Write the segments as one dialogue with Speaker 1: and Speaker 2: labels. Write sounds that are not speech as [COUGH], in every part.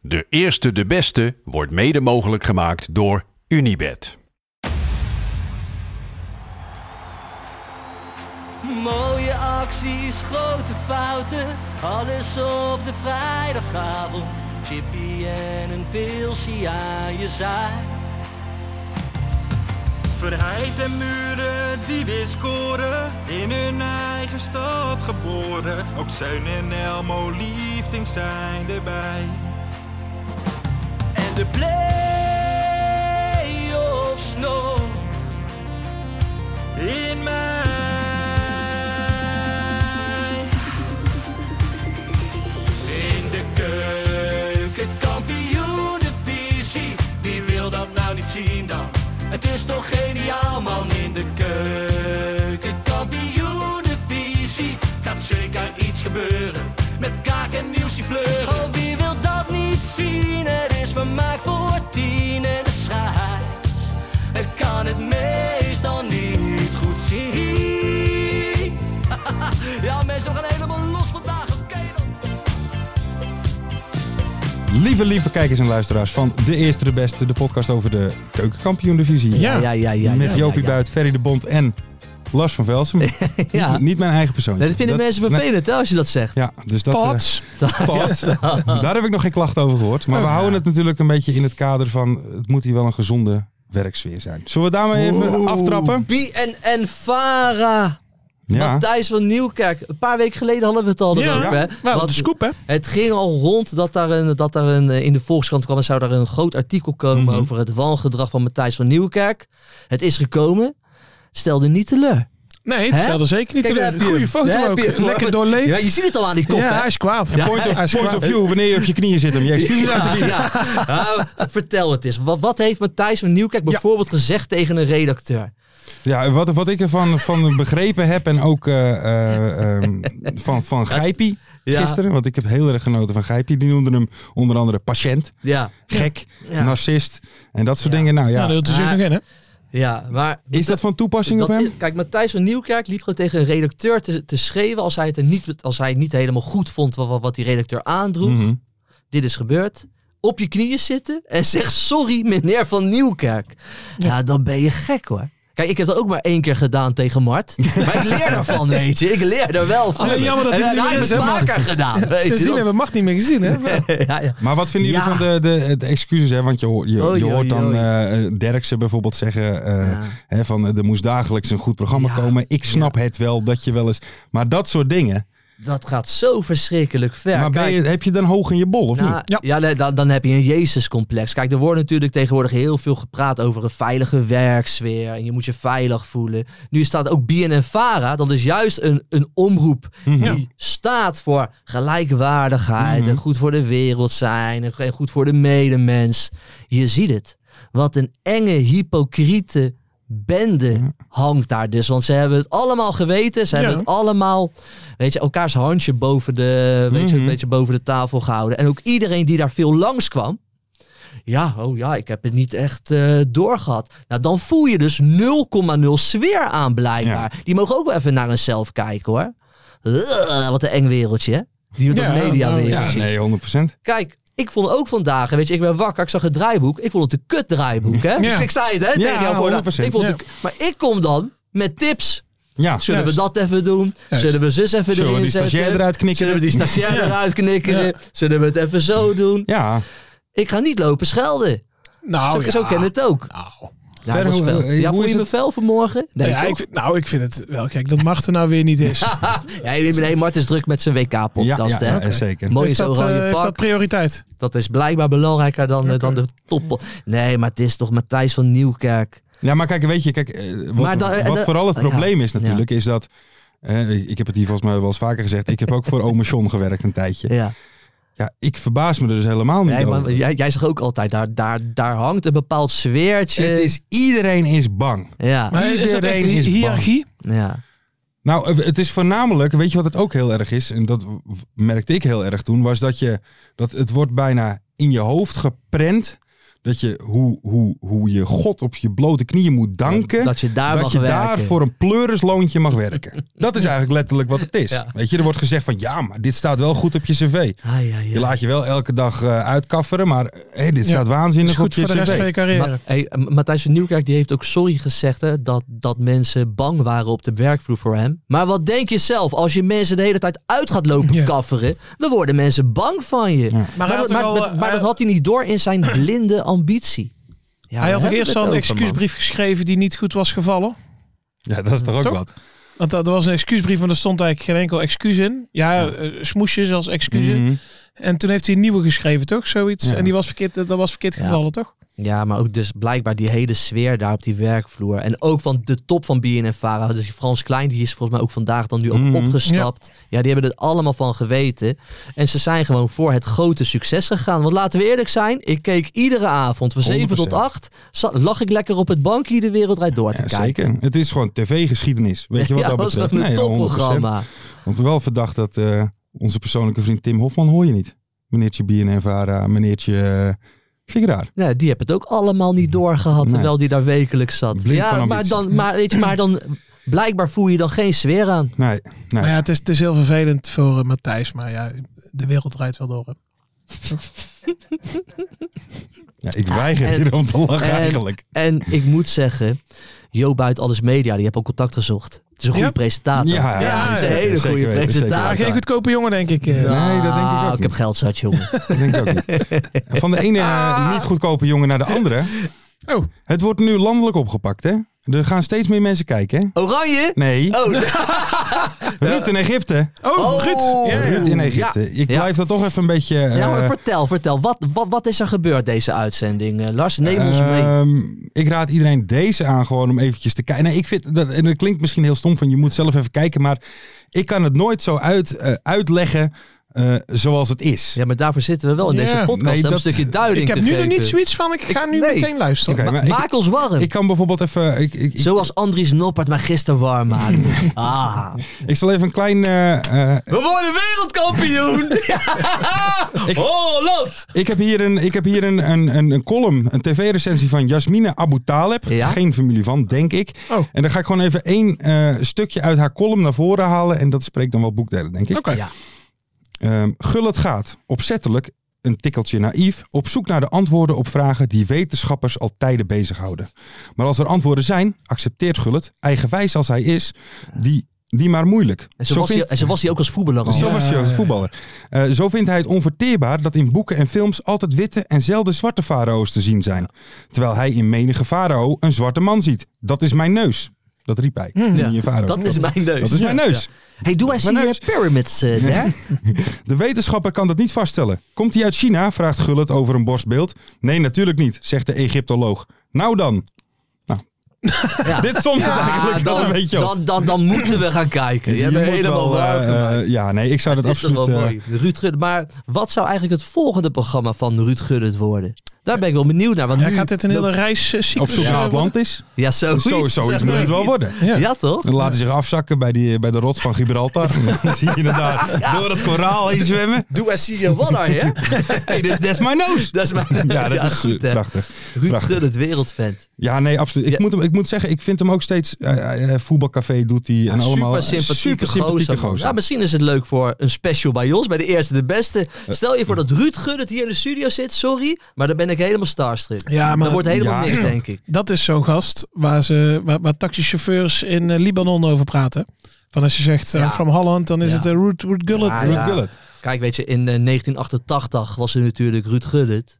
Speaker 1: De eerste de beste wordt mede mogelijk gemaakt door Unibed.
Speaker 2: Mooie acties, grote fouten, alles op de vrijdagavond. Chippy en een pilsie aan je zaai.
Speaker 3: Verheid en muren die weer scoren, in hun eigen stad geboren. Ook Zijn en Elmo liefding zijn erbij.
Speaker 2: En de play-offs nog.
Speaker 3: In mij.
Speaker 2: In de keuken, kampioenenvisie. Wie wil dat nou niet zien dan? Het is toch geniaal man in de keuken, kampioenenvisie. Gaat zeker iets gebeuren met kaak en nieuwsie fleuren. Oh, wie wil dat niet zien? Het is vermaakt voor tien en de scheids. Ik kan het meestal niet goed zien. [LAUGHS] ja mensen, we gaan helemaal los vandaag, oké dan.
Speaker 4: Lieve, lieve kijkers en luisteraars van De Eerste de Beste, de podcast over de keukenkampioen-divisie.
Speaker 5: Ja. Ja, ja, ja,
Speaker 4: Met
Speaker 5: ja,
Speaker 4: Jopie
Speaker 5: ja, ja.
Speaker 4: Buit, Ferry de Bond en Lars van Velsen. [LAUGHS]
Speaker 5: Ja.
Speaker 4: niet, niet mijn eigen persoon.
Speaker 5: Nee, dat vinden mensen vervelend hè, als je dat zegt.
Speaker 4: Ja, dus dat... eh,
Speaker 5: Fox. [LAUGHS]
Speaker 4: Fox. Daar heb ik nog geen klacht over gehoord. Maar
Speaker 5: Oh.
Speaker 4: we houden het natuurlijk een beetje in het kader van... het moet hier wel een gezonde werksfeer zijn. Zullen we daarmee even aftrappen?
Speaker 5: BNN Vara.
Speaker 4: Ja.
Speaker 5: Matthijs van Nieuwkerk. Een paar weken geleden hadden we het al
Speaker 6: Ja.
Speaker 5: erover. Hè?
Speaker 6: Nou,
Speaker 5: Want
Speaker 6: de scoop, hè?
Speaker 5: Het ging al rond dat daar, een, dat daar een, eh, in de Volkskrant kwam. Er zou daar een groot artikel komen
Speaker 4: Mhm.
Speaker 5: over het wangedrag van Matthijs van Nieuwkerk. Het is gekomen. Stelde niet teleur.
Speaker 6: Nee, het
Speaker 5: Hè?
Speaker 6: stelde zeker niet
Speaker 5: Kijk, daar
Speaker 6: teleur.
Speaker 5: heb je
Speaker 6: Goede
Speaker 5: hem.
Speaker 6: foto
Speaker 5: Daar heb
Speaker 6: ook.
Speaker 5: je hem.
Speaker 6: Lekker doorleefd.
Speaker 5: Ja, je ziet het al aan die kop,
Speaker 6: Ja,
Speaker 5: hè?
Speaker 6: hij is kwaad.
Speaker 4: En point, of, point of view, wanneer je op je knieën zit om je excuses aan te bieden.
Speaker 5: Ja. Ja, vertel het eens. Wat, wat heeft Matthijs van Nieuwkerk bijvoorbeeld gezegd tegen een redacteur?
Speaker 4: Ja, wat, wat ik ervan van [LAUGHS] begrepen heb en ook eh, eh, ehm, van, van Gijpie
Speaker 5: Ja.
Speaker 4: gisteren. Want ik heb heel erg genoten van Gijpie. Die noemde hem onder andere patiënt,
Speaker 5: Ja,
Speaker 4: gek,
Speaker 5: Ja.
Speaker 4: narcist en dat soort
Speaker 5: Ja.
Speaker 4: dingen. Nou ja,
Speaker 6: Nou, dat is
Speaker 5: Ah.
Speaker 6: nog in, hè?
Speaker 5: ja maar...
Speaker 4: is dat van toepassing op
Speaker 5: Dat
Speaker 4: hem?
Speaker 5: is- kijk, Matthijs van Nieuwkerk liep gewoon tegen een redacteur te, te schreeuwen als hij, het er niet, als hij het niet helemaal goed vond wat, wat- wat die redacteur aandroeg.
Speaker 4: Mhm.
Speaker 5: Dit is gebeurd. Op je knieën zitten en zeg sorry meneer van Nieuwkerk. Ja, dan ben je gek hoor. Kijk, ik heb dat ook maar één keer gedaan tegen Mart. Maar ik leer daarvan, weet je. Ik leer er wel van.
Speaker 6: Alleen Ah, jammer dat
Speaker 5: en
Speaker 6: hij het niet
Speaker 5: hij
Speaker 6: meer
Speaker 5: heeft
Speaker 6: is,
Speaker 5: het
Speaker 6: hè, Mart?
Speaker 5: vaker gedaan, weet je.
Speaker 6: Sindsdien
Speaker 5: Dat-
Speaker 6: hebben we macht niet meer gezien, hè?
Speaker 5: [LAUGHS] ja, ja.
Speaker 4: Maar wat vinden jullie
Speaker 5: Ja. Oh,
Speaker 4: van de, de, de excuses? Hè? Want je, hoor- je,
Speaker 5: Oei,
Speaker 4: je hoort
Speaker 5: oei,
Speaker 4: dan
Speaker 5: oei.
Speaker 4: eh, eh, Derksen bijvoorbeeld zeggen eh,
Speaker 5: Ja.
Speaker 4: hè, van eh, er moest dagelijks een goed programma
Speaker 5: Ja.
Speaker 4: komen. Ik snap het wel dat je wel eens... Maar dat soort dingen.
Speaker 5: Dat gaat zo verschrikkelijk ver.
Speaker 4: maar ben
Speaker 5: Kijk,
Speaker 4: je, heb je dan hoog in je bol of
Speaker 5: Nou,
Speaker 4: niet?
Speaker 5: ja,
Speaker 6: Ja.
Speaker 5: nee, dan, dan heb je een Jezus-complex. Kijk, er wordt natuurlijk tegenwoordig heel veel gepraat over een veilige werksfeer. En je moet je veilig voelen. Nu staat ook BNNVARA, dat is juist een, een omroep
Speaker 4: Mhm.
Speaker 5: die staat voor gelijkwaardigheid. En goed voor de wereld zijn. En, en goed voor de medemens. Je ziet het. Wat een enge, hypocriete bende
Speaker 4: Mhm.
Speaker 5: hangt daar dus. Want ze hebben het allemaal geweten. Ze hebben
Speaker 6: Ja.
Speaker 5: het allemaal, weet je, elkaars handje boven de, weet je,
Speaker 4: Mhm.
Speaker 5: een beetje boven de tafel gehouden. En ook iedereen die daar veel langskwam. Ja, oh ja, ik heb het niet echt eh, doorgehad. Nou, dan voel je dus 0,0 sfeer aan blijkbaar. Die mogen ook wel even naar hunzelf kijken hoor. Ugh, wat een eng wereldje, hè? Die
Speaker 6: Ja,
Speaker 5: mediawereldje.
Speaker 6: nou,
Speaker 4: Ja,
Speaker 6: ja,
Speaker 4: nee, 100 procent.
Speaker 5: Kijk, ik vond ook vandaag, weet je, ik ben wakker, ik zag het draaiboek. Ik vond het een kut draaiboek, hè? Dus ik zei het, hè, tegen jou voor
Speaker 4: 100%.
Speaker 5: ik vond het
Speaker 6: Ja.
Speaker 5: een k- Maar ik kom dan met tips.
Speaker 4: Ja.
Speaker 5: Zullen we
Speaker 6: Juist.
Speaker 5: dat even doen?
Speaker 6: Juist.
Speaker 5: Zullen we zus even
Speaker 4: Zullen we
Speaker 5: erin
Speaker 4: die
Speaker 5: zetten?
Speaker 4: stagiair eruit knikken?
Speaker 5: Zullen we die stagiair
Speaker 6: Ja.
Speaker 5: eruit knikken?
Speaker 6: Ja.
Speaker 5: Zullen we het even zo doen?
Speaker 4: Ja,
Speaker 5: Ik ga niet lopen schelden.
Speaker 6: Nou,
Speaker 5: zo,
Speaker 6: ja.
Speaker 5: zo ken het ook.
Speaker 6: Nou,
Speaker 5: Ja,
Speaker 4: Ver,
Speaker 5: ik was
Speaker 4: hoe-
Speaker 5: fel.
Speaker 4: hoe- hoe
Speaker 5: ja voel
Speaker 4: is
Speaker 5: je me
Speaker 4: het?
Speaker 5: fel vanmorgen? Nee,
Speaker 6: ja, ik,
Speaker 5: toch?
Speaker 6: vind- nou, ik vind het wel gek dat macht er nou weer niet is.
Speaker 5: [LAUGHS] ja, nee, nee, Mart is druk met zijn
Speaker 4: ja,
Speaker 5: WK-podcast,
Speaker 4: ja,
Speaker 5: hè?
Speaker 4: ja, zeker.
Speaker 5: Mooi
Speaker 6: Heeft
Speaker 5: is
Speaker 6: dat, eh,
Speaker 5: oranje
Speaker 6: heeft dat
Speaker 5: pak.
Speaker 6: prioriteit?
Speaker 5: Dat is blijkbaar belangrijker dan, eh, dan de top. Nee, maar het is toch Matthijs van Nieuwkerk.
Speaker 4: Ja, maar kijk, weet je, kijk, eh, wat,
Speaker 5: Maar da- eh,
Speaker 4: wat
Speaker 5: da-
Speaker 4: vooral het
Speaker 5: ja,
Speaker 4: probleem is natuurlijk, is dat... eh, ik- ik heb het hier volgens mij wel eens vaker gezegd. Ik heb ook voor Ome John gewerkt een tijdje.
Speaker 5: Ja.
Speaker 4: Ja, ik verbaas me er dus helemaal niet
Speaker 5: Nee, maar eh,
Speaker 4: over.
Speaker 5: jij, jij zegt ook altijd, daar, daar, daar hangt een bepaald sfeertje.
Speaker 4: Het is, iedereen is bang.
Speaker 5: Ja,
Speaker 6: Maar is dat echt
Speaker 4: Iedereen is bang.
Speaker 6: hiërarchie?
Speaker 5: ja.
Speaker 4: Nou, het is voornamelijk, weet je wat het ook heel erg is? En dat merkte ik heel erg toen, was dat je, dat het wordt bijna in je hoofd geprent. Dat je, hoe, hoe, hoe je God op je blote knieën moet danken.
Speaker 5: dat je daar
Speaker 4: dat
Speaker 5: mag
Speaker 4: je
Speaker 5: werken.
Speaker 4: daar voor een pleurusloontje mag
Speaker 5: [LAUGHS]
Speaker 4: werken. Dat is eigenlijk letterlijk wat het is.
Speaker 5: Ja.
Speaker 4: Weet je, er wordt gezegd van ja, maar dit staat wel goed op je cv.
Speaker 5: Ah, ja, ja.
Speaker 4: Je laat je wel elke dag eh, uitkafferen, maar eh, dit
Speaker 6: Ja.
Speaker 4: staat
Speaker 6: Is
Speaker 4: waanzinnig op
Speaker 6: goed
Speaker 4: je
Speaker 6: voor de
Speaker 4: cv.
Speaker 6: rest van je
Speaker 5: Ma
Speaker 6: carrière.
Speaker 5: hey, eh, Matthijs van Nieuwkerk die heeft ook sorry gezegd hè, dat, dat mensen bang waren op de werkvloer voor hem. Maar wat denk je zelf? Als je mensen de hele tijd uit gaat lopen
Speaker 6: Ja.
Speaker 5: kafferen, dan worden mensen bang van je.
Speaker 4: Maar
Speaker 6: Maar, hij
Speaker 5: Maar,
Speaker 6: had
Speaker 5: dat- maar,
Speaker 6: ook al,
Speaker 5: maar-
Speaker 6: eh,
Speaker 5: maar
Speaker 6: hij-
Speaker 5: dat had hij niet door in
Speaker 4: [CLEARS THROAT]
Speaker 5: zijn blinde ambitie. Ja,
Speaker 6: hij had
Speaker 5: waar
Speaker 6: ook
Speaker 5: hebben
Speaker 6: eerst
Speaker 5: we het
Speaker 6: zo'n
Speaker 5: over, man?
Speaker 6: excuusbrief geschreven die niet goed was gevallen.
Speaker 4: [LAUGHS] Ja, dat is toch ook
Speaker 6: Toch?
Speaker 4: wat.
Speaker 6: Want dat was een excuusbrief, want er stond eigenlijk geen enkel excuus in. Ja, eh, smoesjes als excuus. in.
Speaker 4: Mhm.
Speaker 6: En toen heeft hij een nieuwe geschreven, toch? Zoiets.
Speaker 4: Ja.
Speaker 6: En die was verkeerd, dat was verkeerd
Speaker 5: Ja.
Speaker 6: gevallen, toch?
Speaker 5: Ja, maar ook dus blijkbaar die hele sfeer daar op die werkvloer. En ook van de top van BNNVARA. Dus die Frans Klein, die is volgens mij ook vandaag dan nu ook
Speaker 4: Mhm.
Speaker 5: opgestapt. Ja. die hebben er allemaal van geweten. En ze zijn gewoon voor het grote succes gegaan. Want laten we eerlijk zijn, ik keek iedere avond van 7 tot
Speaker 4: 100%.
Speaker 5: 8. za- Lag ik lekker op het bankje de wereld rijdt door te
Speaker 4: Ja,
Speaker 5: kijken.
Speaker 4: zeker. Het is gewoon tv-geschiedenis. Weet
Speaker 5: [LAUGHS]
Speaker 4: je wat
Speaker 5: ja,
Speaker 4: dat
Speaker 5: was
Speaker 4: betreft?
Speaker 5: gewoon een
Speaker 4: Nee, 100%.
Speaker 5: topprogramma.
Speaker 4: Want wel verdacht dat eh, onze persoonlijke vriend Tim Hofman hoor je niet. Meneertje BNNVARA, meneertje eh, Figuraar.
Speaker 5: Ja, die hebben het ook allemaal niet doorgehad,
Speaker 4: Nee.
Speaker 5: terwijl die daar wekelijks zat.
Speaker 4: Blind
Speaker 5: ja,
Speaker 4: van
Speaker 5: maar
Speaker 4: ambitie.
Speaker 5: dan, maar, weet je, maar dan blijkbaar voel je dan geen sfeer aan.
Speaker 4: Nee, nee.
Speaker 6: Maar ja, het is, het is heel vervelend voor eh, Matthijs, maar ja, de wereld draait wel door. hè.
Speaker 4: Ja, ik weiger
Speaker 5: en-
Speaker 4: hier om te lachen
Speaker 5: en-
Speaker 4: eigenlijk.
Speaker 5: En ik moet zeggen, Jo Buit Alles Media, die heb ook contact gezocht. Het is een goede
Speaker 6: Ja.
Speaker 5: presentator.
Speaker 4: Ja,
Speaker 6: ja,
Speaker 5: het is een
Speaker 6: zeker,
Speaker 5: hele
Speaker 4: zeker
Speaker 5: goede
Speaker 4: weten,
Speaker 6: Maar
Speaker 4: zeker
Speaker 5: presentator.
Speaker 6: geen goedkope jongen, denk ik. eh.
Speaker 4: Ja. Nee, dat denk ik ook
Speaker 5: Ah, Ik
Speaker 4: niet.
Speaker 5: heb geld zat,
Speaker 4: [LAUGHS]
Speaker 5: jongen.
Speaker 4: Dat denk ik ook niet. [LAUGHS] Van de ene
Speaker 5: Ah.
Speaker 4: eh, niet goedkope jongen naar de andere.
Speaker 6: Oh.
Speaker 4: Het wordt nu landelijk opgepakt, hè? Er gaan steeds meer mensen kijken. hè?
Speaker 5: Oranje?
Speaker 4: Nee,
Speaker 5: Oh,
Speaker 4: Ruud in Egypte.
Speaker 6: Oh,
Speaker 5: Oh.
Speaker 6: Ruud. Ja, ja.
Speaker 4: Ruud in Egypte. Ik
Speaker 5: Ja.
Speaker 4: blijf dat toch even een beetje...
Speaker 5: ja, maar
Speaker 4: eh,
Speaker 5: vertel, vertel. Wat, wat, wat is er gebeurd deze uitzending? Eh, Lars, neem ons mee.
Speaker 4: Ehm, ik raad iedereen deze aan gewoon om eventjes te kijken. Nee, ik vind dat, en dat klinkt misschien heel stom van je moet zelf even kijken, maar ik kan het nooit zo uit, eh, uitleggen eh, zoals het is.
Speaker 5: Ja, maar daarvoor zitten we wel in
Speaker 6: Ja,
Speaker 5: deze podcast
Speaker 4: nee,
Speaker 5: om
Speaker 4: dat-
Speaker 5: een stukje duiding
Speaker 6: Ik heb
Speaker 5: te
Speaker 6: nu nog
Speaker 5: geven.
Speaker 6: niet zoiets van, ik ga
Speaker 5: Ik-
Speaker 6: nu
Speaker 5: nee.
Speaker 6: meteen luisteren.
Speaker 4: Oké,
Speaker 5: Ma-
Speaker 4: maar ik-
Speaker 5: maak ons warm.
Speaker 4: Ik kan bijvoorbeeld even. Ik, ik, ik,
Speaker 5: Zoals Andries Noppert mij gisteren warm maakte.
Speaker 4: [LAUGHS]
Speaker 5: ah.
Speaker 4: ik zal even een klein. eh, eh,
Speaker 5: We worden
Speaker 6: [LAUGHS]
Speaker 5: wereldkampioen! Oh. Holland!
Speaker 4: ik heb hier, een, ik heb hier een, een, een, een column, een tv-recensie van Jasmine Abu Taleb.
Speaker 5: Ja?
Speaker 4: Geen familie van, denk ik.
Speaker 6: Oh.
Speaker 4: En dan ga ik gewoon even één eh, stukje uit haar column naar voren halen. En dat spreekt dan wel boekdelen, denk ik.
Speaker 6: Oké.
Speaker 5: Ja.
Speaker 4: Ehm, Gullit gaat, opzettelijk, een tikkeltje naïef, op zoek naar de antwoorden op vragen die wetenschappers al tijden bezighouden. Maar als er antwoorden zijn, accepteert Gullit, eigenwijs als hij is, die, die maar moeilijk.
Speaker 5: En zo, was hij,
Speaker 4: vindt-
Speaker 5: en zo was hij ook als voetballer al.
Speaker 4: zo was hij als voetballer. Eh, zo vindt hij het onverteerbaar dat in boeken en films altijd witte en zelden zwarte farao's te zien zijn. Terwijl hij in menige farao een zwarte man ziet. Dat is mijn neus. Dat riep hij.
Speaker 5: Hmm. Ja,
Speaker 4: Niet je farao.
Speaker 5: Dat is mijn neus.
Speaker 4: Dat is mijn
Speaker 5: Ja.
Speaker 4: neus.
Speaker 5: Hey, doe eens
Speaker 4: Mijn
Speaker 5: die
Speaker 4: neus.
Speaker 5: eh, pyramids eh, daar.
Speaker 4: De wetenschapper kan dat niet vaststellen. Komt hij uit China? vraagt Gullit over een borstbeeld. Nee, natuurlijk niet, zegt de Egyptoloog. Nou dan. Nou.
Speaker 5: [LAUGHS] Ja.
Speaker 4: Dit stond het [LAUGHS] eigenlijk wel een
Speaker 5: dan,
Speaker 4: beetje op.
Speaker 5: dan, dan, dan moeten we gaan kijken. Je
Speaker 4: Je
Speaker 5: hebt me
Speaker 4: moet
Speaker 5: helemaal
Speaker 4: wel, eh,
Speaker 5: warm gemaakt.
Speaker 4: eh, ja, nee, ik zou dat
Speaker 5: Dat is toch
Speaker 4: absoluut...
Speaker 5: wel
Speaker 4: eh,
Speaker 5: mooi. Ruud Gullit. Maar wat zou eigenlijk het volgende programma van Ruud Gullit worden? Daar ben ik wel benieuwd naar. Want
Speaker 6: Hij
Speaker 5: nu-
Speaker 6: gaat dit een hele reis eh,
Speaker 4: Op
Speaker 6: cyclus
Speaker 4: zoek naar
Speaker 6: eh, worden.
Speaker 4: Atlantis?
Speaker 5: Ja, zoiets.
Speaker 4: Zo, zoiets moet het wel worden.
Speaker 6: Ja.
Speaker 5: Ja, toch?
Speaker 4: Dan laten ze zich afzakken bij, die, bij de rots van Gibraltar.
Speaker 5: [LAUGHS]
Speaker 4: Dan zie je daar door het koraal heen zwemmen.
Speaker 5: Doe eens hier wat aan, [LAUGHS] hè?
Speaker 4: Hey, dat is mijn
Speaker 5: [LAUGHS]
Speaker 4: neus.
Speaker 5: Dat is mijn
Speaker 4: Ja, dat is
Speaker 5: goed,
Speaker 4: eh,
Speaker 5: hè?
Speaker 4: prachtig.
Speaker 5: Ruud
Speaker 4: prachtig.
Speaker 5: Gullit, wereldvent.
Speaker 4: Ja, nee, absoluut. Ik,
Speaker 5: Ja.
Speaker 4: moet, hem- ik moet zeggen, ik vind hem ook steeds... eh, eh, voetbalcafé doet hij en allemaal... eh,
Speaker 5: super sympathieke,
Speaker 4: supersympathieke
Speaker 5: gozer. Ja, misschien is het leuk voor een special bij ons, bij de eerste de beste.
Speaker 4: Eh.
Speaker 5: Stel je voor dat Ruud Gullit hier in de studio zit, sorry, maar dan ben ik helemaal starstruck.
Speaker 6: Ja, maar
Speaker 5: Dan wordt helemaal
Speaker 4: Ah, ja.
Speaker 5: niks, denk ik.
Speaker 6: dat is zo'n gast waar, ze, waar, waar taxichauffeurs in eh, Libanon over praten. Van als je zegt eh,
Speaker 5: Ja.
Speaker 6: from Holland, dan is
Speaker 5: Ja.
Speaker 6: het eh, Ruud, Ruud Gullit.
Speaker 5: Ja,
Speaker 4: Ruud
Speaker 5: ja.
Speaker 4: Gullit.
Speaker 5: Kijk, weet je, in eh, 1988 was er natuurlijk Ruud Gullit.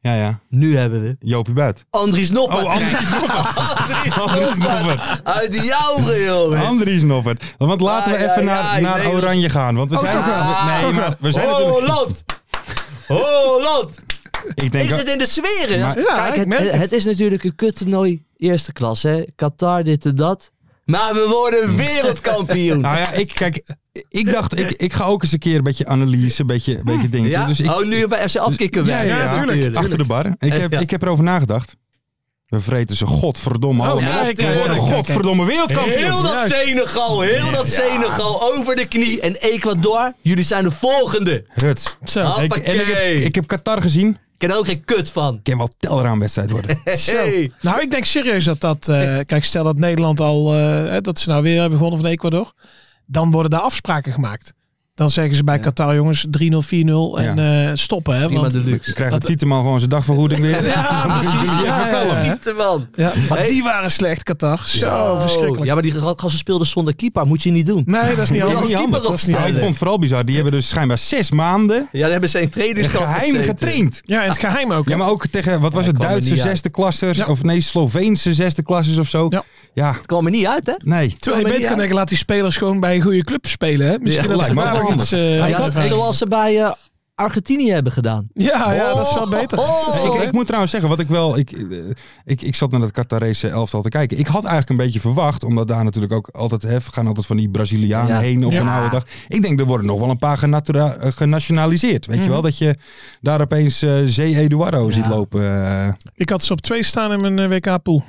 Speaker 4: Ja, ja.
Speaker 5: Nu hebben we
Speaker 4: Joopie Buit.
Speaker 5: Andries Noppert.
Speaker 4: Oh, Andries Andries
Speaker 5: [LAUGHS]
Speaker 4: Noppert.
Speaker 5: Uit de jouwen, jongen.
Speaker 4: Andries Noppert. Want laten we
Speaker 5: Ja, ja,
Speaker 4: even
Speaker 5: ja,
Speaker 4: naar,
Speaker 5: ik
Speaker 4: naar
Speaker 5: denk dat-
Speaker 4: Oranje gaan. Want we zijn...
Speaker 5: toch wel. Oh,
Speaker 4: we- Nee,
Speaker 5: Toch
Speaker 4: maar we zijn natuurlijk...
Speaker 5: Holland! Holland!
Speaker 4: [LAUGHS] Ik denk...
Speaker 5: Ik zit in de sfeer, hè?
Speaker 4: Maar-
Speaker 6: Ja,
Speaker 5: Kijk,
Speaker 6: ik merk
Speaker 5: het, het is natuurlijk een kuttoernooi eerste
Speaker 4: [LAUGHS]
Speaker 5: klas, hè? Qatar, dit en dat. Maar we worden wereldkampioen.
Speaker 4: Nou ja, ik, kijk, ik dacht, ik, ik ga ook eens een keer een beetje analyse, een beetje, een beetje dingen.
Speaker 5: Ja?
Speaker 4: doen. Dus ik,
Speaker 5: oh, nu bij FC Afkikken
Speaker 4: ja,
Speaker 5: weg.
Speaker 4: ja, ja, Achter de bar. Ik
Speaker 5: Eh,
Speaker 4: heb,
Speaker 5: ja.
Speaker 4: ik heb erover nagedacht. We vreten ze godverdomme
Speaker 6: Oh,
Speaker 4: allemaal
Speaker 6: kijk,
Speaker 4: op. We
Speaker 6: kijk,
Speaker 4: worden
Speaker 6: kijk, kijk.
Speaker 4: godverdomme wereldkampioen.
Speaker 5: Heel dat
Speaker 4: Juist.
Speaker 5: Senegal, heel dat Senegal over de knie. En Ecuador, jullie zijn de volgende.
Speaker 4: Ruts.
Speaker 6: Zo.
Speaker 5: Ah.
Speaker 4: Ik, en ik, heb,
Speaker 5: Hoppakee.
Speaker 4: ik heb Qatar gezien. Ik
Speaker 5: Ik ken er ook geen kut van.
Speaker 4: kan wel telraamwedstrijd
Speaker 6: [LAUGHS]
Speaker 4: worden.
Speaker 5: Hey.
Speaker 6: Nou, ik denk serieus dat dat... eh, kijk, stel dat Nederland al... eh, hè, dat ze nou weer hebben gewonnen van Ecuador. Dan worden daar afspraken gemaakt. Dan zeggen ze bij Qatar, jongens, 3-0, 4-0 en eh, stoppen. Hè,
Speaker 5: Prima
Speaker 6: want,
Speaker 5: de luxe.
Speaker 4: Dan krijgt de Tieteman gewoon zijn dagvergoeding weer. [LAUGHS]
Speaker 6: [LAUGHS] ja, precies.
Speaker 4: jullie
Speaker 6: Ja,
Speaker 4: even
Speaker 6: ja,
Speaker 4: kalm.
Speaker 6: ja.
Speaker 5: man.
Speaker 6: Ja, maar
Speaker 5: Hey.
Speaker 6: die waren slecht, Qatar. Zo, verschrikkelijk.
Speaker 5: Ja, maar die ga- gasten speelden zonder keeper. Moet je niet doen.
Speaker 6: Nee, dat is niet
Speaker 4: Ja,
Speaker 6: handig.
Speaker 4: niet handig.
Speaker 6: Dat is niet
Speaker 4: Maar Nou, ik
Speaker 6: handig.
Speaker 4: vond het vooral bizar. Die hebben dus schijnbaar zes maanden
Speaker 5: Ja, daar hebben ze een trainingskamp
Speaker 4: geheim
Speaker 5: gezeten.
Speaker 4: getraind.
Speaker 6: Ja, in het geheim ook. hè?
Speaker 4: Ja, maar ook tegen, wat was
Speaker 5: Ja,
Speaker 4: het,
Speaker 5: ik kwam er
Speaker 4: Duitse
Speaker 5: niet uit.
Speaker 4: zesde klassers?
Speaker 6: Ja.
Speaker 4: Of nee, Sloveense zesde klassers of zo?
Speaker 6: Ja.
Speaker 4: Ja,
Speaker 5: Het kwam er niet uit, hè?
Speaker 4: nee.
Speaker 6: Terwijl je
Speaker 5: maar
Speaker 6: beter
Speaker 5: niet
Speaker 6: kan
Speaker 5: uit.
Speaker 6: denken, laat die spelers gewoon bij een goede club spelen. Hè? Misschien
Speaker 5: Ja,
Speaker 6: dat
Speaker 4: lijkt
Speaker 6: ze
Speaker 4: me ook
Speaker 6: daar
Speaker 4: wel
Speaker 6: nog iets... eh,
Speaker 5: Ja,
Speaker 6: aan
Speaker 5: zo-
Speaker 6: vragen.
Speaker 5: zoals ze bij eh, Argentinië hebben gedaan.
Speaker 6: ja, ja, dat is wel
Speaker 5: Oh,
Speaker 6: beter.
Speaker 5: oh,
Speaker 6: Zeker,
Speaker 5: oh.
Speaker 6: hè?
Speaker 4: Ik moet trouwens zeggen, wat ik wel. Ik, eh, ik, ik zat naar dat Qatarese elftal te kijken. Ik had eigenlijk een beetje verwacht, omdat daar natuurlijk ook altijd. Hè, we gaan altijd van die Brazilianen
Speaker 5: Ja.
Speaker 4: heen op
Speaker 6: Ja.
Speaker 4: een oude dag. Ik denk, er worden nog wel een paar genatura- eh, genationaliseerd. Weet
Speaker 5: Mhm.
Speaker 4: je wel, dat je daar opeens eh Zee Eduardo ziet lopen. eh,
Speaker 6: Ik had ze op twee staan in mijn eh, WK-pool.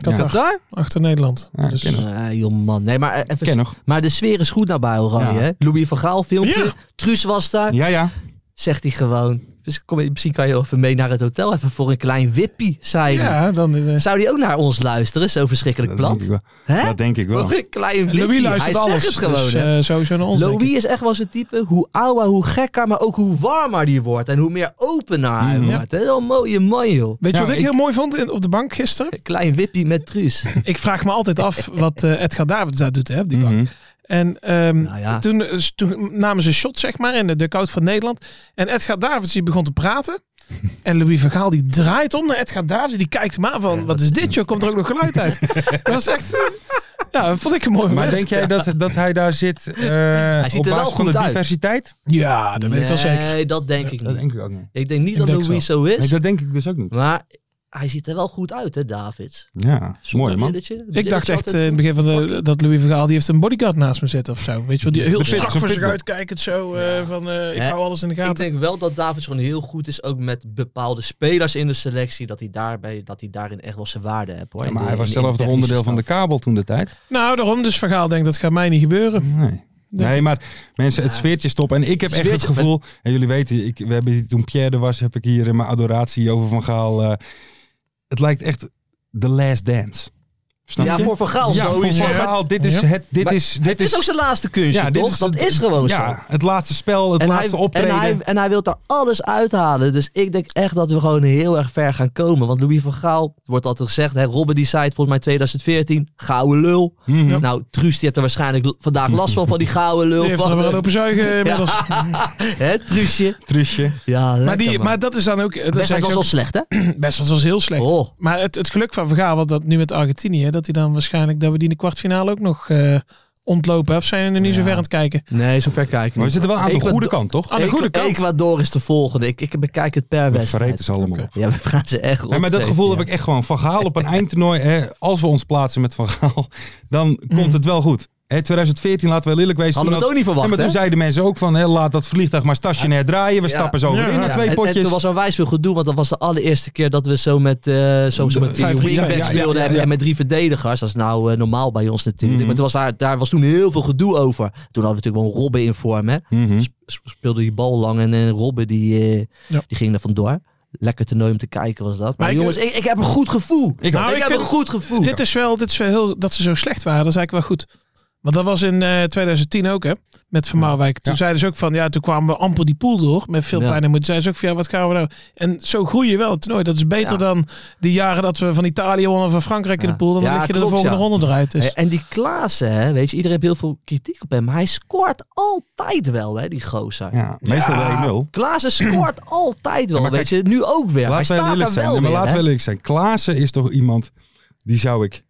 Speaker 6: Qatar,
Speaker 5: Qatar?
Speaker 6: achter Nederland.
Speaker 4: Ja,
Speaker 6: dus,
Speaker 4: ken
Speaker 5: Nee, joh Eh, man. Nee, maar, even,
Speaker 4: ken nog.
Speaker 5: maar de sfeer is goed naar bij Oranje,
Speaker 4: Ja.
Speaker 5: hè? Louis van Gaal filmpje.
Speaker 6: Ja.
Speaker 5: Truus was daar.
Speaker 4: Ja, ja.
Speaker 5: Zegt hij gewoon. Dus kom, misschien kan je even mee naar het hotel. Even voor een klein wippie, zei hij.
Speaker 6: ja, dan... eh,
Speaker 5: Zou die ook naar ons luisteren? Zo verschrikkelijk
Speaker 4: Dat denk ik
Speaker 5: plat.
Speaker 4: wel.
Speaker 5: Hè?
Speaker 4: Dat denk ik wel.
Speaker 5: Voor een klein wippie.
Speaker 6: Louis luistert
Speaker 5: hij zegt
Speaker 6: alles.
Speaker 5: het gewoon,
Speaker 6: dus,
Speaker 5: hè?
Speaker 6: eh, sowieso naar ons. denk
Speaker 5: Louis is echt wel zijn type. Hoe ouder, hoe gekker, maar ook hoe warmer die wordt. En hoe meer opener hij
Speaker 4: Mhm.
Speaker 5: wordt. Heel mooie man, joh.
Speaker 6: ik. Weet je
Speaker 4: Ja,
Speaker 6: wat ik,
Speaker 4: ik-
Speaker 6: heel mooi vond in- op de bank gisteren? [LAUGHS]
Speaker 5: Klein wippie met
Speaker 4: [LAUGHS]
Speaker 5: truus.
Speaker 6: Ik vraag me altijd af wat eh Edgar Davids daar doet hè, op die bank.
Speaker 4: Mhm.
Speaker 6: En ehm,
Speaker 5: Nou ja.
Speaker 6: toen, eh, toen namen ze een shot, zeg maar, in de dugout van Nederland. En Edgar Davids die begon te
Speaker 5: [LAUGHS]
Speaker 6: praten. En Louis van Gaal die draait om naar Edgar Davids. Die kijkt maar van, wat is dit joh? Komt er ook nog geluid
Speaker 5: [LAUGHS]
Speaker 6: uit? dat was echt... eh, Ja, dat vond ik een mooi
Speaker 4: Maar
Speaker 6: moment.
Speaker 4: denk jij dat, dat hij daar zit eh,
Speaker 5: ziet
Speaker 4: op
Speaker 5: er wel
Speaker 4: basis van de
Speaker 5: goed uit.
Speaker 4: diversiteit?
Speaker 6: Ja, dat weet ik wel zeker.
Speaker 5: Nee, dat denk ik
Speaker 4: Dat
Speaker 5: niet.
Speaker 4: denk ik ook niet.
Speaker 5: Ik denk niet
Speaker 6: Ik
Speaker 5: dat
Speaker 6: denk
Speaker 5: Louis zo is.
Speaker 4: Nee, dat denk ik dus ook niet.
Speaker 5: Maar hij ziet er wel goed uit, hè, David?
Speaker 4: Ja, mooi man.
Speaker 6: Ik dacht echt eh, in het begin van de, dat Louis van Gaal die heeft een bodyguard naast me zitten of zo. Weet je wel, die heel
Speaker 4: Een pit-
Speaker 6: strak
Speaker 4: zo'n
Speaker 6: voor zich
Speaker 4: pitbull.
Speaker 6: uitkijkend zo eh, van eh, ik
Speaker 5: Hè?
Speaker 6: hou alles in de
Speaker 5: Ik
Speaker 6: gaten.
Speaker 5: denk wel dat David gewoon heel goed is, ook met bepaalde spelers in de selectie, dat hij, daarbij, dat hij daarin echt wel zijn waarde heeft. Hoor.
Speaker 4: Ja,
Speaker 5: In
Speaker 4: maar
Speaker 5: de-
Speaker 4: hij was
Speaker 5: in- in
Speaker 4: zelf toch
Speaker 5: technische
Speaker 4: onderdeel van de
Speaker 5: staf.
Speaker 4: kabel toen de tijd?
Speaker 6: Nou, daarom dus van Gaal denkt dat gaat mij niet gebeuren.
Speaker 4: Nee. Nee, maar mensen, het sfeertje is top. En ik heb echt het
Speaker 5: Sfeertje-
Speaker 4: gevoel, en jullie weten, ik, we hebben, hier- toen Pierre er was, heb ik hier in mijn adoratie over Van Gaal. eh, het lijkt echt The Last Dance. Snap
Speaker 5: Ja,
Speaker 4: je?
Speaker 5: voor Van Gaal
Speaker 4: ja, voor
Speaker 5: sowieso.
Speaker 4: Van Gaal, dit is
Speaker 6: Ja.
Speaker 4: het, dit
Speaker 5: Maar
Speaker 4: is, dit
Speaker 5: Het is ook zijn laatste kunstje,
Speaker 4: Ja, dit
Speaker 5: toch?
Speaker 4: is-
Speaker 5: dat is gewoon zo.
Speaker 4: ja, het laatste spel, het laatste optreden.
Speaker 5: En hij, en hij wil daar alles uithalen. Dus ik denk echt dat we gewoon heel erg ver gaan komen. Want Louis van Gaal, wordt altijd gezegd, hè, Robben die zei het volgens mij 2014, gouden lul.
Speaker 4: Mhm.
Speaker 5: Nou, Truus die hebt er waarschijnlijk l- vandaag last van, van die gouden lul.
Speaker 6: Die heeft
Speaker 5: van,
Speaker 6: er wel
Speaker 5: eh,
Speaker 6: open
Speaker 5: [LAUGHS]
Speaker 6: zuigen inmiddels.
Speaker 5: Hè, Truusje?
Speaker 4: Trusje.
Speaker 5: Ja, lekker
Speaker 6: Maar, die,
Speaker 5: man.
Speaker 6: maar dat is dan ook... Dat
Speaker 5: Best
Speaker 6: zeggen
Speaker 5: was
Speaker 6: ze
Speaker 5: wel
Speaker 6: ook-
Speaker 5: slecht, hè?
Speaker 6: Best wel, dat was heel slecht.
Speaker 5: Oh.
Speaker 6: Maar het, het geluk van Vergaal, want dat nu met Argentinië, dat hij dan waarschijnlijk dat we die in de kwartfinale ook nog eh, ontlopen. Of zijn we er niet zo ver aan het kijken?
Speaker 5: Nee, zo ver kijken
Speaker 4: Maar we zitten wel aan de
Speaker 5: Ecuador-
Speaker 4: goede kant, toch?
Speaker 6: Aan de goede kant.
Speaker 5: Ecuador is de volgende. Ik, ik bekijk het per
Speaker 4: We
Speaker 5: wedstrijd.
Speaker 4: vergeten ze allemaal. op.
Speaker 5: Ja, we gaan ze echt
Speaker 4: Nee, maar dat
Speaker 5: opvreten,
Speaker 4: gevoel
Speaker 5: ja.
Speaker 4: heb ik echt gewoon. Van Gaal
Speaker 5: [LAUGHS]
Speaker 4: op een eindtoernooi. Hè, als we ons plaatsen met Van Gaal, [LAUGHS] dan komt het wel goed. Hè, 2014, laten we wel eerlijk wezen.
Speaker 5: Mhm. Hadden we
Speaker 4: toen
Speaker 5: het ook niet
Speaker 4: Ja,
Speaker 5: verwacht,
Speaker 4: maar toen
Speaker 5: hè?
Speaker 4: zeiden mensen ook van, hè, laat dat vliegtuig maar stasje neer draaien. We
Speaker 5: Ja.
Speaker 4: stappen zo
Speaker 6: Ja,
Speaker 4: weer in
Speaker 6: ja.
Speaker 4: naar twee
Speaker 5: En- en,
Speaker 4: potjes.
Speaker 5: toen was er wijs veel gedoe, want dat was de allereerste keer dat we zo met, eh zo, zo met drie
Speaker 4: 5-3,
Speaker 5: wingbacks
Speaker 4: ja, ja, ja,
Speaker 5: speelden en-
Speaker 4: ja.
Speaker 5: en met drie verdedigers. Dat is nou eh, normaal bij ons natuurlijk.
Speaker 4: Mhm.
Speaker 5: Maar toen was daar, daar was toen heel veel gedoe over. Toen hadden we natuurlijk wel een Robben in vorm. Hè?
Speaker 4: Mhm.
Speaker 5: Sp- Speelde die bal lang en eh, Robben die, eh,
Speaker 6: Ja.
Speaker 5: die ging er vandoor. Lekker toernooi om te kijken was dat. Maar,
Speaker 6: Maar ik-
Speaker 5: jongens, ik, ik heb een goed gevoel.
Speaker 4: eh, Ik
Speaker 6: Nou,
Speaker 5: ik,
Speaker 6: ik
Speaker 5: heb
Speaker 6: vind-
Speaker 5: een goed gevoel.
Speaker 6: Dit is wel, dit is wel heel, dat ze zo slecht waren, dat is eigenlijk wel goed. Want dat was in eh, 2010 ook, hè? Met Van Marwijk. Toen
Speaker 4: Ja.
Speaker 6: zeiden ze ook van, ja, toen kwamen we amper die pool door. Met veel
Speaker 5: Ja.
Speaker 6: pijn en moeite. Zeiden ze ook van, ja, wat gaan we nou... En zo groei je wel het toernooi. Dat is beter
Speaker 5: Ja.
Speaker 6: dan die jaren dat we van Italië wonnen, van Frankrijk in
Speaker 5: Ja.
Speaker 6: de pool. Dan
Speaker 5: Ja,
Speaker 6: lig je
Speaker 5: klopt,
Speaker 6: de volgende
Speaker 5: ja.
Speaker 6: ronde eruit. Dus.
Speaker 5: Hey, En die Klaassen, hè, weet je, iedereen heeft heel veel kritiek op hem. Maar hij scoort altijd wel, hè, die gozer.
Speaker 4: Ja, meestal
Speaker 5: Ja.
Speaker 4: de 1-0.
Speaker 5: Klaassen
Speaker 6: [CLEARS THROAT]
Speaker 5: scoort altijd wel,
Speaker 4: Ja, maar
Speaker 5: weet je. Nu ook weer. Hij
Speaker 4: Laten we
Speaker 5: staat
Speaker 4: eerlijk
Speaker 5: daar
Speaker 4: zijn.
Speaker 5: wel
Speaker 4: Ja, maar
Speaker 5: weer,
Speaker 4: laten
Speaker 5: hè.
Speaker 4: we eerlijk zijn. Klaassen is toch iemand, die zou ik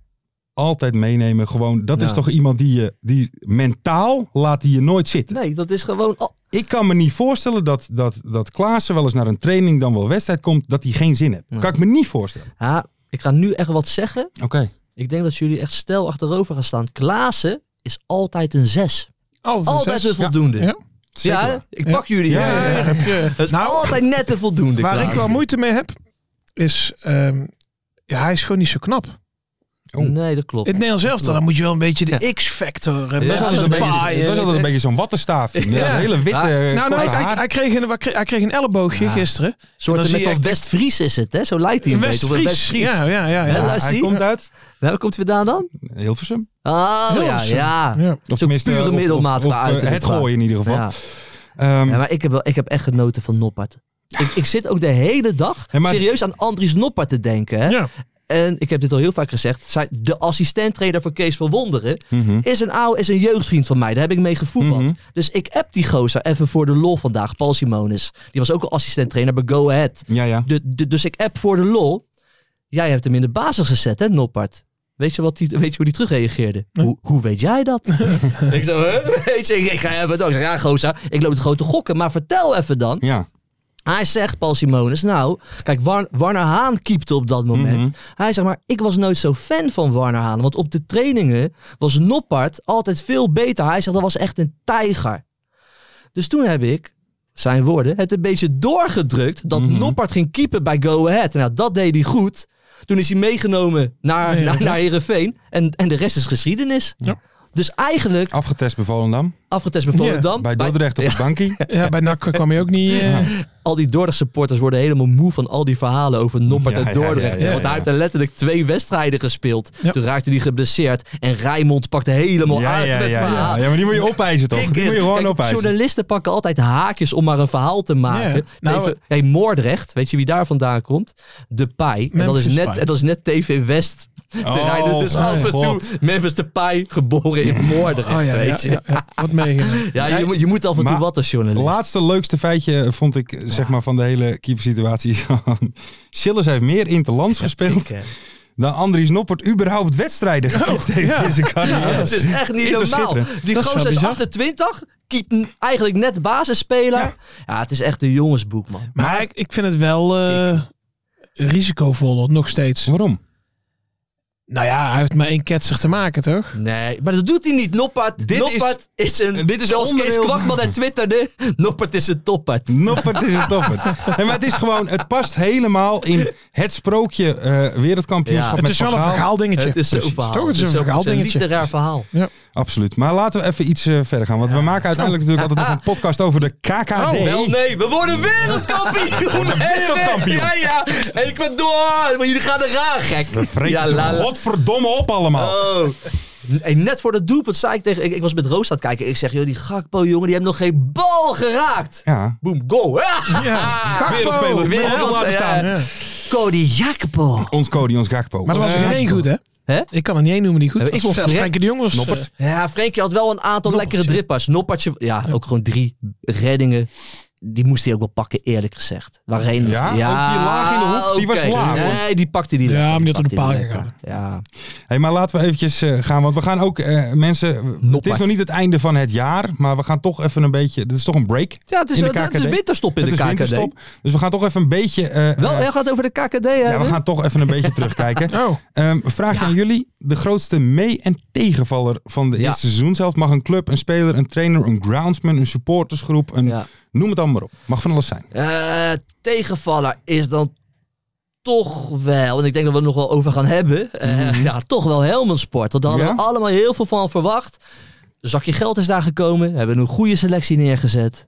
Speaker 4: altijd meenemen. Gewoon, dat is
Speaker 5: Ja.
Speaker 4: toch iemand die je, die mentaal laat die je nooit zitten.
Speaker 5: Nee, dat is gewoon... al-
Speaker 4: Ik kan me niet voorstellen dat, dat, dat Klaassen wel eens naar een training dan wel wedstrijd komt, dat hij geen zin heeft.
Speaker 5: Nee.
Speaker 4: Kan ik me niet voorstellen.
Speaker 5: Ja, ik ga nu echt wat zeggen.
Speaker 4: Oké.
Speaker 5: Ik denk dat jullie echt stel achterover gaan staan. Klaassen is altijd een zes.
Speaker 6: Altijd, een
Speaker 5: Altijd
Speaker 6: zes.
Speaker 5: een voldoende.
Speaker 6: Ja.
Speaker 5: Ja,
Speaker 4: Zeker waar.
Speaker 5: ik pak jullie.
Speaker 6: Ja, ja, ja, heb je.
Speaker 5: Het is
Speaker 6: Nou,
Speaker 5: altijd net een voldoende.
Speaker 6: Waar
Speaker 5: Klaas.
Speaker 6: ik wel moeite mee heb, is... ehm, ja, hij is gewoon niet zo knap. In
Speaker 4: Oh.
Speaker 5: Nee, dat klopt.
Speaker 6: het Nederlands elftal, dan moet je wel een beetje de X-factor hebben.
Speaker 4: Het was altijd een beetje- het was altijd een
Speaker 6: paaien.
Speaker 4: beetje zo'n wattenstaaf. Een
Speaker 6: Ja.
Speaker 4: hele witte,
Speaker 5: Nou,
Speaker 4: korte
Speaker 6: Nou, nou, hij,
Speaker 4: haar.
Speaker 6: hij, kreeg een, wat kreeg- hij kreeg een elleboogje
Speaker 5: Ja.
Speaker 6: gisteren. dan
Speaker 5: soort
Speaker 6: zie
Speaker 5: met
Speaker 6: je
Speaker 5: dat
Speaker 6: echt-
Speaker 5: West-Fries is het, hè? Zo lijkt hij een beetje. Of een
Speaker 6: West-Fries.
Speaker 5: West-Fries.
Speaker 6: Ja, ja, ja.
Speaker 5: Hè,
Speaker 6: ja.
Speaker 5: luister
Speaker 4: hij
Speaker 5: je?
Speaker 4: komt uit
Speaker 5: Nou, Waar komt hij vandaan dan?
Speaker 4: Hilversum.
Speaker 5: Oh, ja,
Speaker 6: Hilversum.
Speaker 5: ja.
Speaker 6: Ja.
Speaker 4: Of
Speaker 5: pure
Speaker 4: eh, of- of-
Speaker 5: middelmaat
Speaker 4: of,
Speaker 5: qua
Speaker 4: eh,
Speaker 5: uiterlijk
Speaker 4: Het
Speaker 5: qua-
Speaker 4: gooien in ieder geval.
Speaker 5: Ja.
Speaker 4: Ehm,
Speaker 5: Ja, maar ik heb, wel, ik heb echt genoten van Noppert. Ik, ik zit ook de hele dag
Speaker 4: Ja, maar-
Speaker 5: serieus aan Andries Noppert te denken. Hè?
Speaker 6: Ja.
Speaker 5: En ik heb dit al heel vaak gezegd. Zij, de assistent-trainer van Kees van Wonderen
Speaker 4: mhm.
Speaker 5: is een oude, is een jeugdvriend van mij. Daar heb ik mee gevoetbald.
Speaker 4: Mhm.
Speaker 5: Dus ik app die gozer even voor de lol vandaag. Paul Simonis. Die was ook al assistent-trainer bij Go Ahead.
Speaker 4: Ja, ja.
Speaker 5: De, de- dus ik app voor de lol. Jij hebt hem in de basis gezet, hè, Noppert? Weet je, wat die, weet je hoe die terugreageerde? Hoe, hoe weet jij dat? Hm? [LAUGHS] ik zo, hè? [LAUGHS] Weet je, ik, ik ga even door. Ik zeg, ja, gozer, ik loop het grote gokken. Maar vertel even dan.
Speaker 4: Ja.
Speaker 5: Hij zegt, Paul Simonis, nou, kijk, War- Warner Haan keepte op dat moment.
Speaker 4: Mhm.
Speaker 5: Hij zegt maar, ik was nooit zo fan van Warner Haan. Want op de trainingen was Noppert altijd veel beter. Hij zegt, dat was echt een tijger. Dus toen heb ik, zijn woorden, het een beetje doorgedrukt dat
Speaker 4: Mhm.
Speaker 5: Noppert ging keepen bij Go Ahead. Nou, dat deed hij goed. Toen is hij meegenomen naar,
Speaker 6: Nee,
Speaker 5: naar,
Speaker 6: ja.
Speaker 5: naar Heerenveen. En, en de rest is geschiedenis.
Speaker 6: Ja.
Speaker 5: Dus eigenlijk,
Speaker 4: Afgetest bij Volendam.
Speaker 5: afgetest bij
Speaker 6: Ja,
Speaker 5: Volendam.
Speaker 4: Bij
Speaker 5: bij-
Speaker 4: Dordrecht op het bankie.
Speaker 6: Ja, bij NAC kwam hij ook niet. eh,
Speaker 4: Ja.
Speaker 5: al die Dordrecht supporters worden helemaal moe van al die verhalen over Noppert
Speaker 4: Ja,
Speaker 5: en
Speaker 4: ja, ja,
Speaker 5: Dordrecht.
Speaker 4: ja, ja,
Speaker 5: Want
Speaker 4: ja.
Speaker 5: hij heeft er letterlijk twee wedstrijden gespeeld.
Speaker 6: Ja.
Speaker 5: Toen raakte hij geblesseerd en Rijmond pakte [LAUGHS] helemaal
Speaker 4: ja,
Speaker 5: uit
Speaker 4: ja,
Speaker 5: met
Speaker 4: ja, ja.
Speaker 5: verhalen.
Speaker 4: ja, maar die moet je opeisen toch?
Speaker 5: Kijk,
Speaker 4: Die [LAUGHS] moet je gewoon
Speaker 5: kijk,
Speaker 4: opeisen.
Speaker 5: journalisten pakken altijd haakjes om maar een verhaal te maken.
Speaker 6: Ja, nou,
Speaker 5: TV, hey, Moordrecht, weet je wie daar vandaan komt? De Pai. En dat, is
Speaker 6: Memphis
Speaker 5: net,
Speaker 6: Pai.
Speaker 5: en dat is net TV West.
Speaker 4: Oh,
Speaker 5: Ze rijden dus
Speaker 4: mijn
Speaker 5: af en toe
Speaker 4: God.
Speaker 5: Memphis de Pai geboren in Moordrecht.
Speaker 6: Oh ja, ja,
Speaker 5: weet je.
Speaker 6: ja, ja. wat meegenomen.
Speaker 5: Ja, je, moet- je moet af en toe
Speaker 4: Maar-
Speaker 5: wat als journalist.
Speaker 4: Laatste leukste feitje vond ik, zeg maar, van de hele keepersituatie. [LAUGHS] Schillers heeft meer interlands gespeeld
Speaker 5: Ik, eh,
Speaker 4: dan Andries Noppert überhaupt wedstrijden gekiept heeft
Speaker 6: ja.
Speaker 4: in zijn carrière.
Speaker 5: Oh, Ja, het is echt niet
Speaker 4: Is toch
Speaker 5: normaal.
Speaker 4: schitterend?
Speaker 5: Die
Speaker 6: Dat is
Speaker 5: gozer
Speaker 6: wel
Speaker 5: is
Speaker 6: bizar.
Speaker 5: 28, keept n- eigenlijk net basisspeler. Ja. het is echt een jongensboek, man.
Speaker 6: Maar ik, ik vind het wel eh, risicovoller, nog steeds.
Speaker 4: Dus Waarom?
Speaker 6: Nou ja, hij heeft maar één ketser te maken, toch?
Speaker 5: Nee, maar dat doet hij niet. Noppert,
Speaker 4: Dit
Speaker 5: Noppert is, een...
Speaker 4: dit is
Speaker 5: zoals
Speaker 4: onderdeel
Speaker 5: Kees
Speaker 4: van-
Speaker 5: Kwakman en Twitterde, Noppert is een toppert.
Speaker 4: Noppert is het toppert. Nee, maar het is gewoon, het past helemaal in het sprookje eh, wereldkampioenschap
Speaker 5: Ja.
Speaker 4: met
Speaker 6: Het is wel een
Speaker 4: Van Gaal.
Speaker 6: verhaal dingetje.
Speaker 5: Het is zo'n
Speaker 4: Precies.
Speaker 5: verhaal.
Speaker 6: Toch, het is een
Speaker 5: ook-
Speaker 6: verhaal
Speaker 5: een
Speaker 6: dingetje.
Speaker 5: literair verhaal.
Speaker 4: Absoluut. Maar laten we even iets eh, verder gaan. Want we maken uiteindelijk natuurlijk altijd nog een podcast over de KKD.
Speaker 5: Oh, wel nee, we worden wereldkampioen!
Speaker 4: wereldkampioen.
Speaker 5: [LAUGHS] Ja, ja. En ik ben door, want jullie gaan er raar, gek.
Speaker 4: We vreten
Speaker 5: Ja,
Speaker 4: ze
Speaker 5: la- la-
Speaker 4: godverdomme op allemaal.
Speaker 5: Oh. Hey, net voor dat doelpunt zei ik tegen... Ik, ik was met Roos aan het kijken. Ik zeg, joh, die Gakpo, jongen, die heeft nog geen bal geraakt.
Speaker 4: Ja.
Speaker 5: Boom, goal. Ah!
Speaker 4: Wereldspeler. Wereld
Speaker 5: Wereld-
Speaker 4: laten staan.
Speaker 6: Ja.
Speaker 5: Cody Jacopo.
Speaker 4: Ons Cody, ons Gakpo.
Speaker 6: Maar er was
Speaker 4: Eh,
Speaker 6: er geen één goed, hè?
Speaker 5: Hè?
Speaker 6: Ik kan er niet één noemen die goed
Speaker 5: Eh,
Speaker 6: was.
Speaker 5: ik vond
Speaker 6: Zelfs
Speaker 5: Fred-
Speaker 6: Frenkie de Jong was... eh,
Speaker 5: Ja, Frenkie had wel een aantal
Speaker 6: Noppertje.
Speaker 5: lekkere drippers. Noppertje, ja, ook gewoon drie reddingen. Die moest hij ook wel pakken, eerlijk gezegd. Waarheen,
Speaker 4: Ja? Ook die laag in de hoek, die was
Speaker 5: oké.
Speaker 4: laag, hoor.
Speaker 5: Nee, die pakte die
Speaker 6: Ja,
Speaker 5: lekker.
Speaker 6: maar die had
Speaker 5: pakte
Speaker 6: door de
Speaker 5: die
Speaker 6: paal
Speaker 5: lekker. Ja.
Speaker 4: Hey, maar laten we eventjes eh, gaan, want we gaan ook eh, mensen. Het is
Speaker 5: Noppert.
Speaker 4: nog niet het einde van het jaar, maar we gaan toch even een beetje. Dit is toch een break.
Speaker 5: ja, het is,
Speaker 4: In de
Speaker 5: het- het is
Speaker 4: KKD.
Speaker 5: winterstop in
Speaker 4: het
Speaker 5: de
Speaker 4: is
Speaker 5: KKD.
Speaker 4: winterstop, dus we gaan toch even een beetje. eh,
Speaker 5: Wel,
Speaker 4: eh,
Speaker 5: jij gaat over de KKD hè?
Speaker 4: ja, we gaan toch even een
Speaker 5: [LAUGHS]
Speaker 4: beetje terugkijken.
Speaker 6: Oh,
Speaker 4: Ehm, vraag aan jullie: de grootste mee- en tegenvaller van de
Speaker 5: Ja.
Speaker 4: eerste seizoen zelf mag een club, een speler, een trainer, een groundsman, een supportersgroep, een
Speaker 5: Ja.
Speaker 4: noem het allemaal maar op. Mag van alles zijn.
Speaker 5: Eh, tegenvaller is dan toch wel, en ik denk dat we het nog wel over gaan hebben, eh, ja, toch wel Helmond Sport. Want daar hadden we
Speaker 4: Mhm. Ja?
Speaker 5: allemaal heel veel van verwacht. Een zakje geld is daar gekomen, hebben een goede selectie neergezet.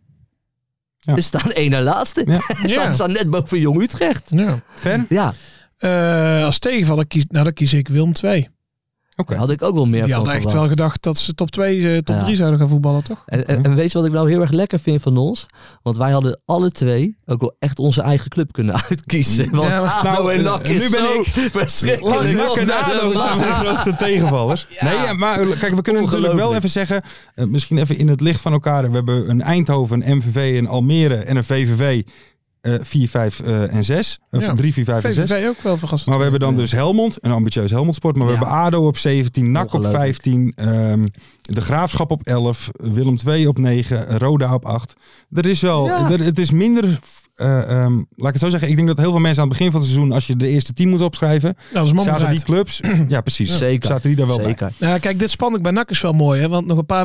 Speaker 4: Ja.
Speaker 5: Er staan één na laatste. [LAUGHS]
Speaker 4: Ja.
Speaker 5: Ze staan,
Speaker 6: eh, Ja.
Speaker 5: staan net boven Jong Utrecht.
Speaker 6: ja.
Speaker 4: Ver?
Speaker 5: Ja,
Speaker 6: Eh, als tegenvaller kies, nou, dan kies ik Wilm 2.
Speaker 4: Oké.
Speaker 5: daar had ik ook wel meer
Speaker 6: Die
Speaker 5: van
Speaker 6: hadden echt
Speaker 5: verwacht.
Speaker 6: wel gedacht dat ze top 2, top
Speaker 5: Ja.
Speaker 6: 3 zouden gaan voetballen, toch?
Speaker 5: En, en, en weet je wat ik nou heel erg lekker vind van ons? Want wij hadden alle twee ook wel echt onze eigen club kunnen uitkiezen. Want
Speaker 6: Ja, maar-
Speaker 5: ADO
Speaker 4: Nou,
Speaker 5: en NAC
Speaker 4: eh, nu
Speaker 5: is
Speaker 4: ben
Speaker 5: zo
Speaker 4: ik-
Speaker 5: verschrikkelijk.
Speaker 4: Nak en ADO zijn de grootste tegenvallers.
Speaker 5: Ja.
Speaker 4: Nee, ja, maar eh, kijk, we kunnen natuurlijk wel
Speaker 5: Ongelooflijk.
Speaker 4: even zeggen, eh, misschien even in het licht van elkaar. We hebben een Eindhoven, een MVV, een Almere en een VVV. eh 4, 5 eh, en 6. Of
Speaker 6: Ja.
Speaker 4: 3, 4, 5 en 6.
Speaker 6: VVV ook wel verrassend.
Speaker 4: Maar we hebben dan dus Helmond, een ambitieus Helmond sport. Maar we
Speaker 5: Ja.
Speaker 4: hebben ADO op 17, NAC op
Speaker 5: Ongelooflijk.
Speaker 4: 15, ehm, De Graafschap op 11, Willem 2 op 9, Roda op 8. Er is wel,
Speaker 5: Ja.
Speaker 4: er- het is minder f- eh, ehm, laat ik het zo zeggen, ik denk dat heel veel mensen aan het begin van het seizoen, als je de eerste team moet opschrijven,
Speaker 6: Nou, dat is man
Speaker 4: zaten die
Speaker 6: bereid.
Speaker 4: clubs, [CLEARS THROAT] ja precies,
Speaker 5: Zeker.
Speaker 4: zaten die daar wel bij.
Speaker 5: Zeker.
Speaker 6: [LAUGHS] Ja, Nou, kijk, dit spandoek bij NAC is wel mooi, hè? Want nog een paar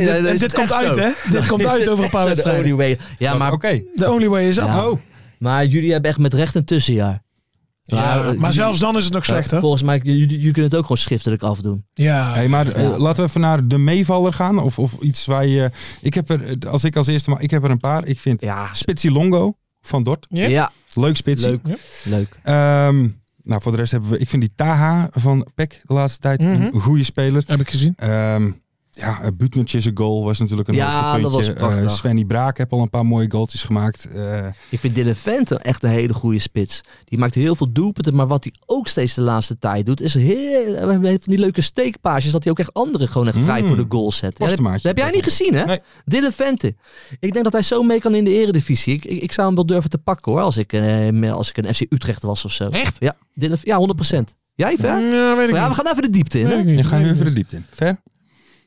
Speaker 5: Ja, ja,
Speaker 6: dit
Speaker 5: dat
Speaker 6: en
Speaker 5: is
Speaker 6: dit
Speaker 5: echt
Speaker 6: komt uit,
Speaker 5: zo.
Speaker 6: hè? Dit komt uit over een paar
Speaker 5: Zo, de only
Speaker 6: wedstrijden.
Speaker 5: way. Ja,
Speaker 4: Maar
Speaker 5: maar,
Speaker 4: oké,
Speaker 6: De only way is up.
Speaker 5: Ja.
Speaker 6: Oh.
Speaker 5: maar jullie hebben echt met recht een tussenjaar.
Speaker 6: Ja, maar
Speaker 5: jullie-
Speaker 6: zelfs dan is het nog slecht, hè?
Speaker 5: Volgens mij, jullie, jullie kunnen het ook gewoon schriftelijk afdoen.
Speaker 6: Ja.
Speaker 4: hey, maar eh,
Speaker 5: Ja.
Speaker 4: laten we even naar de meevaller gaan, of, of iets waar je, ik heb er, eh, als ik als eerste, maar ik heb er een paar, ik vind
Speaker 5: Ja,
Speaker 4: Spitsie Longo van Dort,
Speaker 6: Ja.
Speaker 5: ja
Speaker 4: leuk Spitsie.
Speaker 5: leuk.
Speaker 6: Ja.
Speaker 5: leuk.
Speaker 4: Ehm, nou, voor de rest hebben we, ik vind die Taha van PEC de laatste tijd
Speaker 6: Mhm.
Speaker 4: een goede speler.
Speaker 6: Heb ik gezien.
Speaker 4: Ehm ja, eh, Buutnertjes een goal was natuurlijk een
Speaker 5: Ja,
Speaker 4: hoogtepuntje.
Speaker 5: dat was prachtig.
Speaker 4: Eh, Svenny Braak heb al een paar mooie goaltjes gemaakt. Eh,
Speaker 5: Ik vind Dylan Vente echt een hele goede spits. Die maakt heel veel doelpunten, maar wat hij ook steeds de laatste tijd doet, is heel, eh, van die leuke steekpaasjes, dat hij ook echt anderen gewoon echt vrij
Speaker 6: Hmm.
Speaker 4: Mm.
Speaker 5: voor de goal zet. Ja, dat,
Speaker 4: Postemaatje.
Speaker 5: dat heb jij niet gezien, hè?
Speaker 4: Nee.
Speaker 5: Dylan Vente. Ik denk dat hij zo mee kan in de eredivisie. Ik, ik, ik zou hem wel durven te pakken, hoor, als ik, eh, me- als ik een FC Utrecht was of zo.
Speaker 6: Echt?
Speaker 5: Ja, Dylan, ja 100%. Jij, Ver?
Speaker 6: Ja, weet ik
Speaker 5: Maar ja, we
Speaker 6: niet.
Speaker 5: gaan even de diepte in,
Speaker 6: Weet
Speaker 5: hè?
Speaker 6: ik niet.
Speaker 4: dan gaan we
Speaker 6: Weet
Speaker 4: nu
Speaker 6: ik
Speaker 4: even de
Speaker 6: niet.
Speaker 4: diepte in. Ver?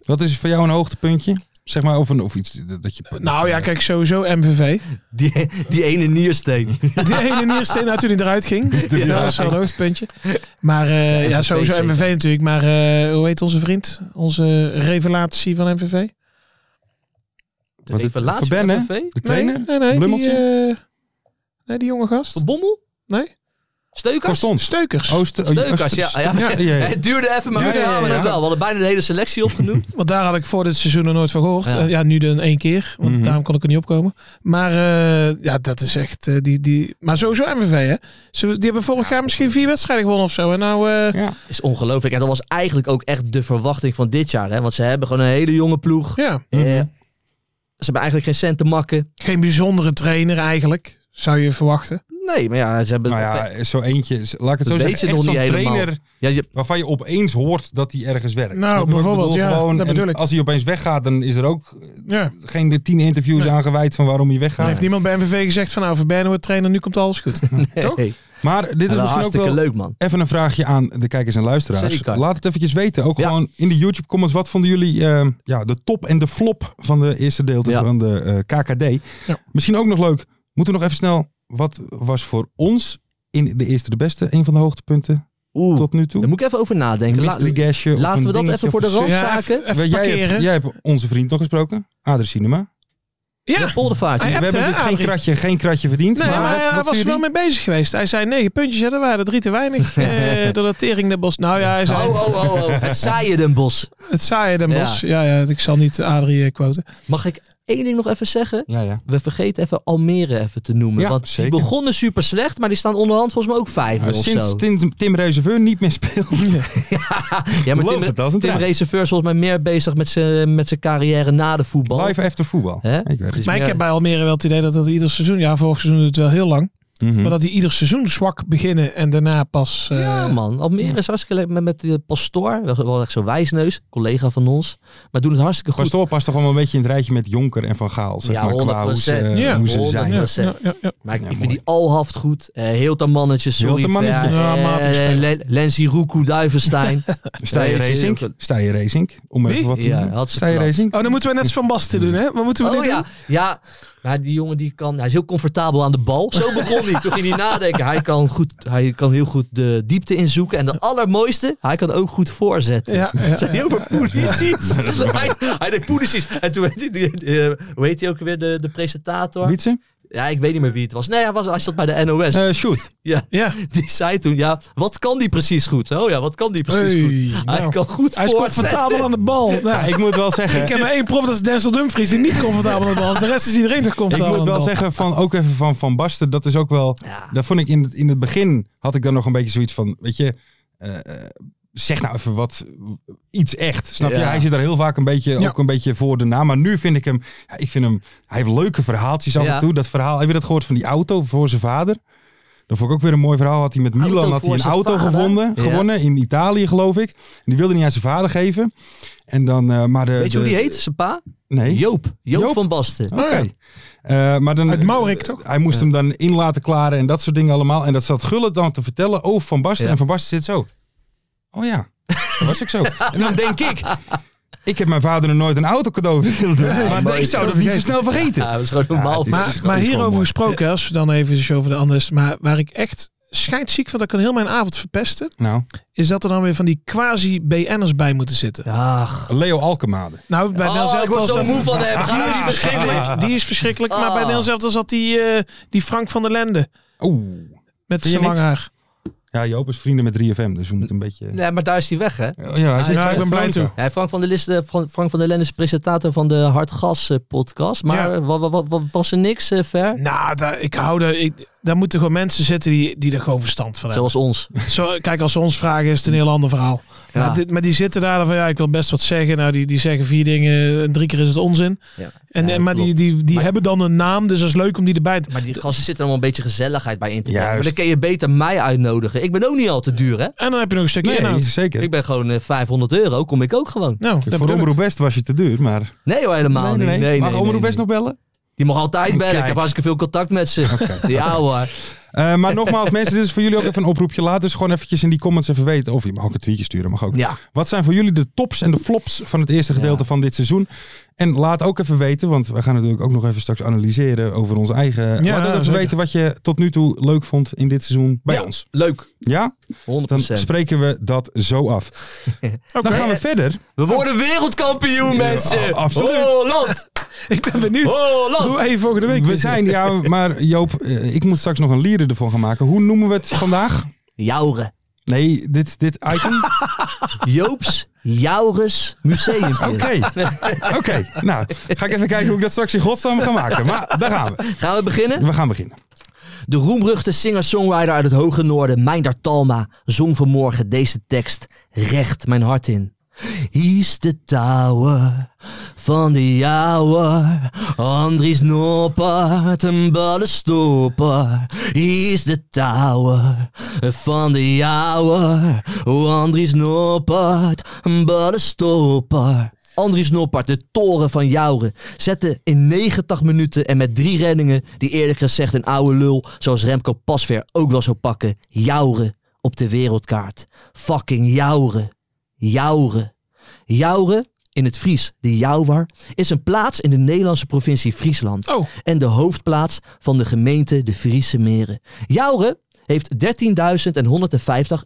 Speaker 4: Wat is voor jou een hoogtepuntje? Zeg maar, of, een, of iets dat
Speaker 5: Eh,
Speaker 4: je...
Speaker 6: Nou
Speaker 5: [LAUGHS]
Speaker 4: [LAUGHS]
Speaker 6: ja, kijk, sowieso MVV.
Speaker 5: Die, die ene niersteen.
Speaker 6: Die ene niersteen nou, toen hij eruit ging. Dat is wel een hoogtepuntje. Maar eh, ja,
Speaker 5: MVV
Speaker 6: sowieso
Speaker 5: zeker.
Speaker 6: MVV natuurlijk. Maar eh, hoe heet onze vriend? Onze revelatie van MVV?
Speaker 5: De
Speaker 4: Wat het-
Speaker 5: revelatie
Speaker 4: Van Ben,
Speaker 5: van
Speaker 4: hè?
Speaker 5: FNV?
Speaker 4: De trainer?
Speaker 6: Nee, nee, nee. Die,
Speaker 4: Blummeltje?
Speaker 6: eh, nee, die jonge gast.
Speaker 5: Van Bommel?
Speaker 6: Nee.
Speaker 5: Steukers?
Speaker 4: Korstons.
Speaker 5: eh,
Speaker 6: Steukers.
Speaker 4: Oosten,
Speaker 5: Steukers, ja. Oh, ja,
Speaker 4: ja, ja,
Speaker 5: [LAUGHS]
Speaker 4: ja.
Speaker 5: Het duurde even, maar
Speaker 4: Ja,
Speaker 5: we
Speaker 4: ja,
Speaker 5: halen
Speaker 4: ja.
Speaker 5: het wel. We hadden bijna de hele selectie opgenoemd.
Speaker 6: Want daar had ik voor dit seizoen nog nooit van gehoord.
Speaker 5: Ja.
Speaker 6: Ja, ja nu dan één keer. Want
Speaker 4: Mhm.
Speaker 6: daarom kon ik er niet opkomen. Maar eh, ja, dat is echt... eh, die, die... Maar sowieso MVV, hè? Ze, die hebben vorig jaar misschien vier wedstrijden gewonnen of zo. En nou... eh,
Speaker 4: Ja.
Speaker 5: is ongelooflijk. En [LAUGHS] dat was eigenlijk ook echt de verwachting van dit jaar. Hè? Want ze hebben gewoon een hele jonge ploeg.
Speaker 6: ja,
Speaker 5: Eh, ze hebben eigenlijk geen cent te makken.
Speaker 6: geen bijzondere trainer eigenlijk. Zou je verwachten.
Speaker 5: Nee, maar ja, ze hebben...
Speaker 4: Nou ja, zo eentje. Laat ik het zo
Speaker 5: Dat weet je
Speaker 4: zeggen. Echt
Speaker 5: nog
Speaker 4: zo'n
Speaker 5: niet helemaal.
Speaker 4: trainer
Speaker 5: Ja, [LAUGHS] je-
Speaker 4: waarvan je opeens hoort dat hij ergens werkt.
Speaker 6: Nou,
Speaker 4: Snap je wat ik
Speaker 6: bijvoorbeeld,
Speaker 4: bedoel?
Speaker 6: ja,
Speaker 4: Gewoon,
Speaker 6: dat
Speaker 4: en
Speaker 6: bedoel ik.
Speaker 4: Als hij opeens weggaat, dan is er ook
Speaker 6: Ja.
Speaker 4: geen de tien interviews
Speaker 6: Nee.
Speaker 4: aangewijd van waarom hij
Speaker 6: Dan
Speaker 4: weggaat.
Speaker 6: heeft niemand bij MVV gezegd van nou, Verberno wordt trainer, nu komt alles [LAUGHS] goed. Toch?
Speaker 5: Hey,
Speaker 4: Maar
Speaker 5: dat is
Speaker 4: dit is misschien ook
Speaker 5: hartstikke
Speaker 4: wel
Speaker 5: leuk, man.
Speaker 4: Even een vraagje aan de kijkers en luisteraars.
Speaker 5: Zeker.
Speaker 4: Laat het eventjes weten. Ook
Speaker 5: Ja.
Speaker 4: gewoon in de YouTube comments. Wat vonden jullie eh, ja, de top en de flop van de eerste deel
Speaker 5: Ja.
Speaker 4: van de eh, KKD?
Speaker 6: Ja.
Speaker 4: Misschien ook nog leuk. Moeten we nog even snel. Wat was voor ons in de eerste de beste? Een van de hoogtepunten
Speaker 5: Oeh,
Speaker 4: tot nu toe?
Speaker 5: daar moet ik even over nadenken.
Speaker 4: Een
Speaker 5: La-
Speaker 4: mystery guestje of
Speaker 5: laten
Speaker 4: een
Speaker 5: we dat
Speaker 4: dingetje
Speaker 5: even voor
Speaker 4: of
Speaker 5: de
Speaker 4: een zus.
Speaker 6: Ja,
Speaker 5: Zaken.
Speaker 6: even, even
Speaker 4: Weet jij, hebt,
Speaker 6: parkeren.
Speaker 4: jij hebt onze vriend nog gesproken. Adrie Cinema.
Speaker 6: Ja.
Speaker 5: Poldervaartje.
Speaker 6: Hij
Speaker 4: we
Speaker 6: hebt,
Speaker 4: hebben
Speaker 6: hè,
Speaker 4: natuurlijk geen
Speaker 6: Adrie?
Speaker 4: kratje, geen kratje verdiend.
Speaker 6: Nee, maar,
Speaker 4: maar, wat,
Speaker 6: hij
Speaker 4: wat
Speaker 6: was er
Speaker 4: vinden
Speaker 6: wel mee bezig geweest. Hij zei negen puntjes, ja, dat waren er drie te weinig. eh, doordat Tering de Bos... Nou ja, hij zei...
Speaker 5: Oh, oh, oh, oh. Het saaie Den Bos.
Speaker 6: Het saaie Den
Speaker 5: Ja.
Speaker 6: Bos. Ja, ja, ik zal niet Adrie eh, quoten.
Speaker 5: Mag ik één ding nog even zeggen?
Speaker 4: jullie? Ja, ja.
Speaker 5: We vergeten even Almere even te noemen.
Speaker 4: Ja,
Speaker 5: want
Speaker 4: zeker.
Speaker 5: die begonnen super slecht, maar die staan onderhand volgens mij ook vijf
Speaker 4: Nou,
Speaker 5: of
Speaker 4: sinds
Speaker 5: zo.
Speaker 4: Tim, Tim Reserveur niet meer speelt.
Speaker 5: ja, maar
Speaker 4: Geloof
Speaker 5: Tim,
Speaker 4: het als een
Speaker 5: Tim
Speaker 4: trein.
Speaker 5: Reserveur is volgens mij meer bezig met zijn met zijn carrière na de voetbal.
Speaker 4: Live after voetbal.
Speaker 5: Hè?
Speaker 4: Ik weet het.
Speaker 5: Dus
Speaker 6: Maar ik
Speaker 5: meer-
Speaker 6: heb bij Almere wel het idee dat dat ieder seizoen... Ja, vorig seizoen doet het wel heel lang.
Speaker 4: Mhm.
Speaker 5: Dus-
Speaker 6: Maar dat die ieder seizoen zwak beginnen en daarna pas... eh,
Speaker 5: Hm. Ja man, Almere is hartstikke leuk met, met de pastoor, wel, wel echt zo'n wijsneus, collega van ons. Maar doen het hartstikke goed.
Speaker 4: Pastoor past toch wel een beetje in het rijtje met Jonker en Van Gaal. Zeg
Speaker 5: Ja,
Speaker 4: maar, qua hoe ze,
Speaker 5: 100%.
Speaker 4: eh,
Speaker 6: Ja,
Speaker 4: hoe ze
Speaker 5: 100%.
Speaker 4: zijn.
Speaker 6: ja,
Speaker 5: dat
Speaker 6: ja,
Speaker 5: zeg.
Speaker 6: ja, ja.
Speaker 5: Maar ik,
Speaker 4: Ja,
Speaker 5: ik vind
Speaker 4: mooi.
Speaker 5: die Alhaft goed. Eh heel dat mannetje, sorry.
Speaker 4: Heel dat mannetje.
Speaker 5: Ver.
Speaker 6: Ja,
Speaker 5: Eh,
Speaker 6: matig spelen.
Speaker 5: Len- Lenzi Roekoe,
Speaker 4: [LAUGHS]
Speaker 5: Duivenstein.
Speaker 4: Steyr
Speaker 5: Nee,
Speaker 4: Racing.
Speaker 5: ik-
Speaker 4: Steyr Racing. Om even
Speaker 6: Wie?
Speaker 4: wat te
Speaker 5: Ja,
Speaker 4: noemen.
Speaker 5: had ze
Speaker 4: Steyr
Speaker 5: verrast.
Speaker 4: Racing.
Speaker 6: Oh, dan moeten we net als Van Basten doen, hè? Wat moeten we
Speaker 5: Oh
Speaker 6: dit
Speaker 5: ja,
Speaker 6: doen?
Speaker 5: ja, maar die jongen die kan, hij is heel comfortabel aan de bal.
Speaker 4: [LAUGHS]
Speaker 5: Zo begon hij. Toen ging hij nadenken. Hij kan, goed, hij kan heel goed de diepte inzoeken. En de allermooiste, hij kan ook goed voorzetten.
Speaker 6: Ja, ja,
Speaker 5: Het zijn heel veel policies. Hij, hij deed policies. En toen, werd hij- eh, hoe heet hij ook weer, de, de presentator?
Speaker 4: Wietse?
Speaker 5: Ja, ik weet niet meer wie het was. Nee, hij, was, hij zat bij de NOS.
Speaker 4: Eh, Shoot.
Speaker 5: [LAUGHS] ja,
Speaker 6: Ja.
Speaker 5: die zei toen, ja, wat kan die precies goed? Oh ja, wat kan die precies goed?
Speaker 6: Hey,
Speaker 5: Hij
Speaker 6: nou.
Speaker 5: kan goed
Speaker 6: Hij is
Speaker 5: voorzetten.
Speaker 6: comfortabel aan de bal. Nou,
Speaker 4: Ik moet wel
Speaker 5: [LAUGHS]
Speaker 4: zeggen...
Speaker 6: ik heb maar één prof, dat is Denzel Dumfries, die niet comfortabel aan de bal is. De rest is iedereen toch
Speaker 4: Ik
Speaker 6: comfortabel
Speaker 4: moet
Speaker 6: aan
Speaker 4: wel
Speaker 6: de bal.
Speaker 4: zeggen, van, ook even van Van Basten, dat is ook wel...
Speaker 5: Ja.
Speaker 4: Dat vond ik in het, in het begin, had ik dan nog een beetje zoiets van... Weet je, eh, eh, zeg nou even wat, iets echt. Snap je?
Speaker 5: Ja.
Speaker 4: Hij zit daar heel vaak een beetje,
Speaker 6: Ja.
Speaker 4: ook een beetje voor de naam. Maar nu vind ik hem, ja, ik vind hem, hij heeft leuke verhaaltjes af
Speaker 5: Ja.
Speaker 4: en toe. Dat verhaal, heb je dat gehoord van die auto voor zijn vader? Dat vond ik ook weer een mooi verhaal. Had hij met
Speaker 5: Auto
Speaker 4: Milan had
Speaker 5: voor
Speaker 4: hij een
Speaker 5: zijn
Speaker 4: auto
Speaker 5: vader?
Speaker 4: gevonden,
Speaker 5: Ja.
Speaker 4: gewonnen in Italië, geloof ik. En die wilde hij niet aan zijn vader geven. En dan, eh, maar de,
Speaker 5: Weet je hoe
Speaker 4: de-
Speaker 5: die heet, zijn pa?
Speaker 4: Nee.
Speaker 5: Joop. Joop,
Speaker 4: Joop?
Speaker 5: van Basten.
Speaker 6: Oh,
Speaker 4: Oké. Eh, maar dan,
Speaker 6: Uit Maurik, toch?
Speaker 4: Hij moest hem dan in laten klaren en dat soort dingen allemaal. En dat zat Gullit dan te vertellen over Van Basten.
Speaker 5: Ja.
Speaker 4: En Van Basten zit zo. Oh ja, dat was ik zo. En dan denk ik, Ik heb mijn vader nog nooit een auto cadeau willen doen. maar
Speaker 5: mooi.
Speaker 4: ik zou dat niet zo snel vergeten.
Speaker 5: Ja, dat is gewoon normaal.
Speaker 4: dit-
Speaker 6: Maar,
Speaker 4: is- dat
Speaker 6: maar
Speaker 4: is gewoon
Speaker 6: hierover
Speaker 4: mooi.
Speaker 6: gesproken, hè, als we dan even over de anders. Maar waar ik echt scheidziek van, dat kan heel mijn avond verpesten.
Speaker 4: Nou,
Speaker 6: Is dat er dan weer van die quasi-BN'ers bij moeten zitten.
Speaker 5: Ach,
Speaker 4: Leo Alkemade.
Speaker 6: Nou, bij Nels
Speaker 5: oh, ik
Speaker 6: Elftal
Speaker 5: word zo
Speaker 6: zat-
Speaker 5: moe van hem. Ga nou
Speaker 6: Die is
Speaker 5: niet beginnen.
Speaker 6: verschrikkelijk. Die is verschrikkelijk. Maar bij
Speaker 5: Ah.
Speaker 6: Nels Elftal zat die, eh, die Frank van der Lende.
Speaker 4: Oeh.
Speaker 6: Met
Speaker 4: Vind je
Speaker 6: zijn lang
Speaker 4: niks?
Speaker 6: haar.
Speaker 4: Ja, Joop is vrienden met 3FM, dus we moeten een beetje... Oh
Speaker 5: Nee, maar daar is hij weg, hè?
Speaker 4: Ja, hij zit-
Speaker 6: Ja, ik ben blij toe.
Speaker 5: Ja, Frank van der Liste, Frank, Frank van der Lende is presentator van de Hartgas eh, podcast. Maar
Speaker 6: Ja.
Speaker 5: eh, wa- wa- wa- wa- was er niks eh, ver?
Speaker 6: Nou, daar, ik hou daar, ik, daar moeten gewoon mensen zitten die, die er gewoon verstand van hebben.
Speaker 5: Zoals ons.
Speaker 6: Zo, kijk, als ze ons vragen is het een heel ander verhaal.
Speaker 5: Ja.
Speaker 6: Maar, dit, maar die zitten daar dan van, ja, ik wil best wat zeggen. Nou, die, die zeggen vier dingen en drie keer is het onzin.
Speaker 5: Ja.
Speaker 6: En,
Speaker 5: Ja,
Speaker 6: en- maar die,
Speaker 5: klopt.
Speaker 6: die, die
Speaker 5: Maar-
Speaker 6: hebben dan een naam, dus dat is leuk om die erbij te...
Speaker 5: Maar die gasten zitten allemaal een beetje gezelligheid bij in te brengen. Maar
Speaker 4: Juist.
Speaker 5: dan kun je beter mij uitnodigen. Ik ben ook niet al te duur, hè?
Speaker 6: En dan heb je nog een stukje
Speaker 4: Nee,
Speaker 6: inhoud.
Speaker 4: zeker.
Speaker 5: Ik ben gewoon eh, 500 euro, kom ik ook gewoon.
Speaker 6: Nou, dat
Speaker 4: Voor
Speaker 6: bedoel ik.
Speaker 4: Omroep West was je te duur, maar...
Speaker 5: Nee hoor, helemaal niet. Nee, nee,
Speaker 4: Mag
Speaker 5: nee,
Speaker 4: Omroep
Speaker 5: nee.
Speaker 4: West nog bellen?
Speaker 5: Die mag altijd bellen.
Speaker 4: Kijk.
Speaker 5: Ik heb hartstikke veel contact met ze.
Speaker 4: [LAUGHS]
Speaker 5: Ja hoor.
Speaker 4: Eh, maar nogmaals, [LAUGHS] mensen, dit is voor jullie ook even een oproepje. Laat dus gewoon eventjes in die comments even weten. Of je mag ook een tweetje sturen, mag ook.
Speaker 5: Ja.
Speaker 4: Wat zijn voor jullie de tops en de flops van het eerste gedeelte
Speaker 5: Ja.
Speaker 4: van dit seizoen? En laat ook even weten, want we gaan natuurlijk ook nog even straks analyseren over onze eigen...
Speaker 6: Ja,
Speaker 4: laat ook even
Speaker 6: zeker.
Speaker 4: weten wat je tot nu toe leuk vond in dit seizoen bij
Speaker 5: Ja,
Speaker 4: ons.
Speaker 5: Leuk. 100%.
Speaker 4: Ja? Dan spreken we dat zo
Speaker 6: [LAUGHS]
Speaker 4: af. Dan gaan we verder.
Speaker 5: We worden wereldkampioen, mensen.
Speaker 4: a- absoluut.
Speaker 5: Holland.
Speaker 6: Ik ben benieuwd
Speaker 5: Holland.
Speaker 6: hoe Oh. even volgende week
Speaker 4: We
Speaker 6: is.
Speaker 4: zijn, ja, maar Joop, eh, ik moet straks nog een lieder ervan gaan maken. Hoe noemen we het vandaag?
Speaker 5: Jouren.
Speaker 4: Nee, dit, dit item.
Speaker 5: Joops Joures Museum.
Speaker 4: Oké, [LAUGHS] oké. Nou, ga ik even kijken hoe ik dat straks in godsnaam ga maken. Maar daar gaan we.
Speaker 5: Gaan we beginnen?
Speaker 4: We gaan beginnen.
Speaker 5: De roemruchte singer-songwriter uit het hoge noorden, Meindert Talma, zong vanmorgen deze tekst recht mijn hart in. Is de tower van de jouwe, Andries Noppert, een ballenstopper. Is de tower van de jouwe, Andries Noppert, een ballenstopper. Andries Noppert, de toren van Jouren, zette in 90 minuten en met drie reddingen, die eerlijk gezegd een oude lul zoals Remco Pasveer ook wel zou pakken, Jouren op de wereldkaart. Fucking Jouren. Jouren. Jouren, in het Fries de Jouwar, is een plaats in de Nederlandse provincie Friesland
Speaker 6: Oh,
Speaker 5: en de hoofdplaats van de gemeente de Friese Meren. Jouren heeft 13.150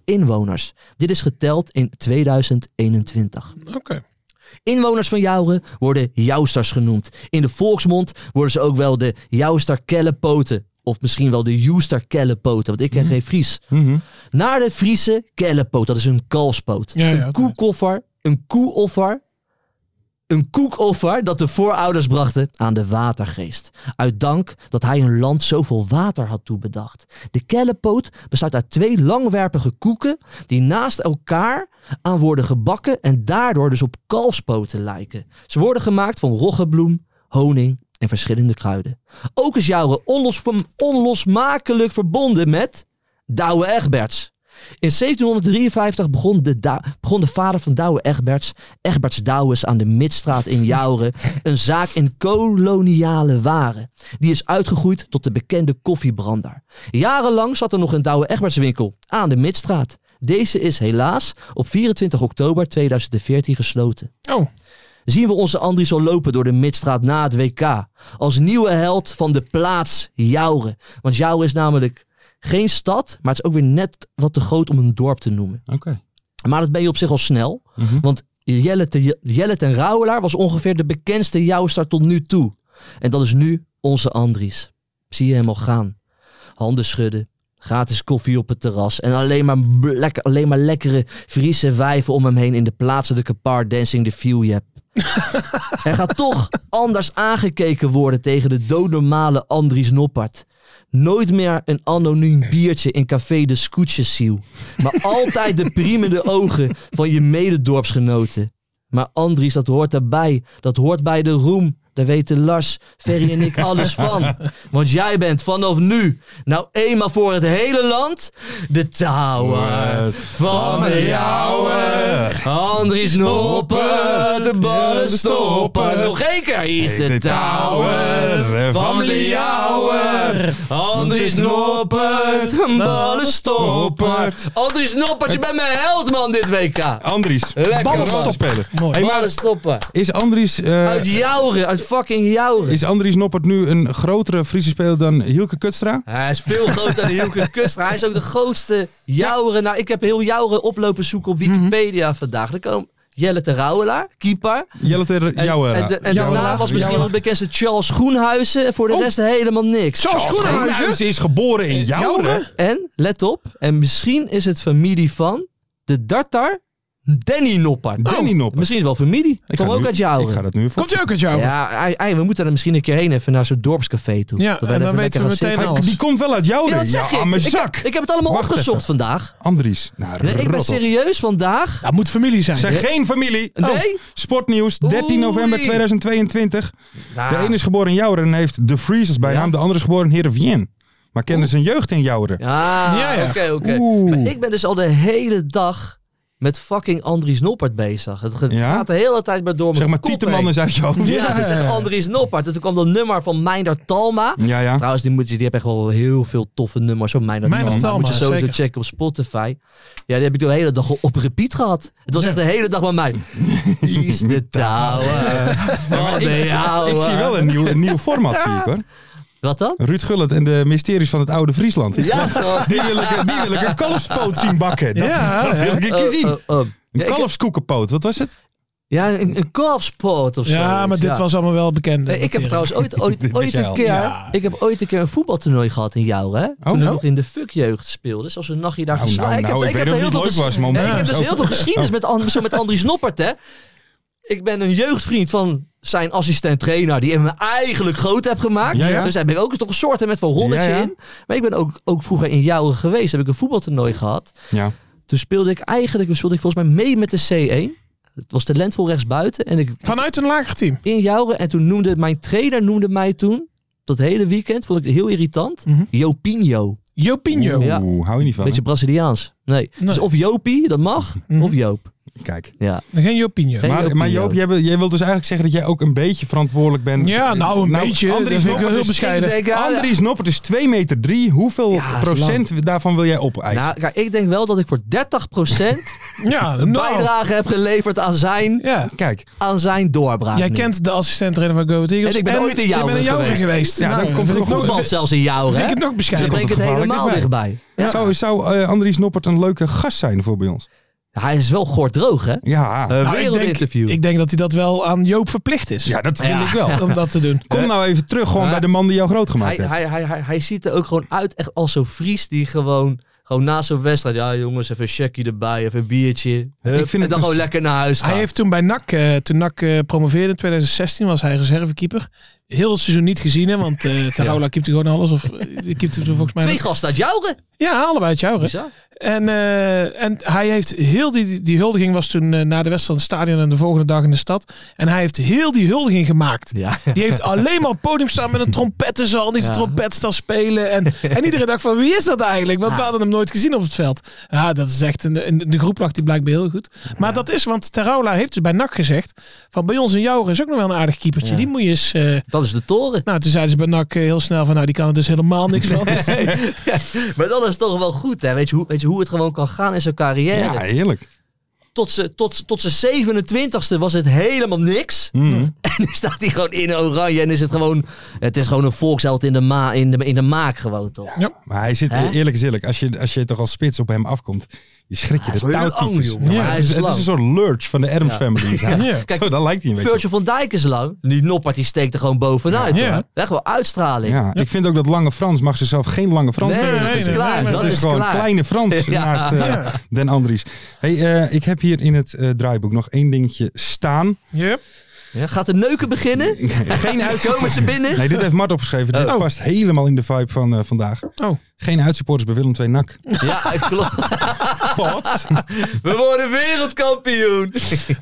Speaker 5: inwoners. Dit is geteld in 2021.
Speaker 6: oké.
Speaker 5: Inwoners van Jouren worden Jousters genoemd. In de volksmond worden ze ook wel de Jouster Kellepoten. Of misschien wel de Joester Kellepoten, want ik ken geen Fries.
Speaker 4: Mhm.
Speaker 5: Naar de Friese Kellepoot, dat is een kalfspoot.
Speaker 6: Ja, ja,
Speaker 5: een koekoffer, een koeoffer. Een koekoffer dat de voorouders brachten aan de watergeest. Uit dank dat hij hun land zoveel water had toebedacht. De kellepoot bestaat uit twee langwerpige koeken die naast elkaar aan worden gebakken en daardoor dus op kalfspoten lijken. Ze worden gemaakt van roggebloem, honing en verschillende kruiden. Ook is jouw onlos, onlosmakelijk verbonden met Douwe Egberts. In 1753 begon de, Da- begon de vader van Douwe Egberts, Egberts Douwes, aan de Midstraat in Jouren, een zaak in koloniale waren. Die is uitgegroeid tot de bekende koffiebrander. Jarenlang zat er nog een Douwe Egberts winkel aan de Midstraat. Deze is helaas op 24 oktober 2014 gesloten
Speaker 6: Oh,
Speaker 5: zien we onze Andries al lopen door de midstraat na het WK. Als nieuwe held van de plaats Jouren. Want Jouren is namelijk geen stad, maar het is ook weer net wat te groot om een dorp te noemen.
Speaker 4: Oké.
Speaker 5: Maar dat ben je op zich al snel.
Speaker 4: Mhm.
Speaker 5: Want Jelle te- Jelle ten Rauwelaar was ongeveer de bekendste jouwstar tot nu toe. En dat is nu onze Andries. Zie je hem al gaan. Handen schudden. Gratis koffie op het terras. En alleen maar, b- lekker- alleen maar lekkere Friese wijven om hem heen in de plaatselijke bar Dancing the Few Yep. Hij gaat toch anders aangekeken worden tegen de doodnormale Andries Noppert. Nooit meer een anoniem biertje in café de Scootjesiel. Maar altijd de priemende ogen van je mededorpsgenoten. Maar Andries, dat hoort erbij. Dat hoort bij de roem. Daar weten Lars, Ferry en ik alles van. Want jij bent vanaf nu nou eenmaal voor het hele land de tower van de jouwe. Andries Noppen, de ballen stoppen. Nog één keer, hier is de tower van de jouwe. Andries Noppert, de ballen stoppen. Andries Noppert, je bent mijn held man dit WK.
Speaker 4: Andries.
Speaker 5: Lekker man.
Speaker 4: Ballen spelen.
Speaker 6: Mooi.
Speaker 4: Hey, maar
Speaker 5: Ballen stoppen.
Speaker 4: is Andries, eh,
Speaker 5: Uit Jouren, uit fucking Jouren.
Speaker 4: is Andries Noppert nu een grotere Friese speler dan Hielke Kutstra?
Speaker 5: Hij is veel groter dan Hilke Kustra. Hij is ook de grootste Jouren. Nou, ik heb heel Jouren oplopen zoeken op Wikipedia vandaag. Er komen Jelle Terouwelaar, keeper.
Speaker 4: Jelle tegen
Speaker 5: En,
Speaker 4: jouw eh,
Speaker 5: en, de- en daarna was misschien wel het bekendste Charles Groenhuizen. En voor de
Speaker 6: Oh.
Speaker 5: rest helemaal niks.
Speaker 6: Charles Groenhuizen.
Speaker 4: is geboren in Jouren.
Speaker 5: En, let op, en misschien is het familie van de dartar Danny Noppert. Oh,
Speaker 4: Danny Noppert.
Speaker 5: Misschien is het wel familie.
Speaker 4: Ik
Speaker 5: Kom
Speaker 4: ga
Speaker 5: ook
Speaker 4: nu-
Speaker 5: uit Jouren.
Speaker 4: Ik ga dat nu voor.
Speaker 6: Komt hij ook uit jou?
Speaker 5: Ja, ei, ei, we moeten er misschien een keer heen even naar zo'n dorpscafé toe.
Speaker 6: Ja,
Speaker 5: Dat wij
Speaker 6: en
Speaker 5: er
Speaker 6: dan
Speaker 5: even
Speaker 6: weten we
Speaker 5: lekker gaan
Speaker 6: meteen
Speaker 5: zitten.
Speaker 6: al.
Speaker 4: Hij- die komt wel uit
Speaker 5: Ja,
Speaker 4: Jouren.
Speaker 5: dat
Speaker 4: Ja,
Speaker 5: zeg ik.
Speaker 4: mijn
Speaker 5: Ik,
Speaker 4: zak.
Speaker 5: heb- ik heb het allemaal
Speaker 4: Wacht
Speaker 5: opgezocht
Speaker 4: even.
Speaker 5: vandaag.
Speaker 4: Andries, nou
Speaker 5: Nee, ik ben
Speaker 4: rot op.
Speaker 5: serieus vandaag.
Speaker 6: Dat moet familie zijn.
Speaker 4: Zijn geen familie.
Speaker 5: Nee?
Speaker 4: Sportnieuws, 13 november
Speaker 5: Oei.
Speaker 4: 2022. De ene is geboren in Jouren en heeft de Freeze als bijnaam.
Speaker 5: Ah. Ja.
Speaker 4: De andere is geboren in Heerenveen. Maar kende zijn jeugd in Jouren.
Speaker 5: Ah,
Speaker 6: Ja, ja.
Speaker 5: oké, oké.
Speaker 4: Oeh.
Speaker 5: Maar Ik ben dus al de hele dag met fucking Andries Noppert bezig. Het, het
Speaker 4: Ja?
Speaker 5: gaat de hele tijd maar door mijn
Speaker 4: Zeg maar,
Speaker 5: kop
Speaker 4: Tieteman
Speaker 5: heen.
Speaker 4: is uit Jouren.
Speaker 5: Ja, het is echt Andries Noppert. En toen kwam dat nummer van Meindert Talma.
Speaker 4: Ja, ja.
Speaker 5: Trouwens, die, moet je, die heb echt wel heel veel toffe nummers. Zo Meindert,
Speaker 6: Meindert
Speaker 5: Talma.
Speaker 6: Talma,
Speaker 5: Moet je sowieso
Speaker 6: zeker.
Speaker 5: checken op Spotify. Ja, die heb ik de hele dag op repeat gehad. Het was echt de hele dag bij mij. Is
Speaker 4: [LAUGHS]
Speaker 5: de tower van de jouwe.
Speaker 4: Ik zie wel een nieuw, een nieuw format, zie ik hoor.
Speaker 5: Wat dan?
Speaker 4: Ruud Gullit en de mysteries van het oude Friesland.
Speaker 5: Ja, gewoon.
Speaker 4: Die wil ik, die wil ik een kalfspoot zien bakken. Dat,
Speaker 6: Ja,
Speaker 4: dat wil [LAUGHS] ik een keer
Speaker 5: Oh,
Speaker 4: zien.
Speaker 5: oh, oh. Ja,
Speaker 4: Een
Speaker 5: ik-
Speaker 4: kalfskoekenpoot, wat was het?
Speaker 5: Ja, een, een kalfsport of zo.
Speaker 6: Ja, maar dit was allemaal wel bekend.
Speaker 5: Nee, Eh, ik heb trouwens
Speaker 4: [LAUGHS]
Speaker 5: ooit, ooit, ooit,
Speaker 4: jij
Speaker 5: een
Speaker 4: al.
Speaker 5: keer,
Speaker 6: Ja.
Speaker 5: ik heb ooit een keer een voetbaltoernooi gehad in jou, hè? Toen ik
Speaker 4: nou?
Speaker 5: nog in de fuckjeugd speelde. Zoals een nachtje daar
Speaker 4: Nou,
Speaker 5: verslaan.
Speaker 4: nou, nou, ik weet
Speaker 5: heb
Speaker 4: ook
Speaker 5: er heel
Speaker 4: niet
Speaker 5: veel
Speaker 4: of het leuk
Speaker 5: ges-
Speaker 4: was, maar
Speaker 5: Nee, ik
Speaker 4: ja,
Speaker 5: heb dus
Speaker 4: zo. [LAUGHS] Oh.
Speaker 5: heel veel geschiedenis met, An- zo met Andries Noppert, hè? Ik ben een jeugdvriend van zijn assistent-trainer, die hem eigenlijk groot heb gemaakt.
Speaker 4: Ja, ja.
Speaker 5: Dus daar ben ik ook toch een soort met van rolletjes
Speaker 4: Ja, ja.
Speaker 5: in. Maar ik ben ook, ook vroeger in jou geweest. Heb ik een voetbaltoernooi gehad.
Speaker 4: Ja.
Speaker 5: Toen speelde ik eigenlijk, speelde ik volgens mij mee met de C1. Het was talentvol rechtsbuiten. En ik
Speaker 6: Vanuit een lager team.
Speaker 5: in Jouren. En toen noemde mijn trainer noemde mij toen, dat hele weekend, vond ik heel irritant,
Speaker 6: Mhm.
Speaker 5: Jopinho.
Speaker 6: Jopinho.
Speaker 5: Ja.
Speaker 4: Oeh, hou je niet van.
Speaker 5: Beetje Braziliaans. Nee.
Speaker 6: Nee.
Speaker 5: Dus of Jopie, dat mag,
Speaker 6: Mhm.
Speaker 5: of Joop.
Speaker 4: hè? Kijk.
Speaker 5: Ja.
Speaker 6: Geen Jopinho.
Speaker 5: Geen
Speaker 4: Maar,
Speaker 5: Jopie,
Speaker 4: maar Joop,
Speaker 5: Joop.
Speaker 4: jij, wil- jij wilt dus eigenlijk zeggen dat jij ook een beetje verantwoordelijk bent. Eh,
Speaker 6: Ja, nou, een beetje. Dat vind ik wel
Speaker 4: Noppert
Speaker 6: heel
Speaker 4: is-
Speaker 6: bescheiden.
Speaker 5: Ik denk, ja,
Speaker 4: Andries Noppert is 2 meter 3. Hoeveel
Speaker 5: eh, Ja, dat is
Speaker 4: procent daarvan wil jij opeisen?
Speaker 5: Nou, kijk, ik denk wel dat ik voor 30%
Speaker 6: [LAUGHS] Ja,
Speaker 5: een
Speaker 6: nou.
Speaker 5: bijdrage heb geleverd aan zijn,
Speaker 6: Ja.
Speaker 4: Kijk,
Speaker 5: aan zijn doorbraak.
Speaker 6: Jij
Speaker 5: nu.
Speaker 6: kent de assistent-trainer van Go Ahead Eagles.
Speaker 5: En ik ben ooit in
Speaker 6: ik
Speaker 5: Jouwen
Speaker 6: ben in
Speaker 5: geweest.
Speaker 6: geweest. Nou,
Speaker 4: Ja, dan komt
Speaker 6: vind
Speaker 4: er
Speaker 6: ik
Speaker 4: nog
Speaker 6: nog-
Speaker 4: wel-
Speaker 5: Voetbal zelfs in Jouren,
Speaker 6: Vind ik
Speaker 5: hè?
Speaker 6: het nog
Speaker 5: Dan
Speaker 6: bescheiden.
Speaker 5: ben ik het
Speaker 4: het gevaarlijk
Speaker 5: helemaal dichtbij. Ja.
Speaker 4: zou, zou eh, Andries Noppert een leuke gast zijn voor bij ons?
Speaker 5: Hij is wel gordroog, hè?
Speaker 4: Ja,
Speaker 5: Een
Speaker 6: Nou, ik denk-
Speaker 5: wereldinterview.
Speaker 6: Ik denk dat hij dat wel aan Joop verplicht is.
Speaker 4: ja dat vind
Speaker 5: Ja.
Speaker 4: ik wel.
Speaker 6: [LAUGHS] Om dat te doen.
Speaker 4: Kom nou even terug gewoon
Speaker 5: Ja.
Speaker 4: bij de man die jou groot
Speaker 5: eh, Hij,
Speaker 4: gemaakt heeft.
Speaker 5: hij, hij, hij, hij ziet er ook gewoon uit echt als zo'n Fries die gewoon, gewoon na zo'n wedstrijd... Ja jongens, even een checkie erbij, even een biertje. Hup,
Speaker 4: Ik vind
Speaker 5: en dan
Speaker 4: het dus-
Speaker 5: gewoon lekker naar huis gaan.
Speaker 6: Hij heeft toen bij NAC, eh, toen NAC eh, promoveerde in 2016, was hij reservekeeper. Heel het seizoen niet gezien, hè, want eh Tarola keepte gewoon alles. Of eh, die keepte toen volgens mij...
Speaker 5: Twee gasten uit Jouren.
Speaker 6: Ja, allebei uit jou. hè.
Speaker 5: Bizar.
Speaker 6: En, eh, en hij heeft heel die, die huldiging was toen eh, na de wedstrijd in het stadion en de volgende dag in de stad. En hij heeft heel die huldiging gemaakt.
Speaker 5: Ja.
Speaker 6: Die heeft alleen maar op het podium
Speaker 5: [LAUGHS]
Speaker 6: staan met een trompet en zo. En die heeft
Speaker 5: Ja.
Speaker 6: de trompet staan spelen. En, en iedereen dacht van wie is dat eigenlijk? Want we
Speaker 5: Ja.
Speaker 6: hadden hem nooit gezien op het veld. Ja, dat is echt een, een, de groep lag die blijkbaar heel goed. Maar dat is, want Terouwla heeft dus bij NAC gezegd van bij ons in Jouren is ook nog wel een aardig keepertje.
Speaker 5: Ja.
Speaker 6: Die moet je eens... eh,
Speaker 5: Dat is de toren.
Speaker 6: nou, toen zeiden ze bij NAC eh, heel snel van nou die kan er dus helemaal
Speaker 5: [LAUGHS]
Speaker 6: niks van. Dus
Speaker 5: maar dat is toch wel goed, hè? Weet je hoe, weet je hoe het gewoon kan gaan in zijn carrière?
Speaker 4: Ja, heerlijk.
Speaker 5: Tot zijn tot, tot zijn 27ste was het helemaal niks. [LAUGHS]
Speaker 4: Mm.
Speaker 5: En nu staat hij gewoon in oranje en is het gewoon... Het is gewoon een volksheld in de, ma, in de, in de maak gewoon, toch?
Speaker 4: Maar hij zit,
Speaker 5: Hè?
Speaker 4: eerlijk is eerlijk, als je, als je toch als spits op hem afkomt, je schrik je
Speaker 5: Hij is
Speaker 4: de
Speaker 5: wel heel
Speaker 4: touwtjes.
Speaker 5: lang, jongen, maar hij
Speaker 4: het,
Speaker 5: is
Speaker 4: is, het is
Speaker 5: lang.
Speaker 4: een soort lurch van de
Speaker 5: [LAUGHS]
Speaker 4: Adams
Speaker 5: Ja.
Speaker 4: Family. is hij.
Speaker 6: Ja.
Speaker 5: Kijk,
Speaker 4: Zo, daar lijkt hij een beetje
Speaker 5: Virgil van Dijk is lang. Die Noppert die steekt er gewoon bovenuit.
Speaker 6: Ja.
Speaker 5: hoor. Echt wel
Speaker 4: op.
Speaker 5: uitstraling.
Speaker 4: Ja, Ik vind ook dat Lange Frans mag zichzelf geen Lange Frans
Speaker 5: Nee,
Speaker 4: noemen.
Speaker 5: dat
Speaker 6: nee,
Speaker 5: is
Speaker 6: nee,
Speaker 5: klaar.
Speaker 6: nee, nee,
Speaker 5: dat
Speaker 4: Dat is,
Speaker 5: is
Speaker 4: gewoon
Speaker 5: klaar.
Speaker 4: kleine Frans
Speaker 5: Ja.
Speaker 4: naast eh,
Speaker 6: [LAUGHS] Ja.
Speaker 4: Den Andries. Hey, eh, ik heb hier in het eh, draaiboek nog één dingetje staan.
Speaker 6: ja.
Speaker 5: Ja, gaat de neuken beginnen?
Speaker 6: [LAUGHS]
Speaker 4: Geen
Speaker 5: Komen ze binnen?
Speaker 4: Nee, dit heeft Mart opgeschreven. Dit
Speaker 6: Oh.
Speaker 4: past helemaal in de vibe van eh, vandaag.
Speaker 6: Oh.
Speaker 4: Geen uitsupporters bij Willem II NAC.
Speaker 5: Ja,
Speaker 6: [LAUGHS]
Speaker 5: klopt.
Speaker 4: Wat?
Speaker 5: [LAUGHS] We worden wereldkampioen.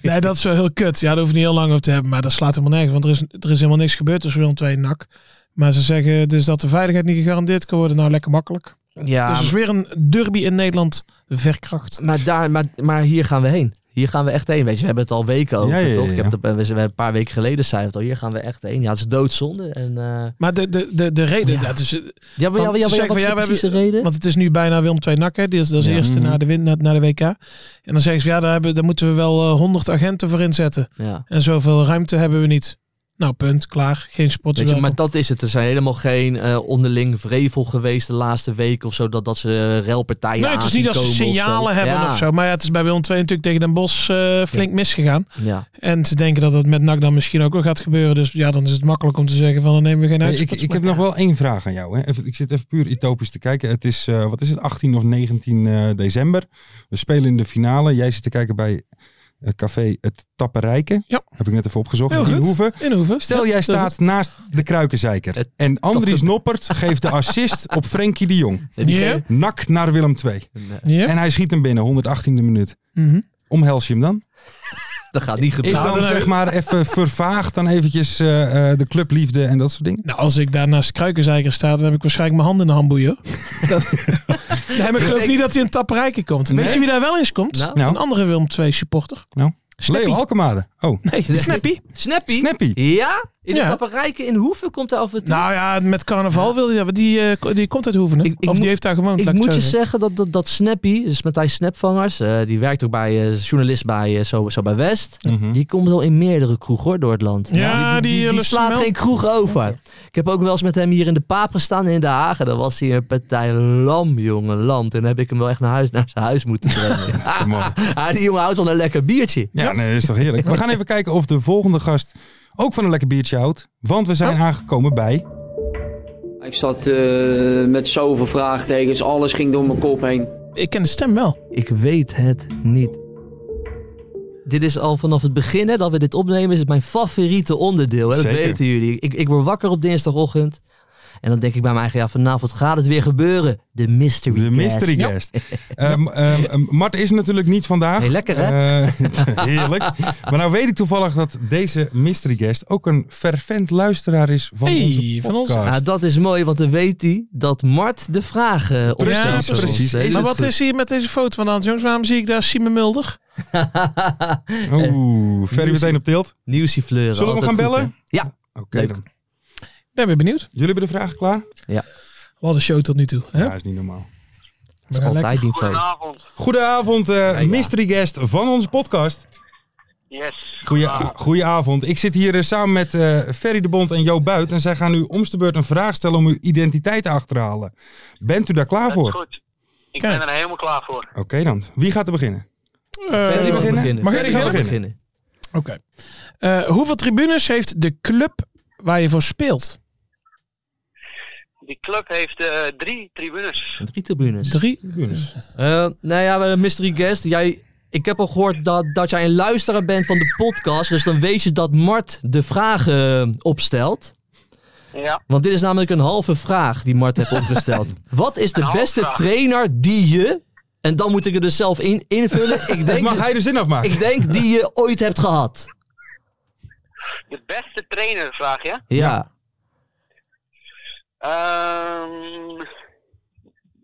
Speaker 6: Nee, dat is wel heel kut. Ja, daar hoef je niet heel lang over te hebben. Maar dat slaat helemaal nergens. Want er is, er is helemaal niks gebeurd tussen Willem 2 en NAC. Maar ze zeggen dus dat de veiligheid niet gegarandeerd kan worden. Nou, lekker makkelijk. dus
Speaker 5: Ja,
Speaker 6: het is weer een derby in Nederland verkracht.
Speaker 5: maar, daar, maar, maar hier gaan we heen. Hier gaan we echt heen. Weet je, we hebben het al weken over,
Speaker 4: Ja, ja, ja,
Speaker 5: toch? Ik heb
Speaker 4: ja.
Speaker 5: het, op- eh, we we hebben een paar weken geleden zei het al. Hier gaan we echt heen. Ja, het is doodzonde. En, eh,
Speaker 6: Maar de, de, de, de reden...
Speaker 5: Ja.
Speaker 6: Ja. het is, eh,
Speaker 5: ja, maar, ja, maar,
Speaker 6: Van- ze
Speaker 5: ja, maar, ja, wat
Speaker 6: zeggen van,
Speaker 5: is
Speaker 6: ja,
Speaker 5: de
Speaker 6: we
Speaker 5: precieze reden?
Speaker 6: want het is nu bijna Willem 2 NAC. Hè. Die is, dat is
Speaker 4: Ja.
Speaker 6: eerste
Speaker 4: Mhm.
Speaker 6: na de, win, na, na de WK. En dan zeggen ze, ja, daar, hebben, daar moeten we wel eh, 100 agenten voor inzetten.
Speaker 5: Ja.
Speaker 6: En zoveel ruimte hebben we niet. Nou, punt. Klaar. Geen sport.
Speaker 5: Weet je, maar dat is het. Er zijn helemaal geen eh, onderling vrevel geweest de laatste week of zo. Dat, dat ze eh, relpartijen
Speaker 6: Nee, het is niet dat
Speaker 5: als
Speaker 6: ze signalen hebben
Speaker 5: ja.
Speaker 6: of zo. Maar ja, het is bij Willem 2 natuurlijk tegen Den Bosch eh, flink misgegaan.
Speaker 5: Ja.
Speaker 6: En ze denken dat dat met NAC dan misschien ook wel gaat gebeuren. Dus ja, dan is het makkelijk om te zeggen van dan nemen we geen
Speaker 4: Hey, ik,
Speaker 6: uitspraak.
Speaker 4: ik heb nog wel één vraag aan jou. Hè. Even, ik zit even puur utopisch te kijken. Het is, eh, wat is het, 18 of 19 eh, december. We spelen in de finale. Jij zit te kijken bij eh, café Het Tapperijke.
Speaker 6: Ja.
Speaker 4: Heb ik net even opgezocht.
Speaker 6: Heel
Speaker 4: in
Speaker 6: goed.
Speaker 4: Hoeven.
Speaker 6: In hoeven.
Speaker 4: Stel, jij staat naast de Kruikenzeiker.
Speaker 5: Het
Speaker 4: En Andries Noppert geeft de assist op Frenkie de Jong.
Speaker 5: En die-
Speaker 6: Ja.
Speaker 4: Nak naar Willem II.
Speaker 6: Ja.
Speaker 4: En hij schiet hem binnen, 118e minuut.
Speaker 6: Mhm.
Speaker 4: Omhels je hem dan?
Speaker 5: Dat gaat niet
Speaker 4: Is
Speaker 5: gebeuren.
Speaker 6: Nou,
Speaker 4: dan
Speaker 6: dan-
Speaker 4: zeg maar even vervaagd dan eventjes eh, eh, de clubliefde en dat soort dingen?
Speaker 6: Nou, als ik daar naast Kruikenzeiger sta, dan heb ik waarschijnlijk mijn handen in de handboeien. hoor. Dat... nee, maar ik geloof niet dat hij in Tapperijke komt. Weet
Speaker 4: Nee?
Speaker 6: je wie daar wel eens komt?
Speaker 5: Nou?
Speaker 4: Nou?
Speaker 6: Een andere Willem 2 supporter. Snappy.
Speaker 4: Leo Alkemade. Oh,
Speaker 6: Nee, Snappy.
Speaker 5: Snappy?
Speaker 4: Snappy.
Speaker 5: Ja? In de
Speaker 6: Ja.
Speaker 5: Tapperijken in Hoeven komt hij af en toe.
Speaker 6: [LAUGHS] Nou ja, met carnaval wil je hebben. Die, eh, ko- die komt uit Hoeven. hè?
Speaker 5: Ik- ik
Speaker 6: of
Speaker 5: moet-
Speaker 6: die heeft daar gewoond.
Speaker 5: ik
Speaker 6: laat
Speaker 5: moet
Speaker 6: het
Speaker 5: je
Speaker 6: zo
Speaker 5: zeggen dat, dat, dat Snappy, dus Matthijs Snapvangers, eh, die werkt ook bij eh, journalist bij, eh, zo, zo bij West.
Speaker 4: Mhm.
Speaker 5: Die komt wel in meerdere kroegen hoor, door het land.
Speaker 6: Ja, die, eh, lust hem
Speaker 5: slaat
Speaker 6: wel.
Speaker 5: geen kroeg over. Ik heb ook wel eens met hem hier in de Paap gestaan in Den Haag. En dan was hij een partij lam, jongen, lam. En heb ik hem wel echt naar, huis, naar zijn huis moeten
Speaker 6: [LAUGHS]
Speaker 5: brengen.
Speaker 4: te mooi.
Speaker 5: ah, die jongen houdt van een lekker biertje.
Speaker 4: Ja, nee, is toch heerlijk. We gaan even kijken of de volgende gast ook van een lekker biertje houdt. Want we zijn aangekomen bij...
Speaker 7: Ik zat eh, met zoveel vraagtekens, alles ging door mijn kop heen.
Speaker 6: zeggen. Ik ken de stem wel.
Speaker 5: Ik weet het niet. Dit is al vanaf het begin hè, dat we dit opnemen, is het mijn favoriete onderdeel. Hè? Dat
Speaker 4: Zeker.
Speaker 5: weten jullie. Ik, ik word wakker op dinsdagochtend. En dan denk ik bij mijn eigen, ja, vanavond gaat het weer gebeuren. De mystery
Speaker 4: De mystery
Speaker 5: guest.
Speaker 4: guest. Ehm, ehm, ehm, Mart is natuurlijk niet vandaag.
Speaker 5: Nee, lekker, hè?
Speaker 4: Eh, [LAUGHS] heerlijk. Maar nou weet ik toevallig dat deze mystery guest ook een fervent luisteraar is van
Speaker 6: Hey,
Speaker 4: onze
Speaker 6: van ons.
Speaker 4: podcast.
Speaker 5: Nou, dat is mooi, want dan weet hij dat Mart de vragen op
Speaker 4: Precies, precies. Is
Speaker 6: maar
Speaker 4: het
Speaker 6: wat is hier met deze foto van de hand, jongens? Waarom zie ik daar Simon
Speaker 5: [LAUGHS]
Speaker 6: Mulder?
Speaker 5: Ah,
Speaker 4: Oeh, Ferry
Speaker 5: dus-
Speaker 4: meteen op tilt.
Speaker 5: Nieuwsie fleuren.
Speaker 4: Zullen we hem
Speaker 5: altijd
Speaker 4: gaan
Speaker 5: goed,
Speaker 4: bellen?
Speaker 5: hè? ja,
Speaker 4: Oké
Speaker 5: Leuk.
Speaker 4: dan.
Speaker 6: Ben weer benieuwd.
Speaker 4: Jullie hebben de vragen klaar?
Speaker 6: Wat een show tot nu toe. Hè?
Speaker 4: Ja, is niet normaal.
Speaker 5: dat is
Speaker 6: gaan
Speaker 5: altijd die info.
Speaker 8: Goedenavond.
Speaker 4: Goedenavond, eh,
Speaker 5: ja.
Speaker 4: mystery guest van onze podcast.
Speaker 8: Yes.
Speaker 4: Goeie, goedenavond. Ik zit hier eh, samen met eh, Ferry de Bond en Jo Buit. En zij gaan u om de beurt een vraag stellen om uw identiteit te achterhalen. Bent u daar klaar
Speaker 8: Dat is
Speaker 4: voor?
Speaker 8: goed. Ik
Speaker 6: Kijk.
Speaker 8: ben er helemaal klaar voor.
Speaker 4: Oké dan. Wie gaat er beginnen?
Speaker 6: Eh,
Speaker 5: Ferry mag
Speaker 4: beginnen?
Speaker 5: beginnen.
Speaker 4: Mag
Speaker 5: Ferry
Speaker 4: ik
Speaker 5: mag
Speaker 4: beginnen?
Speaker 5: beginnen?
Speaker 6: Oké. Eh, hoeveel tribunes heeft de club waar je voor speelt?
Speaker 8: Die club heeft eh, drie tribunes.
Speaker 5: Drie tribunes.
Speaker 6: Drie.
Speaker 5: Eh, nou ja, eh, mystery guest. Jij, ik heb al gehoord dat, dat jij een luisteraar bent van de podcast. Dus dan weet je dat Mart de vragen eh, opstelt.
Speaker 8: Ja.
Speaker 5: Want dit is namelijk een halve vraag die Mart heeft opgesteld. Wat is de
Speaker 8: halve
Speaker 5: beste
Speaker 8: vraag.
Speaker 5: trainer die je... En dan moet ik het dus zelf in, invullen. Ik denk,
Speaker 4: Mag hij de zin afmaken?
Speaker 5: ik denk die je ooit hebt gehad.
Speaker 8: De beste trainer, vraag je?
Speaker 5: Ja.
Speaker 8: Ehm,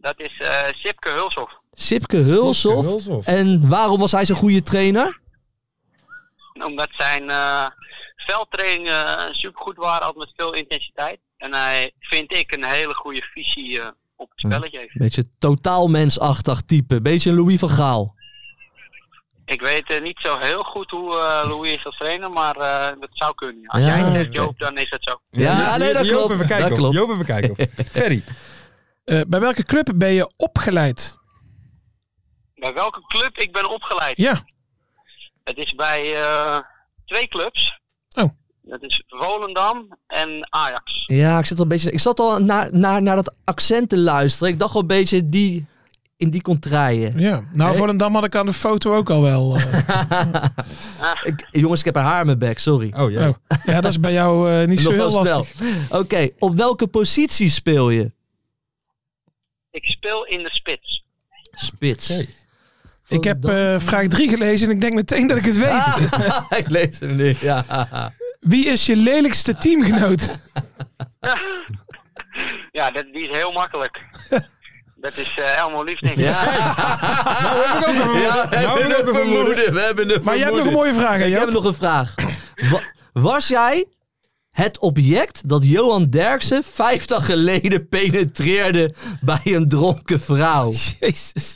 Speaker 8: dat is eh Sipke Hulshoff.
Speaker 5: Sipke Hulshoff. En waarom was hij zo'n goede trainer?
Speaker 8: Omdat zijn eh veldtrainingen eh, supergoed waren, altijd met veel intensiteit. En hij, vind ik, een hele goede visie eh, op het spelletje heeft.
Speaker 5: Beetje totaal mensachtig type. Beetje een Louis van Gaal.
Speaker 8: Ik weet eh, niet zo heel goed hoe eh, Louis is als trainer, maar eh, dat zou kunnen. Als
Speaker 5: Ja,
Speaker 8: jij het zegt,
Speaker 5: oké.
Speaker 8: Joop, dan is dat zo.
Speaker 5: Ja, nee, dat
Speaker 4: Joop
Speaker 5: klopt.
Speaker 4: even kijken
Speaker 5: Dat
Speaker 4: op.
Speaker 5: klopt.
Speaker 4: Joop even
Speaker 5: [LAUGHS]
Speaker 4: kijken op. Ferry.
Speaker 6: Eh, bij welke club ben je opgeleid?
Speaker 8: Bij welke club ik ben opgeleid?
Speaker 6: Ja.
Speaker 8: Het is bij eh, twee clubs.
Speaker 6: Oh.
Speaker 8: Dat is Volendam en Ajax.
Speaker 5: Ja, ik zat al, een beetje, ik zat al naar, naar, naar dat accent te luisteren. Ik dacht al een beetje die in die contraien.
Speaker 6: Ja. Nou,
Speaker 5: Nee.
Speaker 6: Volendam had ik aan de foto ook al
Speaker 5: [LAUGHS]
Speaker 6: wel. eh.
Speaker 5: Ik- Eh, jongens, ik heb een haar in mijn bek, sorry. Eh,
Speaker 4: Oh ja.
Speaker 6: Oh. ja, dat is bij jou eh, niet zo
Speaker 5: Nog
Speaker 6: heel
Speaker 5: wel
Speaker 6: lastig.
Speaker 5: snel. Oké, op welke positie speel je?
Speaker 8: Ik speel in de
Speaker 5: [LAUGHS]
Speaker 8: spits.
Speaker 5: Spits.
Speaker 4: Oké.
Speaker 6: Ik heb
Speaker 5: Volendam.
Speaker 6: eh, vraag 3 gelezen en ik denk meteen dat ik het weet.
Speaker 5: Ah, ik lees hem nu. [LAUGHS] Ja.
Speaker 6: Wie is je lelijkste
Speaker 5: [LAUGHS]
Speaker 6: teamgenoot?
Speaker 8: Ja, dat, die is heel makkelijk.
Speaker 5: [LAUGHS]
Speaker 8: dat is eh Elmo Liefding.
Speaker 5: Ja. Ja, we
Speaker 4: Nou,
Speaker 5: hebben een vermoeden. We hebben een
Speaker 6: Maar jij hebt nog een mooie vraag, hè?
Speaker 5: Ik heb
Speaker 6: Joop?
Speaker 5: nog een
Speaker 6: [CLEARS THROAT]
Speaker 5: vraag. Wa- was jij het object dat Johan Derksen 50 geleden penetreerde bij een dronken vrouw? Jezus.
Speaker 8: [LAUGHS]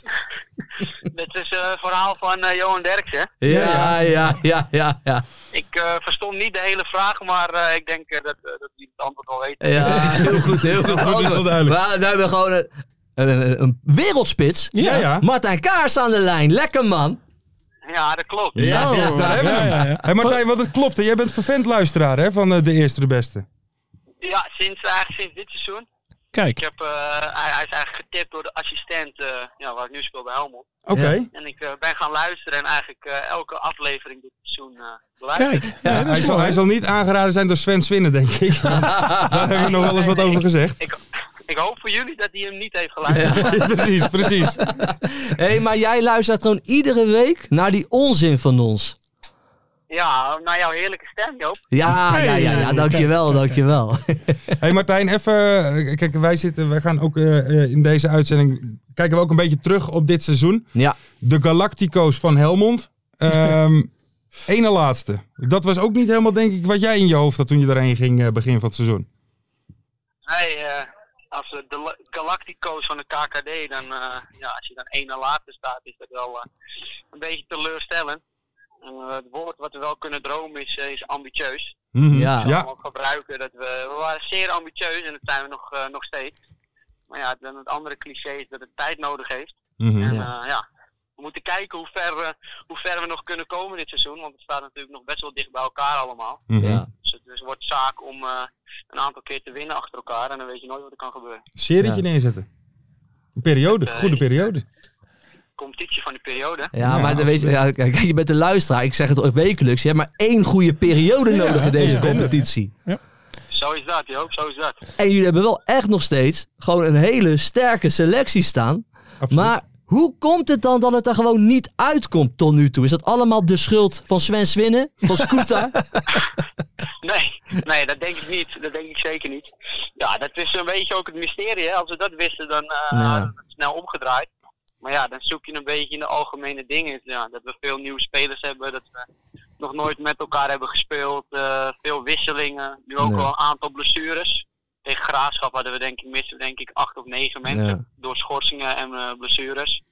Speaker 8: Dat is eh, een verhaal van eh, Johan Derksen.
Speaker 5: Ja, ja, ja, ja, ja.
Speaker 8: Ik eh, verstond niet de hele vraag, maar eh, ik denk eh, dat, eh, dat die het antwoord wel weten.
Speaker 5: Ja, heel goed, heel goed.
Speaker 4: duidelijk.
Speaker 5: Maar we hebben gewoon een, een, een wereldspits.
Speaker 4: Ja, ja.
Speaker 5: Martijn Kaars aan de lijn. Lekker man.
Speaker 8: Ja, dat klopt.
Speaker 5: Ja,
Speaker 4: Oh,
Speaker 5: ja.
Speaker 4: daar hebben we
Speaker 6: Ja,
Speaker 4: hem.
Speaker 6: ja, ja.
Speaker 4: Hé Martijn, want het klopt. hè. Jij bent vervent luisteraar hè, van eh, de eerste de beste.
Speaker 8: Ja, sinds, eigenlijk sinds dit seizoen. Ik
Speaker 6: Kijk,
Speaker 8: heb, eh, hij, hij is eigenlijk getipt door de assistent eh, ja, waar ik nu speel bij Helmond.
Speaker 4: Oké.
Speaker 8: En ik eh, ben gaan luisteren en eigenlijk eh, elke aflevering dit seizoen eh beluisterd.
Speaker 6: kijk.
Speaker 4: Ja, hij, zal, hij zal niet aangeraden zijn door Sven Swinnen, denk
Speaker 5: [LAUGHS]
Speaker 4: ik. Daar hebben we nog wel eens wat over gezegd.
Speaker 8: Ik, [LAUGHS] ik hoop voor jullie dat hij hem niet heeft geluisterd.
Speaker 4: [LAUGHS] precies, precies.
Speaker 5: Hé, maar jij luistert gewoon iedere week naar die onzin van ons.
Speaker 8: Ja, naar jouw heerlijke stem, Joop.
Speaker 5: Ja, ja, ja, ja. Dankjewel, dankjewel.
Speaker 4: Hey Martijn, even. eh, Kijk, wij, zitten, wij gaan ook eh, eh, in deze uitzending. Kijken we ook een beetje terug op dit seizoen.
Speaker 5: Ja.
Speaker 4: De Galactico's van Helmond. Ehm [LAUGHS] ene laatste. Dat was ook niet helemaal, denk ik, wat jij in je hoofd had toen je erheen ging eh, begin van het seizoen.
Speaker 8: Nee, eh, als eh, de la- Galactico's van de KKD, dan, eh, ja, als je dan één na later staat, is dat wel eh, een beetje teleurstellend. Eh, het woord wat we wel kunnen dromen is, eh, is ambitieus.
Speaker 4: Mhm.
Speaker 5: Ja.
Speaker 4: ja.
Speaker 8: We ook gebruiken dat we, we waren zeer ambitieus en dat zijn we nog, eh, nog steeds. Maar ja, dan het andere cliché is dat het tijd nodig heeft.
Speaker 4: Mhm.
Speaker 8: En ja. ja, we moeten kijken hoe ver, eh, hoe ver we nog kunnen komen dit seizoen. Want het staat natuurlijk nog best wel dicht bij elkaar allemaal.
Speaker 4: Mhm.
Speaker 5: [LAUGHS] Ja.
Speaker 8: Dus het dus het wordt zaak om eh, een aantal keer te winnen achter elkaar. En dan weet je nooit wat er kan gebeuren.
Speaker 4: Serietje
Speaker 5: Ja.
Speaker 4: neerzetten. Een periode, goede periode.
Speaker 8: Competitie van de periode.
Speaker 5: Ja,
Speaker 4: Ja,
Speaker 5: maar dan weet je, ja, kijk, je bent de luisteraar. Ik zeg het wekelijks. Je hebt maar één goede periode nodig in deze
Speaker 4: ja.
Speaker 5: competitie.
Speaker 8: Zo is dat, Joop. Zo is dat.
Speaker 5: En jullie hebben wel echt nog steeds gewoon een hele sterke selectie staan.
Speaker 4: Absoluut.
Speaker 5: Maar hoe komt het dan dat het er gewoon niet uitkomt tot nu toe? Is dat allemaal de schuld van Sven Swinnen? Van
Speaker 4: [LAUGHS]
Speaker 5: Scooter?
Speaker 8: [LAUGHS] Nee, nee, dat denk ik niet. Dat denk ik zeker niet. Ja, dat is een beetje ook het mysterie. Hè? Als we dat wisten, dan eh,
Speaker 5: Ja.
Speaker 8: hadden we het snel omgedraaid. Maar ja, dan zoek je een beetje in de algemene dingen. Ja, dat we veel nieuwe spelers hebben, dat we nog nooit met elkaar hebben gespeeld. eh, veel wisselingen, nu ook
Speaker 5: Ja.
Speaker 8: wel een aantal blessures. Tegen Graafschap hadden we denk ik missen denk ik acht of negen mensen
Speaker 5: Ja.
Speaker 8: door schorsingen en eh, blessures.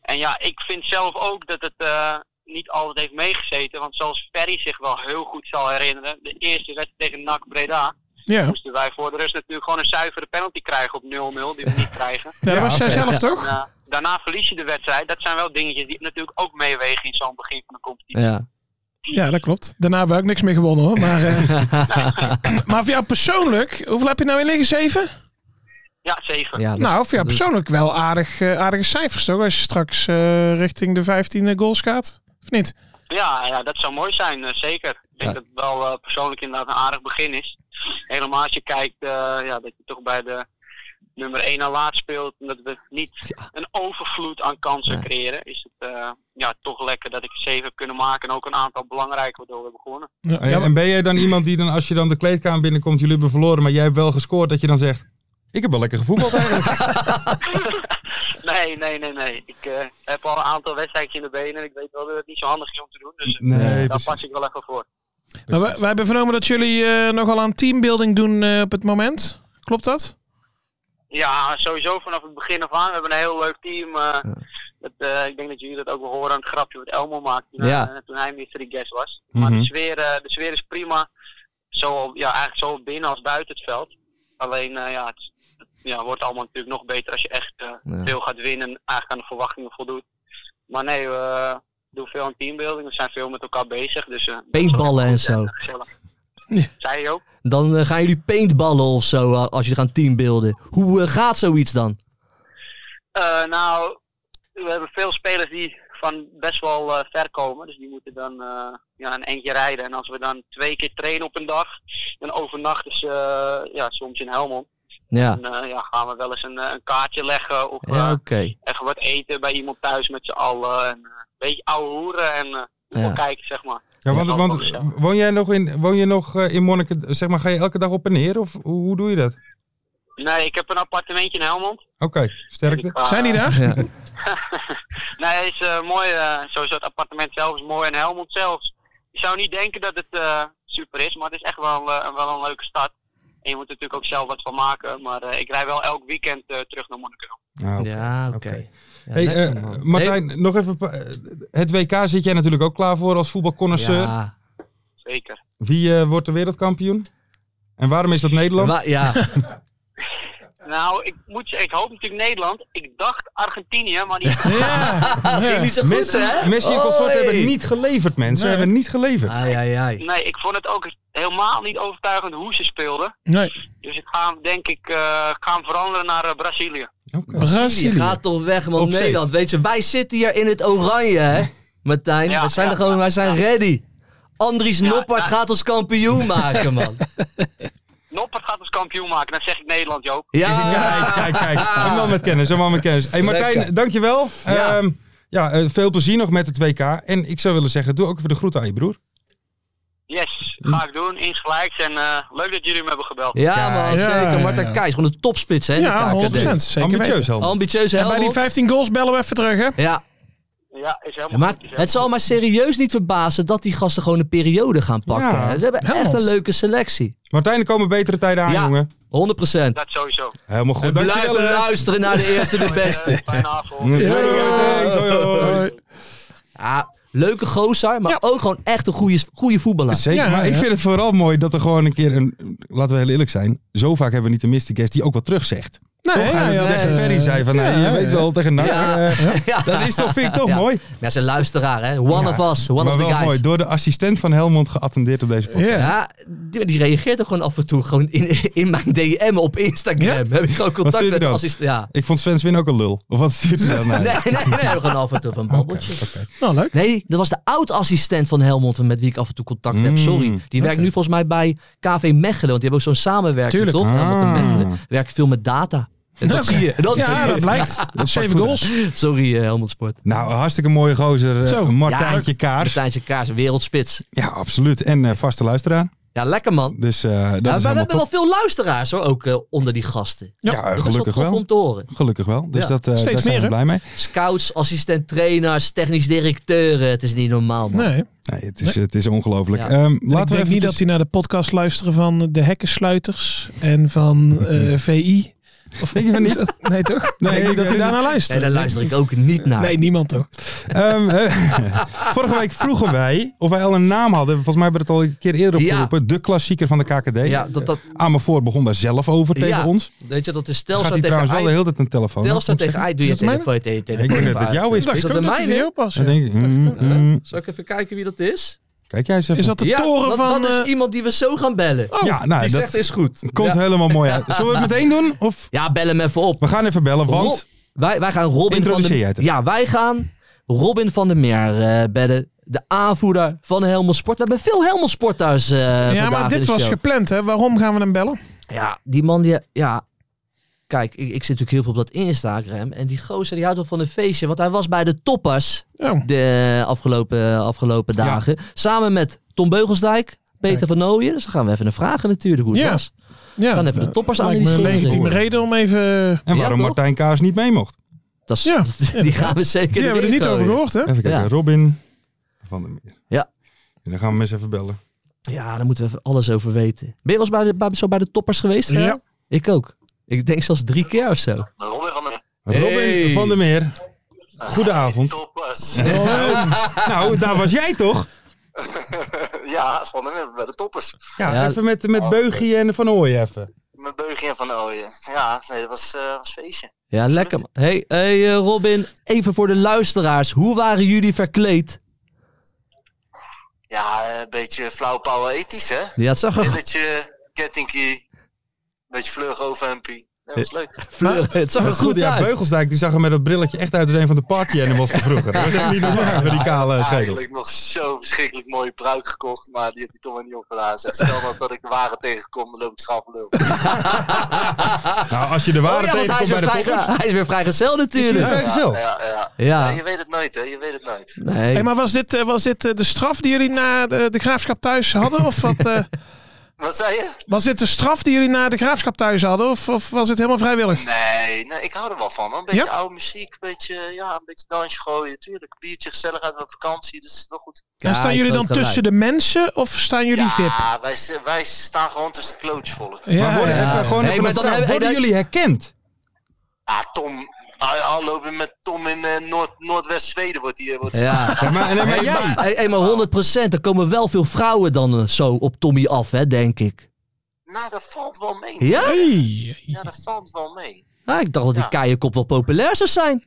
Speaker 8: En ja, ik vind zelf ook dat het eh, niet altijd heeft meegezeten. Want zoals Ferry zich wel heel goed zal herinneren, de eerste wedstrijd tegen NAC Breda,
Speaker 6: Ja, Nou,
Speaker 8: moesten wij voor de rust natuurlijk gewoon een zuivere penalty krijgen op 0-0, die we niet krijgen.
Speaker 6: dat was jij zelf
Speaker 8: En,
Speaker 6: toch?
Speaker 8: eh, daarna verlies je de wedstrijd. Dat zijn wel dingetjes die natuurlijk ook meewegen in zo'n begin van de competitie.
Speaker 5: Ja.
Speaker 6: Ja, dat klopt. Daarna hebben we ook niks meer gewonnen hoor. Maar, eh,
Speaker 5: [LAUGHS]
Speaker 6: maar voor jou persoonlijk, hoeveel heb je nou in liggen? Zeven?
Speaker 8: Ja, zeker.
Speaker 5: ja dat is-
Speaker 6: Nou, voor jou
Speaker 5: dat is-
Speaker 6: persoonlijk wel aardig, eh, aardige cijfers toch? Als je straks eh, richting de 15 goals gaat. Of niet?
Speaker 8: Ja, ja, dat zou mooi zijn, eh, zeker. Ik denk
Speaker 5: Ja.
Speaker 8: dat het wel eh, persoonlijk inderdaad een aardig begin is. Helemaal als je kijkt eh, ja, dat je toch bij de nummer 1 aan laat speelt. En dat we niet een overvloed aan kansen
Speaker 5: Nee.
Speaker 8: creëren. Is het eh, ja, toch lekker dat ik zeven heb kunnen maken. En ook een aantal belangrijke waardoor we hebben gewonnen.
Speaker 6: Ja,
Speaker 4: Hey,
Speaker 6: ja, maar-
Speaker 4: Eh, en ben jij dan iemand die dan, als je dan de kleedkamer binnenkomt, jullie hebben verloren, maar jij hebt wel gescoord, dat je dan zegt, ik heb wel lekker
Speaker 5: [LAUGHS]
Speaker 4: gevoetbald eigenlijk.
Speaker 8: Nee, nee, nee, nee. Ik eh, heb al een aantal wedstrijdjes in de benen. En ik weet wel dat het niet zo handig is om te doen. Dus eh,
Speaker 4: Nee,
Speaker 8: daar
Speaker 4: precies.
Speaker 8: pas ik wel even voor.
Speaker 6: maar we, we hebben vernomen dat jullie eh, nogal aan teambuilding doen eh, op het moment. Klopt dat?
Speaker 8: Ja, sowieso vanaf het begin af aan. We hebben een heel leuk team. eh, dat, eh, ik denk dat jullie dat ook wel horen aan het grapje wat Elmo maakte toen,
Speaker 5: Ja.
Speaker 8: hij- toen hij mystery guest was. Maar
Speaker 4: Mhm.
Speaker 8: de, sfeer, eh, de sfeer is prima. Zowel, ja, eigenlijk zowel binnen als buiten het veld. Alleen eh, ja, het ja, wordt allemaal natuurlijk nog beter als je echt eh,
Speaker 5: Ja.
Speaker 8: veel gaat winnen en eigenlijk aan de verwachtingen voldoet. Maar nee, we doen veel aan teambuilding. We zijn veel met elkaar bezig. Dus, eh, dat is wel
Speaker 5: Paintballen
Speaker 8: echt
Speaker 5: en
Speaker 8: goed
Speaker 5: zo.
Speaker 8: gezellig.
Speaker 6: Ja.
Speaker 8: Zei je ook?
Speaker 5: Dan eh, gaan jullie paintballen of zo eh, als jullie gaan teambeelden. Hoe eh, gaat zoiets dan?
Speaker 8: Eh, nou, we hebben veel spelers die van best wel eh, ver komen. Dus die moeten dan eh, ja, een eindje rijden. En als we dan twee keer trainen op een dag, dan overnachten ze eh, ja, soms in Helmond.
Speaker 5: Ja,
Speaker 8: En eh, ja, gaan we wel eens een, eh, een kaartje leggen of eh,
Speaker 5: ja oké.
Speaker 8: even wat eten bij iemand thuis met z'n allen. En, eh, een beetje ouwe hoeren en eh voetbal
Speaker 5: Ja.
Speaker 8: kijken, zeg maar.
Speaker 4: Ja, want,
Speaker 8: Dat
Speaker 4: want
Speaker 8: was wel zo.
Speaker 4: woon jij nog in, woon je nog eh, in Monniken? Zeg maar, ga je elke dag op en neer? Of hoe, hoe doe je dat? Oké,
Speaker 8: Nee, ik heb een appartementje in Helmond. Dus
Speaker 4: sterkte.
Speaker 8: Ik ga- eh,
Speaker 6: Zijn die daar?
Speaker 5: Ja.
Speaker 8: Nee, het is eh, mooi. eh, sowieso het appartement zelf is mooi en Helmond zelfs. Je zou niet denken dat het eh, super is, maar het is echt wel, eh, wel een leuke stad. En je moet er natuurlijk ook zelf wat van maken. Maar eh, ik rij wel elk weekend eh, terug naar Monnikerdam.
Speaker 4: Nou, oké.
Speaker 5: Ja, oké.
Speaker 4: Oké.
Speaker 5: Ja,
Speaker 4: Hey,
Speaker 5: lekker,
Speaker 4: eh,
Speaker 5: man.
Speaker 4: Martijn, nog even. pa- eh, Het WK zit jij natuurlijk ook klaar voor als voetbalconnoisseur.
Speaker 5: Ja,
Speaker 8: Zeker.
Speaker 4: Wie eh, wordt de wereldkampioen? En waarom is dat Nederland?
Speaker 5: Wa-
Speaker 4: [LAUGHS]
Speaker 5: ja.
Speaker 8: Nou, ik moet zeggen, ik hoop natuurlijk Nederland. Ik dacht Argentinië, maar die
Speaker 5: Ging niet zo goed,
Speaker 4: Messi,
Speaker 5: hè?
Speaker 4: Messi en consort
Speaker 5: Oei.
Speaker 4: hebben niet geleverd, mensen.
Speaker 6: Nee.
Speaker 4: Hebben niet geleverd.
Speaker 5: Ai, ai, ai.
Speaker 8: Nee, ik vond het ook helemaal niet overtuigend hoe ze speelden.
Speaker 6: Nee.
Speaker 8: Dus ik ga hem denk ik eh, ik ga hem veranderen naar eh, Brazilië.
Speaker 4: Oké.
Speaker 5: Je
Speaker 6: Brazilië.
Speaker 5: gaat toch weg, man.
Speaker 4: Op safe.
Speaker 5: Nederland, weet je. Wij zitten hier in het oranje, hè? Martijn,
Speaker 8: Ja,
Speaker 5: we zijn
Speaker 8: ja,
Speaker 5: er gewoon,
Speaker 8: ja,
Speaker 5: wij zijn
Speaker 8: ja.
Speaker 5: ready. Andries
Speaker 8: Ja,
Speaker 5: Noppert
Speaker 8: ja.
Speaker 5: gaat ons
Speaker 8: [LAUGHS]
Speaker 5: kampioen maken, man.
Speaker 8: Noppert gaat ons kampioen maken, dan zeg ik Nederland, Joop.
Speaker 5: Ja,
Speaker 4: Kijk, kijk, kijk. Een man met kennis, een man met kennis. Hey Martijn,
Speaker 5: Lekker.
Speaker 4: dankjewel.
Speaker 5: Ja.
Speaker 4: Ehm, ja, eh, veel plezier nog met het WK. En ik zou willen zeggen, doe ook even de groeten aan je broer.
Speaker 8: Yes, ga ik doen, insgelijks. En eh, leuk dat jullie me hebben gebeld.
Speaker 5: Ja, man,
Speaker 6: ja,
Speaker 5: zeker.
Speaker 6: ja,
Speaker 5: Martijn
Speaker 6: ja.
Speaker 5: Keijs, gewoon een topspits, hè? in
Speaker 6: Ja,
Speaker 5: de
Speaker 6: 100
Speaker 5: KKD.
Speaker 6: Zeker
Speaker 4: Ambitieus,
Speaker 6: weten.
Speaker 4: Helmond.
Speaker 5: Ambitieuze
Speaker 6: En bij die
Speaker 5: helft.
Speaker 6: 15 goals bellen we even terug, hè?
Speaker 5: Ja,
Speaker 8: Ja, is helemaal
Speaker 5: maar
Speaker 8: goed. is helemaal
Speaker 5: het zal mij serieus niet verbazen dat die gasten gewoon een periode gaan pakken.
Speaker 4: Ja.
Speaker 5: hè. Ze hebben echt
Speaker 6: Helmond.
Speaker 5: een leuke selectie. 100%.
Speaker 4: Martijn, er komen betere tijden aan,
Speaker 5: Ja.
Speaker 4: jongen.
Speaker 8: goed. Dat sowieso.
Speaker 4: Helemaal goed.
Speaker 5: Blijven
Speaker 4: Dankjewel. hè.
Speaker 5: luisteren naar de eerste,
Speaker 8: [LAUGHS]
Speaker 5: de beste.
Speaker 8: Eh, Fijne avond.
Speaker 4: Ja,
Speaker 6: Ja.
Speaker 4: thanks. Hoi, hoi.
Speaker 6: Hoi.
Speaker 5: Ja, leuke gozer, maar
Speaker 6: Ja.
Speaker 5: ook gewoon echt een goede, goede voetballer.
Speaker 4: Zeker,
Speaker 6: Ja,
Speaker 4: maar
Speaker 6: ja.
Speaker 4: ik vind het vooral mooi dat er gewoon een keer een... Laten we heel eerlijk zijn. Zo vaak hebben we niet de mystic guest die ook wat terugzegt.
Speaker 6: Nee,
Speaker 4: Toch?
Speaker 6: ja,
Speaker 4: Hij
Speaker 6: ja,
Speaker 4: tegen
Speaker 6: ja.
Speaker 4: Ferry zei van, nou,
Speaker 6: Ja,
Speaker 4: je weet
Speaker 6: ja.
Speaker 4: wel, tegen Nak.
Speaker 5: Ja.
Speaker 4: eh,
Speaker 5: Ja.
Speaker 4: Dat is toch, vind ik toch
Speaker 5: Ja.
Speaker 4: mooi.
Speaker 5: Ja, zijn luisteraar, hè? One
Speaker 4: Ja,
Speaker 5: of us, one
Speaker 4: maar
Speaker 5: of the
Speaker 4: wel
Speaker 5: guys.
Speaker 4: mooi, door de assistent van Helmond geattendeerd op deze podcast.
Speaker 6: Ja.
Speaker 5: Ja, die, die reageert ook gewoon af en toe gewoon in, in mijn DM op Instagram. Heb ik ook
Speaker 4: stuurt
Speaker 5: contact
Speaker 4: hij
Speaker 5: met de
Speaker 4: dan?
Speaker 5: assistent. Ja.
Speaker 4: Ik vond Sven Swin ook een lul. Of wat stuurt hij dan naar?
Speaker 5: [LAUGHS] Nee, nee, nee, gewoon af en toe
Speaker 4: [LAUGHS]
Speaker 5: van babbeltje.
Speaker 6: Nou, leuk.
Speaker 5: Nee, dat was de oud-assistent van Helmond met wie ik af en toe contact heb.
Speaker 4: Mm,
Speaker 5: Sorry. Die werkt nu volgens mij bij KV Mechelen. Want die hebben ook zo'n samenwerking,
Speaker 6: Tuurlijk.
Speaker 5: toch? Helmond en
Speaker 4: Ah.
Speaker 5: Mechelen. Werken veel met data. En dat
Speaker 6: Oké.
Speaker 5: zie je. Dat zie
Speaker 6: Ja,
Speaker 5: je.
Speaker 6: dat blijkt. Zeven
Speaker 4: goed
Speaker 6: goals.
Speaker 5: Sorry, eh, Helmond Sport.
Speaker 4: Nou, een hartstikke mooie gozer. eh,
Speaker 6: Zo.
Speaker 4: Martijntje Kaars.
Speaker 5: Martijn zijn kaars, wereldspits.
Speaker 4: Ja, absoluut. En eh, vaste luisteraar.
Speaker 5: Ja, lekker man.
Speaker 4: Dus eh,
Speaker 5: Ja,
Speaker 4: dat is
Speaker 5: maar we
Speaker 4: helemaal
Speaker 5: hebben
Speaker 4: top.
Speaker 5: wel veel luisteraars hoor, ook eh, onder die gasten.
Speaker 4: Ja,
Speaker 6: Ja,
Speaker 4: gelukkig
Speaker 5: dat is wel tof
Speaker 4: wel.
Speaker 5: om te horen.
Speaker 4: Gelukkig wel. Dus
Speaker 5: Ja.
Speaker 4: dat, eh,
Speaker 6: Steeds
Speaker 4: daar zijn
Speaker 6: meer,
Speaker 4: we
Speaker 6: hè?
Speaker 4: blij mee.
Speaker 5: Scouts, assistent trainers, technisch directeuren. Het is niet normaal man.
Speaker 6: Nee.
Speaker 4: Nee, het is, het is ongelooflijk.
Speaker 5: Ja.
Speaker 4: Ehm,
Speaker 6: ik
Speaker 4: laten
Speaker 6: denk
Speaker 4: we even
Speaker 6: niet dat die naar de podcast luisteren van de hekkensluiters en van
Speaker 4: [LAUGHS]
Speaker 6: eh, VI. Of
Speaker 4: Denk je van niet?
Speaker 6: [LAUGHS] Nee, toch?
Speaker 4: Nee,
Speaker 6: Nee, ik
Speaker 4: ik weet
Speaker 6: denk dat hij daar
Speaker 4: niet.
Speaker 6: naar
Speaker 5: Nee,
Speaker 6: luistert.
Speaker 5: daar luister ik ook niet naar.
Speaker 6: Nee, niemand toch?
Speaker 4: Ehm, [LAUGHS] eh, vorige week vroegen wij of wij al een naam hadden. Volgens mij hebben we het al een keer eerder
Speaker 5: Ja.
Speaker 4: opgeroepen. De klassieker van de KKD.
Speaker 5: ja, dat, dat,
Speaker 4: Amervoort begon daar zelf over tegen
Speaker 5: ja,
Speaker 4: ons.
Speaker 5: Weet je, dat is
Speaker 4: Gaat
Speaker 5: Telstra
Speaker 4: hij
Speaker 5: tegen
Speaker 4: trouwens wel de
Speaker 5: Ajax.
Speaker 4: hele tijd een telefoon?
Speaker 5: Telstra
Speaker 4: moet ik
Speaker 5: tegen Ajax.
Speaker 4: zeggen?
Speaker 5: Doe je
Speaker 6: Is dat
Speaker 5: telefoon tegen je telefoon.
Speaker 4: Ik denk dat
Speaker 5: even
Speaker 4: het
Speaker 5: uit.
Speaker 4: jouw is.
Speaker 6: Ik dacht
Speaker 5: Is dat
Speaker 6: ook
Speaker 5: de
Speaker 6: dat hij
Speaker 5: mijne?
Speaker 6: erop was.
Speaker 4: Dan
Speaker 6: ja.
Speaker 4: denk ik, mm, mm.
Speaker 5: Zal ik even kijken wie dat is?
Speaker 4: Kijk jij eens even.
Speaker 6: Is dat de
Speaker 5: ja,
Speaker 6: toren
Speaker 5: dat,
Speaker 6: van...
Speaker 5: dat is
Speaker 6: eh,
Speaker 5: iemand die we zo gaan bellen.
Speaker 6: oh,
Speaker 4: ja, nou,
Speaker 5: die
Speaker 4: dat
Speaker 5: zegt is goed.
Speaker 4: komt
Speaker 5: ja.
Speaker 4: helemaal mooi uit. Zullen we het meteen doen? Of
Speaker 5: ja, bel hem even op.
Speaker 4: we gaan even bellen,
Speaker 5: Rob-
Speaker 4: want...
Speaker 5: wij, wij gaan Robin van
Speaker 4: Introduceer jij
Speaker 5: de
Speaker 4: het even.
Speaker 5: Ja, wij gaan Robin van der Meer eh, bellen. De aanvoerder van Helmond Sport. We hebben veel Helmond Sporters eh
Speaker 6: ja,
Speaker 5: vandaag
Speaker 6: maar
Speaker 5: in
Speaker 6: dit
Speaker 5: de
Speaker 6: was
Speaker 5: show.
Speaker 6: gepland, hè? Waarom gaan we hem bellen?
Speaker 5: Ja, die man die... Ja, kijk, ik, ik zit natuurlijk heel veel op dat Instagram. En die gozer die houdt wel van een feestje. Want hij was bij de toppers
Speaker 6: Oh,
Speaker 5: de afgelopen, afgelopen
Speaker 6: Ja.
Speaker 5: dagen. Samen met Tom Beugelsdijk, Peter
Speaker 6: Kijk.
Speaker 5: van Nooijen. Dus dan gaan we even een vragen natuurlijk hoe het
Speaker 6: Ja.
Speaker 5: was.
Speaker 6: ja.
Speaker 5: gaan even de toppers
Speaker 6: Lijkt me
Speaker 5: analyseren.
Speaker 6: een legitieme reden om even...
Speaker 4: En
Speaker 5: Ja,
Speaker 4: waarom
Speaker 5: toch?
Speaker 4: Martijn Kaas niet mee mocht.
Speaker 5: Dat is,
Speaker 6: Ja,
Speaker 5: [LAUGHS] die gaan we zeker
Speaker 6: Die hebben we er niet
Speaker 5: erin
Speaker 6: over
Speaker 5: gooien.
Speaker 6: gehoord, hè?
Speaker 4: Even kijken,
Speaker 5: Ja.
Speaker 4: Robin van der Meer.
Speaker 5: Ja.
Speaker 4: En dan gaan we hem eens even bellen.
Speaker 5: Ja, daar moeten we even alles over weten. Ben je wel eens bij de, bij, zo bij de toppers geweest? Gerard?
Speaker 6: Ja.
Speaker 5: Ik ook. Ik denk zelfs drie keer of zo.
Speaker 8: Robin van de
Speaker 5: Hey.
Speaker 4: Robin van der Meer. Goedenavond.
Speaker 8: toppers. [LAUGHS]
Speaker 4: nou, daar was jij toch?
Speaker 8: ja, van de, bij de toppers.
Speaker 4: Ja,
Speaker 5: Ja.
Speaker 4: even met, met Beugie en Van Ooyen even.
Speaker 8: Mijn beugje en van Ooyen. Ja, nee, dat was, eh, was feestje.
Speaker 5: Ja, lekker. man. Hey, hey eh, Robin, even voor de luisteraars. Hoe waren jullie verkleed?
Speaker 8: Ja, eh, een beetje flauwpower ethisch, hè?
Speaker 5: [LAUGHS] Ja, het zag er
Speaker 8: Brilletje, kettingkie, beetje vlug overhempie. Dat was leuk.
Speaker 5: Fleuren, het zag er
Speaker 4: Dat is goed,
Speaker 5: goed
Speaker 4: ja,
Speaker 5: uit.
Speaker 4: Beugelsdijk die zag er met dat brilletje echt uit als een van de party animals van vroeger. Dat was echt niet normaal, met die kale schedel.
Speaker 8: Eigenlijk nog zo verschrikkelijk mooie pruik gekocht, maar die heeft hij toch maar niet opgedaan. Zeg, stel nou dat ik de ware tegenkom, dan loop ik schaaf lul.
Speaker 4: Nou, als je de
Speaker 5: Oh
Speaker 4: ware
Speaker 5: ja, want hij
Speaker 4: tegenkomt
Speaker 5: is
Speaker 4: bij
Speaker 5: weer,
Speaker 4: de
Speaker 5: vrij,
Speaker 4: poppers...
Speaker 5: hij is weer vrijgezel
Speaker 4: Ja,
Speaker 5: natuurlijk.
Speaker 4: vrijgezel.
Speaker 8: Ja, ja.
Speaker 5: Ja.
Speaker 8: Ja, je weet het nooit, hè? Je weet het nooit.
Speaker 5: Nee.
Speaker 6: Hey, maar was dit, eh, was dit eh, de straf die jullie na de, de graafschap thuis hadden? Of
Speaker 4: [LAUGHS]
Speaker 6: wat, eh,
Speaker 8: Wat zei je?
Speaker 6: was dit de straf die jullie na de graafschap thuis hadden? Of, of was het helemaal vrijwillig?
Speaker 8: Nee, nee, ik hou er wel van. Hoor. Een beetje
Speaker 6: Ja?
Speaker 8: oude muziek, een beetje, ja, een beetje dansje gooien. Tuurlijk, biertje gezellig uit op vakantie, dus het is wel goed.
Speaker 6: en staan
Speaker 5: Kijk,
Speaker 6: jullie dan
Speaker 5: groot gelijk.
Speaker 6: tussen de mensen of staan jullie VIP?
Speaker 8: ja, wij, s- wij staan gewoon tussen het klootsvolk.
Speaker 6: Ja,
Speaker 4: Maar worden,
Speaker 6: ja.
Speaker 4: even gewoon
Speaker 5: Nee,
Speaker 4: even
Speaker 5: maar
Speaker 4: een
Speaker 5: dan
Speaker 4: vraag.
Speaker 5: hebben-
Speaker 4: worden
Speaker 5: hey, dat-
Speaker 4: jullie herkend?
Speaker 8: Ah, Tom, nou, ja, al lopen met Tom in eh, Noord, Noordwest-Zweden wordt hier. Wordt...
Speaker 5: Ja.
Speaker 4: [LAUGHS] Ja, maar, nee, maar jij? Oh.
Speaker 5: Hey, hey, maar 100%, er komen wel veel vrouwen dan eh, zo op Tommy af, hè, denk ik.
Speaker 8: Nou, dat valt wel mee.
Speaker 5: Ja?
Speaker 8: Ja, dat valt wel mee.
Speaker 5: Ah, ik dacht dat die
Speaker 8: Ja.
Speaker 5: keienkoop wel populair zou zijn.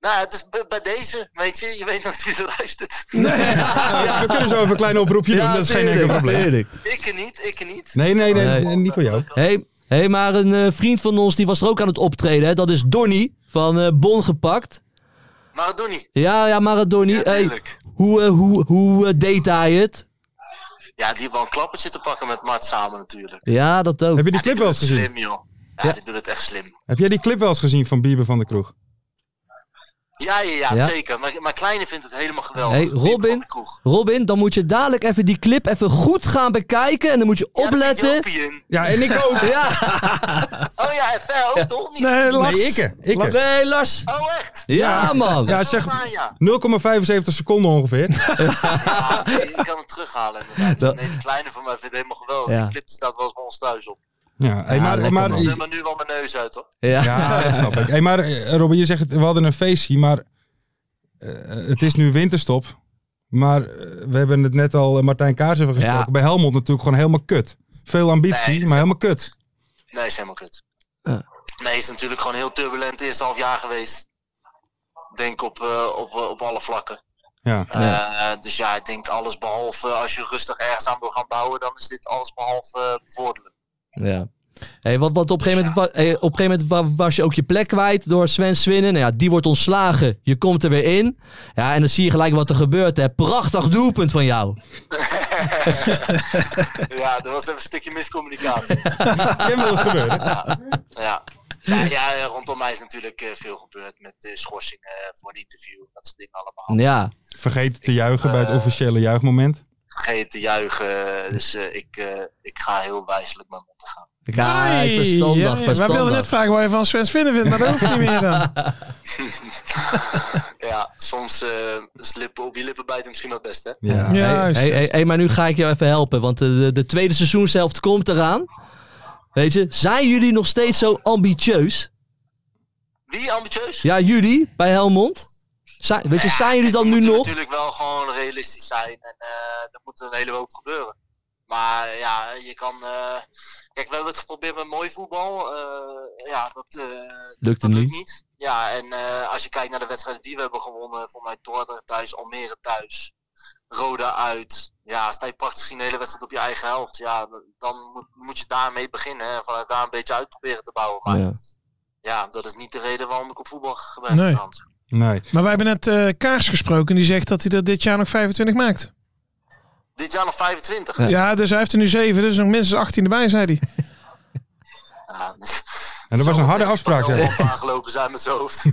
Speaker 8: Nou, het is bij- bij deze, weet je, je weet nooit wie er luistert.
Speaker 4: We kunnen zo even een klein oproepje doen, dat is geen enkel probleem.
Speaker 8: Ik niet, ik niet.
Speaker 4: Nee, nee, nee,
Speaker 5: Nee.
Speaker 4: nee, niet voor jou.
Speaker 5: Hey, hey, maar een eh, vriend van ons die was er ook aan het optreden. Hè? Dat is Donny van eh, Bon gepakt.
Speaker 8: Maar doe niet.
Speaker 5: Ja, ja, Maradoni.
Speaker 8: Ja,
Speaker 5: hey,
Speaker 8: tuurlijk.
Speaker 5: hoe, eh, hoe, hoe eh, deed hij het?
Speaker 8: Ja, die heeft wel een klapper zitten pakken met Mart samen natuurlijk.
Speaker 5: Ja, dat ook.
Speaker 4: Heb je die
Speaker 8: Ja,
Speaker 4: clip
Speaker 8: doet
Speaker 4: wel eens
Speaker 8: het
Speaker 4: gezien?
Speaker 8: Slim, joh. Ja,
Speaker 5: Ja.
Speaker 8: die doet het echt slim.
Speaker 4: Heb jij die clip wel eens gezien van Bieber van de Kroeg?
Speaker 8: Ja, ja, ja,
Speaker 5: Ja.
Speaker 8: zeker. Maar, maar Kleine vindt het helemaal geweldig.
Speaker 5: Hey,
Speaker 8: Die komt
Speaker 5: Robin.
Speaker 8: van de kroeg.
Speaker 5: Robin, dan moet je dadelijk even die clip even goed gaan bekijken. En dan moet je
Speaker 8: Ja, daar zit
Speaker 5: opletten.
Speaker 8: Jopie in.
Speaker 4: Ja,
Speaker 5: [LAUGHS]
Speaker 4: en ik ook.
Speaker 5: Ja,
Speaker 8: Oh ja, FL ook toch niet?
Speaker 6: Nee, Lars.
Speaker 4: Nee, ikke. ikke.
Speaker 5: nee, Lars.
Speaker 8: Oh, echt?
Speaker 5: Ja, man.
Speaker 4: Ja,
Speaker 8: Oh,
Speaker 4: zeg-
Speaker 8: waar, ja.
Speaker 5: [LAUGHS]
Speaker 4: 0,75 seconden ongeveer.
Speaker 8: Ja, nee, ik kan het terughalen
Speaker 5: Dat-
Speaker 8: inderdaad. Nee, die Kleine van mij vindt het helemaal geweldig.
Speaker 5: Ja.
Speaker 8: Die clip staat wel eens bij ons thuis op.
Speaker 4: Ja, hey,
Speaker 5: Ja,
Speaker 4: maar,
Speaker 5: lekker,
Speaker 4: maar,
Speaker 5: man.
Speaker 8: Ik ben nu wel mijn neus uit, hoor.
Speaker 5: Ja.
Speaker 4: ja, dat snap ik. Hey, maar eh, Robin, je zegt, het, we hadden een feestje, maar eh, het is nu winterstop. Maar eh, we hebben het net al eh, Martijn Kaars even gesproken.
Speaker 5: Ja.
Speaker 4: Bij Helmond natuurlijk gewoon helemaal kut. Veel ambitie,
Speaker 8: Nee,
Speaker 4: maar helemaal kut.
Speaker 8: Nee, is helemaal kut.
Speaker 5: Ja.
Speaker 8: Nee, is natuurlijk gewoon heel turbulent eerste half jaar geweest. Ik Denk op, eh, op, eh, op alle vlakken.
Speaker 4: Ja.
Speaker 8: Eh, dus ja, ik denk alles behalve, eh, als je rustig ergens aan wil gaan bouwen, dan is dit alles behalve eh, bevorderlijk.
Speaker 5: Ja. Hey, wat, wat op, een gegeven moment, wa- hey, op een gegeven moment wa- was je ook je plek kwijt door Sven Swinnen. Nou ja, die wordt ontslagen. Je komt er weer in. Ja, en dan zie je gelijk wat er gebeurt. Hè. Prachtig doelpunt van jou.
Speaker 8: ja, er was even een stukje miscommunicatie.
Speaker 4: Kan wel eens gebeuren.
Speaker 8: ja. Ja, ja, eh, rondom mij is natuurlijk eh, veel gebeurd met de schorsingen eh, voor het interview, dat soort dingen
Speaker 6: Oh.
Speaker 8: allemaal.
Speaker 5: Ja,
Speaker 4: Vergeet te juichen bij het officiële juichmoment.
Speaker 8: Vergeet te juichen, dus eh, ik, eh, ik ga heel wijselijk mijn mond te gaan. [LAUGHS]
Speaker 5: kijk,
Speaker 6: Ai,
Speaker 5: verstandig,
Speaker 6: ja, ja. Wij wilden net
Speaker 5: verstandig.
Speaker 6: vragen waar je van Sven Svinnen vindt, maar dat hoeft
Speaker 5: [LAUGHS]
Speaker 6: niet meer dan.
Speaker 8: ja, soms eh, is lippen op je lippen bijten misschien wel het beste. hè?
Speaker 4: Ja.
Speaker 6: Ja,
Speaker 5: Hey,
Speaker 6: juist.
Speaker 5: hey, hey, hey, maar nu ga ik jou even helpen, want de, de, de tweede seizoenshelft komt eraan. Weet je, zijn jullie nog steeds zo ambitieus?
Speaker 8: Wie ambitieus?
Speaker 5: Ja, jullie bij Helmond? Zijn, weet je, zijn jullie dan nu
Speaker 8: moet
Speaker 5: nog?
Speaker 8: natuurlijk wel gewoon realistisch zijn en eh er moet een hele hoop gebeuren. Maar ja, je kan. eh, kijk, we hebben het geprobeerd met mooi voetbal. eh, ja, dat, eh,
Speaker 5: Lukt het
Speaker 8: dat lukt
Speaker 5: niet?
Speaker 8: niet. Ja, en eh, als je kijkt naar de wedstrijden die we hebben gewonnen, voor mij Dordrecht thuis, Almere thuis, Roda uit. Ja, sta je praktisch gezien de hele wedstrijd op je eigen helft. Ja, dan moet, moet je daarmee beginnen hè, en vanuit daar een beetje uit proberen te bouwen. Maar
Speaker 5: Ja.
Speaker 8: ja, dat is niet de reden waarom ik op voetbal ben
Speaker 6: Nee.
Speaker 8: gegaan.
Speaker 4: Nee.
Speaker 6: Maar wij hebben net eh, Kaars gesproken die zegt dat hij er dit jaar nog 25 maakt.
Speaker 8: Dit jaar nog 25.
Speaker 5: Ja.
Speaker 6: Ja, dus hij heeft er nu 7, dus nog minstens 18 erbij, zei hij.
Speaker 8: Ja,
Speaker 4: En dat was een harde afspraak.
Speaker 8: Hij
Speaker 4: Zeg.
Speaker 8: aangelopen zijn met
Speaker 4: [LAUGHS]
Speaker 8: zijn hoofd.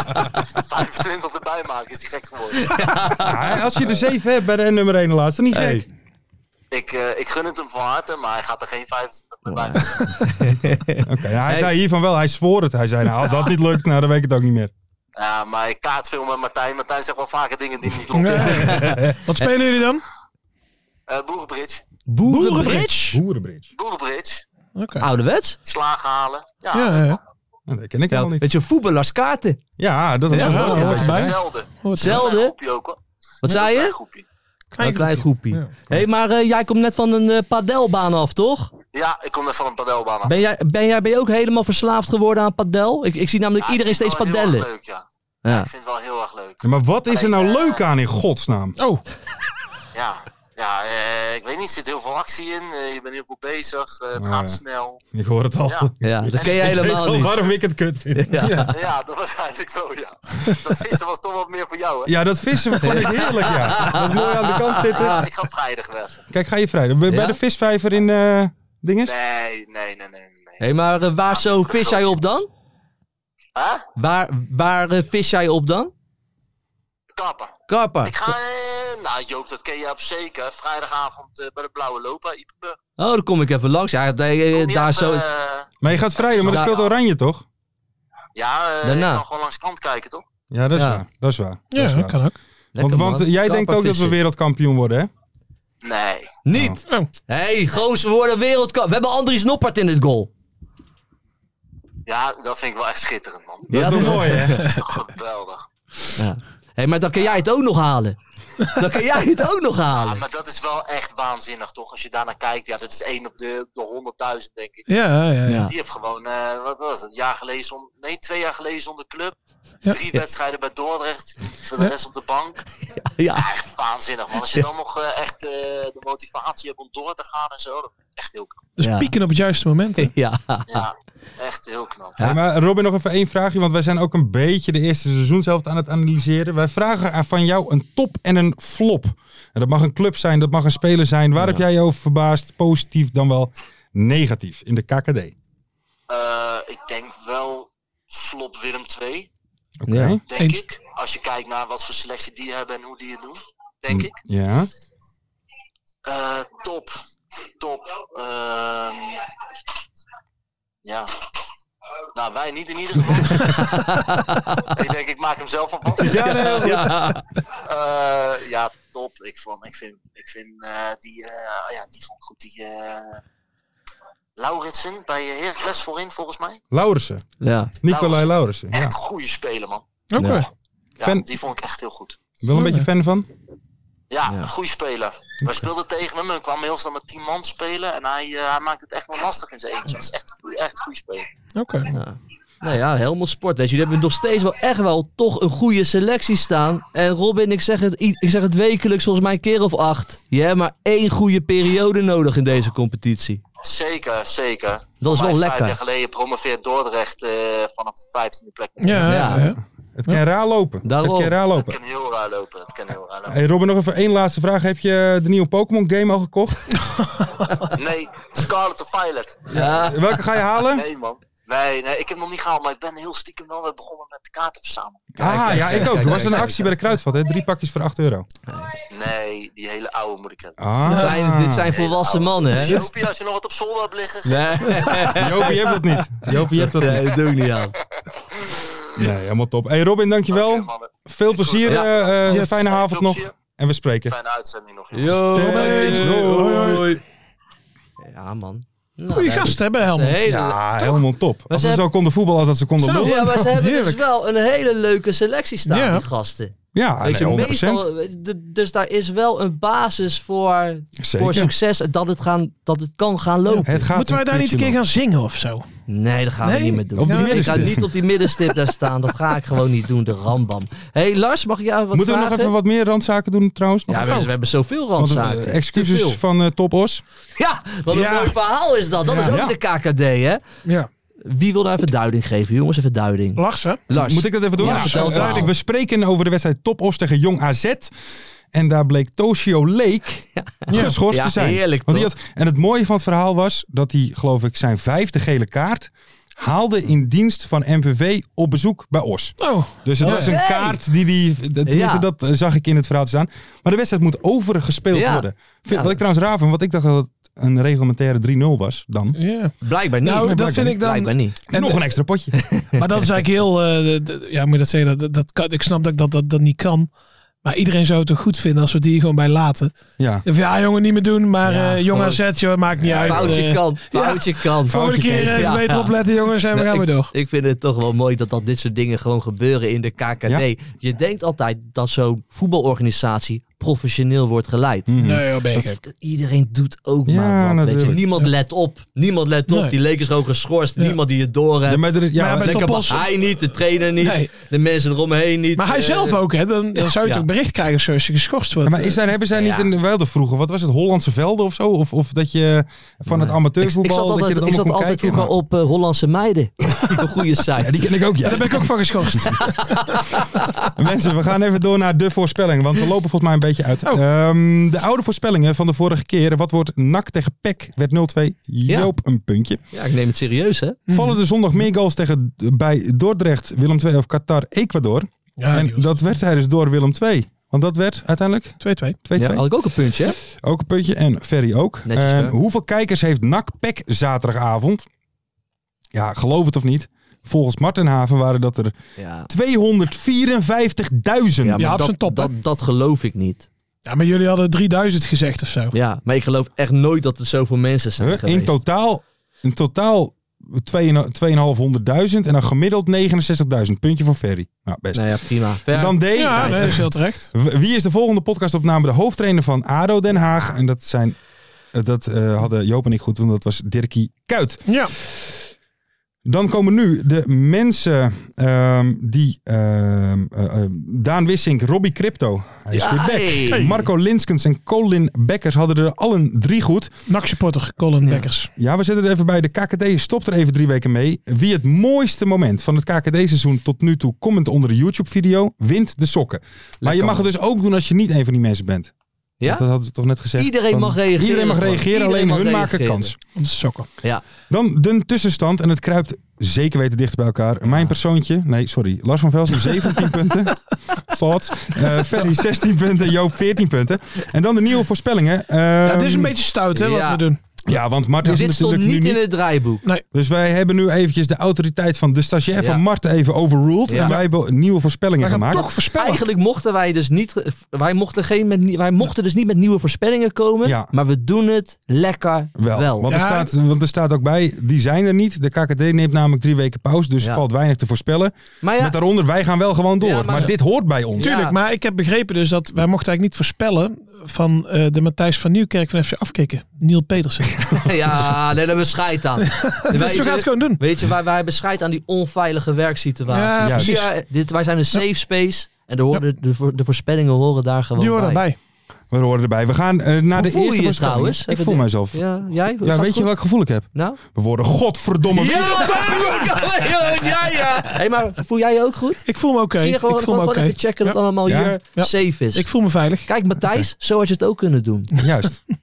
Speaker 8: 25 erbij maken is die gek geworden.
Speaker 4: Ja, Ah, als je er 7 hebt bij de nummer 1 laatste, niet gek.
Speaker 8: Ik, eh, ik gun het hem van harte, maar hij gaat er geen 25 meer bij maken.
Speaker 4: Oké, ja, hij
Speaker 5: Hey.
Speaker 4: zei hiervan wel, hij zwoer het. Hij zei, nou, als dat niet lukt, nou, dan weet ik het ook niet meer.
Speaker 8: Ja, maar ik kaart veel met Martijn. Martijn zegt wel vaker dingen die niet kloppen.
Speaker 5: [LAUGHS]
Speaker 6: Wat spelen jullie dan?
Speaker 8: Eh, Boerenbridge.
Speaker 5: Boerenbridge?
Speaker 4: Boerenbridge.
Speaker 8: Boerenbridge.
Speaker 6: Oké.
Speaker 5: Ah, Ouderwets?
Speaker 8: Slagen halen. Ja,
Speaker 6: Ja,
Speaker 8: dat
Speaker 6: ja.
Speaker 4: Nou, dat ken
Speaker 5: Ja,
Speaker 4: ik helemaal niet.
Speaker 5: weet je, voetballarskaarten.
Speaker 4: Ja, dat is
Speaker 6: Ja,
Speaker 4: wel
Speaker 6: dat
Speaker 4: een
Speaker 6: hoort
Speaker 4: beetje.
Speaker 6: erbij.
Speaker 8: Zelden.
Speaker 6: Hoort er.
Speaker 8: Klein
Speaker 5: Zelden.
Speaker 8: groepje ook hoor.
Speaker 5: Wat zei
Speaker 8: Klein
Speaker 5: je?
Speaker 8: groepje.
Speaker 5: Een klein groepje.
Speaker 6: Ja.
Speaker 5: Hé, hey, maar eh, jij komt net van een eh, padelbaan af, toch?
Speaker 8: Ja, ik kom net van een padelbaan af.
Speaker 5: Ben jij, ben jij ben je ook helemaal verslaafd geworden aan padel? Ik, ik zie namelijk
Speaker 8: Ja,
Speaker 5: iedereen
Speaker 8: ik vind
Speaker 5: steeds
Speaker 8: het wel heel erg
Speaker 5: padellen.
Speaker 8: Leuk, ja.
Speaker 5: Ja.
Speaker 8: Ik vind het wel heel erg leuk.
Speaker 4: Ja, maar wat is er nou
Speaker 8: Alleen, eh,
Speaker 5: Oh.
Speaker 4: leuk aan in godsnaam?
Speaker 6: Oh,
Speaker 8: Ja. ja, eh, ik weet niet, er zit heel veel actie in. eh, je bent heel veel bezig. eh, het
Speaker 4: Ah,
Speaker 8: gaat
Speaker 4: ja.
Speaker 8: snel.
Speaker 4: Ik hoor het al.
Speaker 8: Ja.
Speaker 5: Ja, dat
Speaker 8: [LAUGHS]
Speaker 5: ken je
Speaker 4: Ik weet
Speaker 5: helemaal
Speaker 4: wel
Speaker 5: niet.
Speaker 4: waarom ik het kut vind.
Speaker 5: Ja.
Speaker 8: Ja, dat was eigenlijk zo,
Speaker 5: [LAUGHS]
Speaker 8: ja. Dat vissen was toch wat meer voor jou, hè?
Speaker 4: Ja, dat vissen vond ik heerlijk, ja. Dat mooi aan de kant zitten.
Speaker 8: Ik ga vrijdag weg.
Speaker 4: Kijk, ga je vrijdag. Bij
Speaker 5: Ja?
Speaker 4: bij de visvijver in eh dinges?
Speaker 8: Nee, nee, nee, nee. nee.
Speaker 5: Hé, maar eh, waar zo vis jij op dan?
Speaker 8: Hè?
Speaker 5: Waar, waar eh, vis jij op dan?
Speaker 8: Kappen. Ik
Speaker 5: Karper.
Speaker 8: ga, eh, nou Joop, dat ken je op zeker. Vrijdagavond eh, bij de Blauwe Lopa, Ypenburg.
Speaker 5: Oh, dan kom ik even langs. Ja, daar-
Speaker 8: Kom niet
Speaker 5: daar
Speaker 8: even,
Speaker 5: zo...
Speaker 8: eh,
Speaker 4: Maar je gaat vrijdag, maar dat
Speaker 5: Ja.
Speaker 4: speelt Oranje, toch?
Speaker 8: ja, eh,
Speaker 5: Daarna.
Speaker 8: ik kan gewoon langs de kant kijken, toch?
Speaker 4: Ja, dat is
Speaker 5: Ja.
Speaker 4: waar. Dat is waar. dat is
Speaker 6: Ja,
Speaker 4: waar.
Speaker 6: dat kan ook.
Speaker 4: Want,
Speaker 5: Lekker,
Speaker 4: want
Speaker 5: man.
Speaker 4: jij denkt ook dat we
Speaker 5: Karpervissen.
Speaker 4: wereldkampioen worden, hè?
Speaker 8: Nee.
Speaker 5: Niet!
Speaker 6: Oh.
Speaker 5: Hé, hey, goos, we worden wereldkamp. We hebben Andries Noppert in het goal.
Speaker 8: Ja, dat vind ik wel echt schitterend, man.
Speaker 4: Dat is toch mooi, hè?
Speaker 5: [LAUGHS]
Speaker 8: Geweldig.
Speaker 5: Ja. Hé, maar dan kan jij het ook nog halen. Dan kan jij het ook nog
Speaker 8: Ja,
Speaker 5: halen.
Speaker 8: Ah, maar dat is wel echt waanzinnig, toch? Als je daarnaar kijkt, ja, dat is één op de op de honderdduizend, denk ik.
Speaker 6: Ja, ja, ja.
Speaker 5: Ja.
Speaker 8: Die heeft gewoon, eh, wat was het, een jaar geleden, zon- nee, twee jaar geleden zonder club.
Speaker 6: Ja.
Speaker 8: Drie wedstrijden bij Dordrecht, voor de
Speaker 6: Ja.
Speaker 8: rest op de bank.
Speaker 5: Ja.
Speaker 8: Ja, echt waanzinnig, man. Als je dan nog eh, echt eh, de motivatie hebt om door te gaan en zo, dat is echt heel knap.
Speaker 6: Dus
Speaker 5: Ja.
Speaker 6: pieken op het
Speaker 5: [LAUGHS]
Speaker 6: juiste moment. hè.
Speaker 5: Ja.
Speaker 8: Ja, echt heel knap.
Speaker 5: Ah. Ja.
Speaker 4: Hey, maar Robin, nog even één vraagje, want wij zijn ook een beetje de eerste seizoen zelf aan het analyseren. Wij vragen aan van jou een top en een flop. En dat mag een club zijn, dat mag een speler zijn. Waar heb jij je over verbaasd? Positief dan wel negatief in de KKD? Oké.
Speaker 8: Eh, ik denk wel flop Willem 2,
Speaker 5: Ja.
Speaker 8: denk
Speaker 6: En-
Speaker 8: ik. Als je kijkt naar wat voor selectie die hebben en hoe die het doen, denk ik.
Speaker 4: Ja.
Speaker 8: Eh, top. Top. Ehm, ja. Nou, wij niet in ieder geval. ik denk, ik maak hem zelf alvast. Ja,
Speaker 5: Ja.
Speaker 8: ja, top. Ik, vond, ik vind, ik vind eh, die, eh, oh ja, die vond ik goed. Die eh Lauritsen bij eh, Heracles voorin, volgens mij.
Speaker 4: Laurensen.
Speaker 5: Ja.
Speaker 4: Nicolai Laurensen. Ja.
Speaker 8: Echt goede speler, man.
Speaker 6: Oké.
Speaker 8: Ja,
Speaker 4: Fan-
Speaker 8: Die vond ik echt heel goed.
Speaker 4: Wel een beetje fan van?
Speaker 8: Ja,
Speaker 5: Ja.
Speaker 8: goede speler. We speelden tegen hem en kwam heel snel met 10 man spelen. En hij, eh, hij maakt het echt wel lastig in zijn eentje. Dat is echt, echt goede speler.
Speaker 6: Oké.
Speaker 5: Nou ja, Helmond Sport. Weet je, jullie hebben nog steeds wel echt wel toch een goede selectie staan. En Robin, ik zeg het, i- ik zeg het wekelijks, volgens mij een keer of acht. Je hebt maar één goede periode nodig in deze competitie.
Speaker 8: Zeker, zeker.
Speaker 5: Dat is
Speaker 8: Voor
Speaker 5: wel
Speaker 8: mij
Speaker 5: lekker.
Speaker 8: Vijf jaar geleden promoveert Dordrecht eh, vanaf de vijftiende plek.
Speaker 6: Ja, ja,
Speaker 5: Ja.
Speaker 6: ja.
Speaker 4: Het kan raar lopen.
Speaker 5: Daarom.
Speaker 4: Het kan raar
Speaker 8: Het
Speaker 4: lopen.
Speaker 8: kan heel raar lopen. Het kan heel raar lopen.
Speaker 4: Hey Robin, nog even één laatste vraag. Heb je de nieuwe Pokémon game al gekocht?
Speaker 8: Nee, Scarlet of Violet.
Speaker 5: Ja.
Speaker 4: Welke ga je halen?
Speaker 8: Nee, man. Nee, nee, ik heb hem nog niet gehaald, maar ik ben heel stiekem wel weer begonnen met de kaarten verzamelen.
Speaker 4: Ah, ja, ik ook. Er was een actie bij de Kruidvat, hè? Drie pakjes voor 8 euro.
Speaker 8: Nee, die hele oude moet ik hebben.
Speaker 5: Dit
Speaker 4: Ah,
Speaker 5: zijn, dit zijn volwassen mannen, hè?
Speaker 8: Jopie, als je nog wat op zolder hebt liggen.
Speaker 5: Nee,
Speaker 4: Jopie, je hebt dat niet. [LAUGHS] Jopie, je hebt dat
Speaker 5: nee,
Speaker 4: niet.
Speaker 5: dat doe ik niet aan.
Speaker 4: Nee, helemaal top. Hey Robin,
Speaker 8: Oké,
Speaker 4: dankjewel.
Speaker 8: mannen.
Speaker 4: Veel plezier.
Speaker 5: Ja.
Speaker 4: eh, eh,
Speaker 6: Yes.
Speaker 4: Fijne avond
Speaker 8: Veel
Speaker 4: nog.
Speaker 8: plezier.
Speaker 4: En we spreken.
Speaker 8: Fijne uitzending nog, jongens.
Speaker 5: Yo,
Speaker 4: Thanks. Hoi, hoi.
Speaker 5: Ja, man. Nou,
Speaker 6: Goeie gast hè,
Speaker 5: dus
Speaker 6: bij Helmond.
Speaker 4: Ja, helemaal top. Als ze
Speaker 5: hebben-
Speaker 4: zo konden voetballen als dat ze konden
Speaker 6: Zo.
Speaker 4: lullen.
Speaker 5: Ja, maar ze hebben
Speaker 4: Heerlijk.
Speaker 5: dus wel een hele leuke selectie staan,
Speaker 6: Ja.
Speaker 5: die gasten.
Speaker 4: Ja,
Speaker 5: Weet je,
Speaker 4: nee, 100%.
Speaker 5: meestal, d- dus daar is wel een basis voor, voor
Speaker 4: Zeker.
Speaker 5: succes en dat het, gaan, dat het kan gaan lopen.
Speaker 4: Het gaat
Speaker 6: Moeten wij
Speaker 4: een
Speaker 6: daar niet een keer
Speaker 4: prikje
Speaker 6: gaan zingen of zo?
Speaker 5: Nee, dat gaan we
Speaker 6: Nee,
Speaker 5: niet meer doen.
Speaker 4: op die
Speaker 5: ik ga
Speaker 4: middenstip.
Speaker 5: niet op die middenstip daar staan. Dat ga ik gewoon niet doen, de rambam. Hé, hey, Lars, mag ik jou wat
Speaker 4: Moeten we
Speaker 5: vragen?
Speaker 4: nog even wat meer randzaken doen trouwens? Nog
Speaker 5: Ja, we,
Speaker 4: even?
Speaker 5: we hebben zoveel
Speaker 4: Want, eh,
Speaker 5: randzaken. Te veel.
Speaker 4: excuses van eh, Top Os.
Speaker 5: Ja, wat een
Speaker 6: Ja.
Speaker 5: mooi verhaal is dat. Dat is ook
Speaker 4: Ja.
Speaker 5: de KKD, hè?
Speaker 6: Ja.
Speaker 5: Wie wil daar even duiding geven? Jongens, even duiding.
Speaker 6: Lars, hè?
Speaker 5: Lars.
Speaker 4: Moet ik dat even doen?
Speaker 5: Ja,
Speaker 4: Nou,
Speaker 5: vertel het
Speaker 4: eh,
Speaker 5: verhaal.
Speaker 4: We spreken over de wedstrijd Top Os tegen Jong AZ. En daar bleek Toshio Leek
Speaker 5: [LAUGHS]
Speaker 4: geschorst
Speaker 5: Ja,
Speaker 4: te zijn.
Speaker 5: heerlijk,
Speaker 4: Want die had- en het mooie van het verhaal was dat hij, geloof ik, zijn vijfde gele kaart haalde in dienst van MVV op bezoek bij Os.
Speaker 6: Oh,
Speaker 4: Dus het
Speaker 6: Oh,
Speaker 4: was een
Speaker 5: hey.
Speaker 4: kaart die die. dat- tenminste,
Speaker 5: Ja.
Speaker 4: Dat eh, zag ik in het verhaal staan. Maar de wedstrijd moet overgespeeld
Speaker 5: Ja.
Speaker 4: worden. Vind,
Speaker 5: Ja.
Speaker 4: Wat ik trouwens raar vind, want ik dacht dat het een reglementaire 3-0 was dan.
Speaker 6: ja.
Speaker 5: Blijkbaar niet.
Speaker 6: Nou, dat vind ik
Speaker 5: Blijkbaar
Speaker 6: dan...
Speaker 5: niet.
Speaker 4: En nog een extra
Speaker 5: [LAUGHS]
Speaker 4: potje.
Speaker 6: Maar dat is eigenlijk heel... eh, de- de- ja, moet je dat zeggen? Dat, dat, dat kan, ik snap dat ik dat, dat, dat niet kan. Maar iedereen zou het toch goed vinden als we die gewoon bij laten.
Speaker 4: ja.
Speaker 6: Of ja, jongen, niet meer doen. Maar
Speaker 5: Ja,
Speaker 6: eh jongen,
Speaker 5: gewoon-
Speaker 6: zet je, maakt niet uit.
Speaker 5: Foutje
Speaker 6: Eh,
Speaker 5: kan. Foutje kan.
Speaker 6: Volgende keer eh, even
Speaker 5: Ja,
Speaker 6: beter
Speaker 5: ja.
Speaker 6: opletten, jongens. En we gaan
Speaker 5: ik,
Speaker 6: weer door.
Speaker 5: ik vind het toch wel mooi dat, dat dit soort dingen gewoon gebeuren in de KKD.
Speaker 4: Ja.
Speaker 5: Je denkt altijd dat zo'n voetbalorganisatie professioneel wordt geleid.
Speaker 4: Mhm.
Speaker 6: Nee, joh, ben je
Speaker 5: Dat-
Speaker 6: gek.
Speaker 5: iedereen doet ook
Speaker 4: Ja,
Speaker 5: maar wat. Weet je.
Speaker 4: natuurlijk.
Speaker 5: Niemand
Speaker 6: Ja.
Speaker 5: let op. Niemand let op.
Speaker 6: Nee.
Speaker 5: Die leek is gewoon geschorst.
Speaker 6: Ja.
Speaker 5: Niemand die het door
Speaker 4: Ja,
Speaker 5: hebt.
Speaker 4: maar er is- ja,
Speaker 6: Maar ja, bij
Speaker 4: dat-
Speaker 5: Lekker
Speaker 6: Topos-
Speaker 5: bak- hij niet, de trainer niet,
Speaker 6: Nee.
Speaker 5: de mensen eromheen niet.
Speaker 6: Maar hij
Speaker 5: eh,
Speaker 6: zelf ook, hè? Dan, dan zou je
Speaker 5: ja.
Speaker 6: toch bericht krijgen als je als je geschorst
Speaker 4: ja,
Speaker 6: wordt.
Speaker 4: maar is daar, hebben zij
Speaker 5: eh, Ja.
Speaker 4: niet in Weilder vroeger, wat was het, Hollandse velden of zo? Of, of dat je van het
Speaker 5: Nee.
Speaker 4: amateurvoetbal,
Speaker 5: Ik zat
Speaker 4: dat je
Speaker 5: altijd,
Speaker 4: dat
Speaker 5: ik zat
Speaker 4: allemaal kon
Speaker 5: altijd
Speaker 4: kijken?
Speaker 5: vroeger
Speaker 4: maar-
Speaker 5: op eh, Hollandse
Speaker 6: [LAUGHS]
Speaker 5: meiden. Een goede site.
Speaker 4: Ja, [LAUGHS] die ken ik ook, ja.
Speaker 6: Daar ben ik ook van
Speaker 5: [LAUGHS]
Speaker 6: geschorst.
Speaker 4: Mensen, we gaan even door naar de voorspelling, want we lopen volgens mij een beetje uit.
Speaker 5: Oh.
Speaker 4: Ehm, de oude voorspellingen van de vorige keer. Wat wordt NAC tegen PEC? Werd 0-2. Joop, een puntje.
Speaker 5: Ja, ik neem het serieus, hè?
Speaker 4: Vallen er zondag meer goals tegen bij Dordrecht, Willem II of Qatar, Ecuador?
Speaker 6: Ja,
Speaker 4: en dat werd tijdens door Willem II. Want dat werd uiteindelijk 2-2.
Speaker 6: 2-2.
Speaker 5: Ja, had ik ook een puntje, hè?
Speaker 4: Ook een puntje. En Ferry ook.
Speaker 5: Netjes,
Speaker 4: En
Speaker 5: Fer.
Speaker 4: hoeveel kijkers heeft NAC PEC E zaterdagavond? Ja, geloof het of niet. Volgens Martenhaven waren dat er 254.000.
Speaker 5: Ja.
Speaker 6: maar Ja, op
Speaker 5: dat,
Speaker 6: zijn top, hè?
Speaker 5: dat, dat geloof ik niet.
Speaker 6: Ja, maar jullie hadden 3000 gezegd of zo.
Speaker 5: Ja, maar ik geloof echt nooit dat er zoveel mensen zijn
Speaker 4: Huh?
Speaker 5: geweest.
Speaker 4: In totaal, in totaal 2.500.000 en dan gemiddeld 69.000. Puntje voor Ferry. Nou, best.
Speaker 5: Nou ja, prima. Ver.
Speaker 4: En dan D.
Speaker 6: Ja, nee, dat is heel terecht.
Speaker 4: W- Wie is de volgende podcastopname? De hoofdtrainer van ADO Den Haag. En dat zijn... eh, Dat eh, hadden Joop en ik goed, want dat was Dirkie Kuit.
Speaker 6: Ja,
Speaker 4: Dan komen nu de mensen ehm, die... ehm, eh, eh, Daan Wissink, Robbie Crypto. Hij is
Speaker 5: Ja,
Speaker 4: weer back.
Speaker 5: hey.
Speaker 4: Marco Linskens en Colin Bekkers hadden er allen drie goed.
Speaker 6: NAC supporter Colin
Speaker 5: Ja.
Speaker 6: Bekkers.
Speaker 4: Ja, we zitten er even bij. De KKD stopt er even drie weken mee. Wie het mooiste moment van het KKD-seizoen tot nu toe comment onder de YouTube-video, wint de sokken. maar je mag het dus ook doen als je niet een van die mensen bent.
Speaker 5: Ja?
Speaker 4: Want Dat hadden we toch net gezegd?
Speaker 5: Iedereen mag reageren
Speaker 4: Iedereen mag
Speaker 5: gewoon.
Speaker 4: reageren,
Speaker 5: Iedereen
Speaker 4: alleen
Speaker 5: mag
Speaker 4: hun maken
Speaker 5: reageren.
Speaker 4: kans.
Speaker 6: Onze sokken.
Speaker 4: Dan de tussenstand. En het kruipt zeker weten dicht bij elkaar. Mijn persoontje. Nee, sorry. Lars van Velsen
Speaker 5: [LAUGHS]
Speaker 4: 17 punten. Thoughts. Eh Ferry 16 punten. Joop 14 punten. En dan de nieuwe voorspellingen.
Speaker 6: Ja, dit is een
Speaker 4: Ehm,
Speaker 6: beetje stout, hè, wat
Speaker 5: Ja.
Speaker 6: we doen.
Speaker 4: Ja, want Martin is
Speaker 5: Dit stond
Speaker 4: natuurlijk nu
Speaker 5: niet
Speaker 4: niet
Speaker 5: in het draaiboek.
Speaker 4: Dus wij hebben nu eventjes de autoriteit van de stagiair
Speaker 5: Ja.
Speaker 4: van Mart even overruled.
Speaker 5: Ja.
Speaker 4: En wij hebben nieuwe
Speaker 6: We
Speaker 4: voorspellingen
Speaker 6: gaan
Speaker 4: gemaakt.
Speaker 6: toch voorspellen.
Speaker 5: Eigenlijk mochten wij dus niet. Wij mochten, geen met, nie- wij mochten dus niet met nieuwe voorspellingen komen.
Speaker 4: Ja.
Speaker 5: Maar we doen het lekker wel.
Speaker 4: Wel, Want,
Speaker 6: Ja.
Speaker 4: er staat, want er staat ook bij, die zijn er niet. De KKD neemt namelijk drie weken pauze, dus
Speaker 5: Ja.
Speaker 4: valt weinig te voorspellen.
Speaker 5: Maar ja,
Speaker 4: Met daaronder, wij gaan wel gewoon door.
Speaker 5: Ja,
Speaker 4: maar
Speaker 5: maar-
Speaker 4: dit hoort bij ons.
Speaker 6: Tuurlijk,
Speaker 5: Ja.
Speaker 6: maar ik heb begrepen dus dat wij mochten eigenlijk niet voorspellen van eh, de Matthijs van Nieuwkerk van FC Afkikken. Niel
Speaker 5: [LAUGHS]
Speaker 6: Petersen.
Speaker 5: ja nee, daar hebben we scheid
Speaker 4: [LAUGHS]
Speaker 5: aan.
Speaker 6: dus we gaan het gewoon doen.
Speaker 5: Weet je, wij, wij hebben scheid aan die onveilige werksituatie.
Speaker 6: Ja,
Speaker 4: Juist.
Speaker 6: precies.
Speaker 5: Hier, dit, wij zijn een safe space. En de, horen, de, voor- de voorspellingen horen daar gewoon
Speaker 6: Die horen
Speaker 5: bij.
Speaker 6: erbij.
Speaker 4: We horen erbij. We gaan eh, naar
Speaker 5: Hoe
Speaker 4: de
Speaker 5: voel je
Speaker 4: eerste
Speaker 5: je
Speaker 4: voorspelling.
Speaker 5: trouwens?
Speaker 4: Ik
Speaker 5: Even
Speaker 4: voel
Speaker 5: dit-
Speaker 4: mijzelf. Ja,
Speaker 5: Ja, jij? Gaat
Speaker 4: weet je
Speaker 5: goed?
Speaker 4: welk gevoel ik heb?
Speaker 5: Nou?
Speaker 4: We worden godverdomme weer-
Speaker 5: Ja, ja, ja. Hé, maar voel jij je ook goed?
Speaker 6: Ik voel me oké.
Speaker 5: Zie je gewoon,
Speaker 6: Ik voel me
Speaker 5: gewoon,
Speaker 6: oké.
Speaker 5: gewoon even checken dat
Speaker 6: Ja.
Speaker 5: allemaal
Speaker 4: Ja.
Speaker 5: hier
Speaker 6: Ja.
Speaker 5: safe is.
Speaker 6: Ik voel me veilig.
Speaker 5: Kijk, Matthijs, zo had je het ook kunnen doen.
Speaker 4: Juist. [LAUGHS]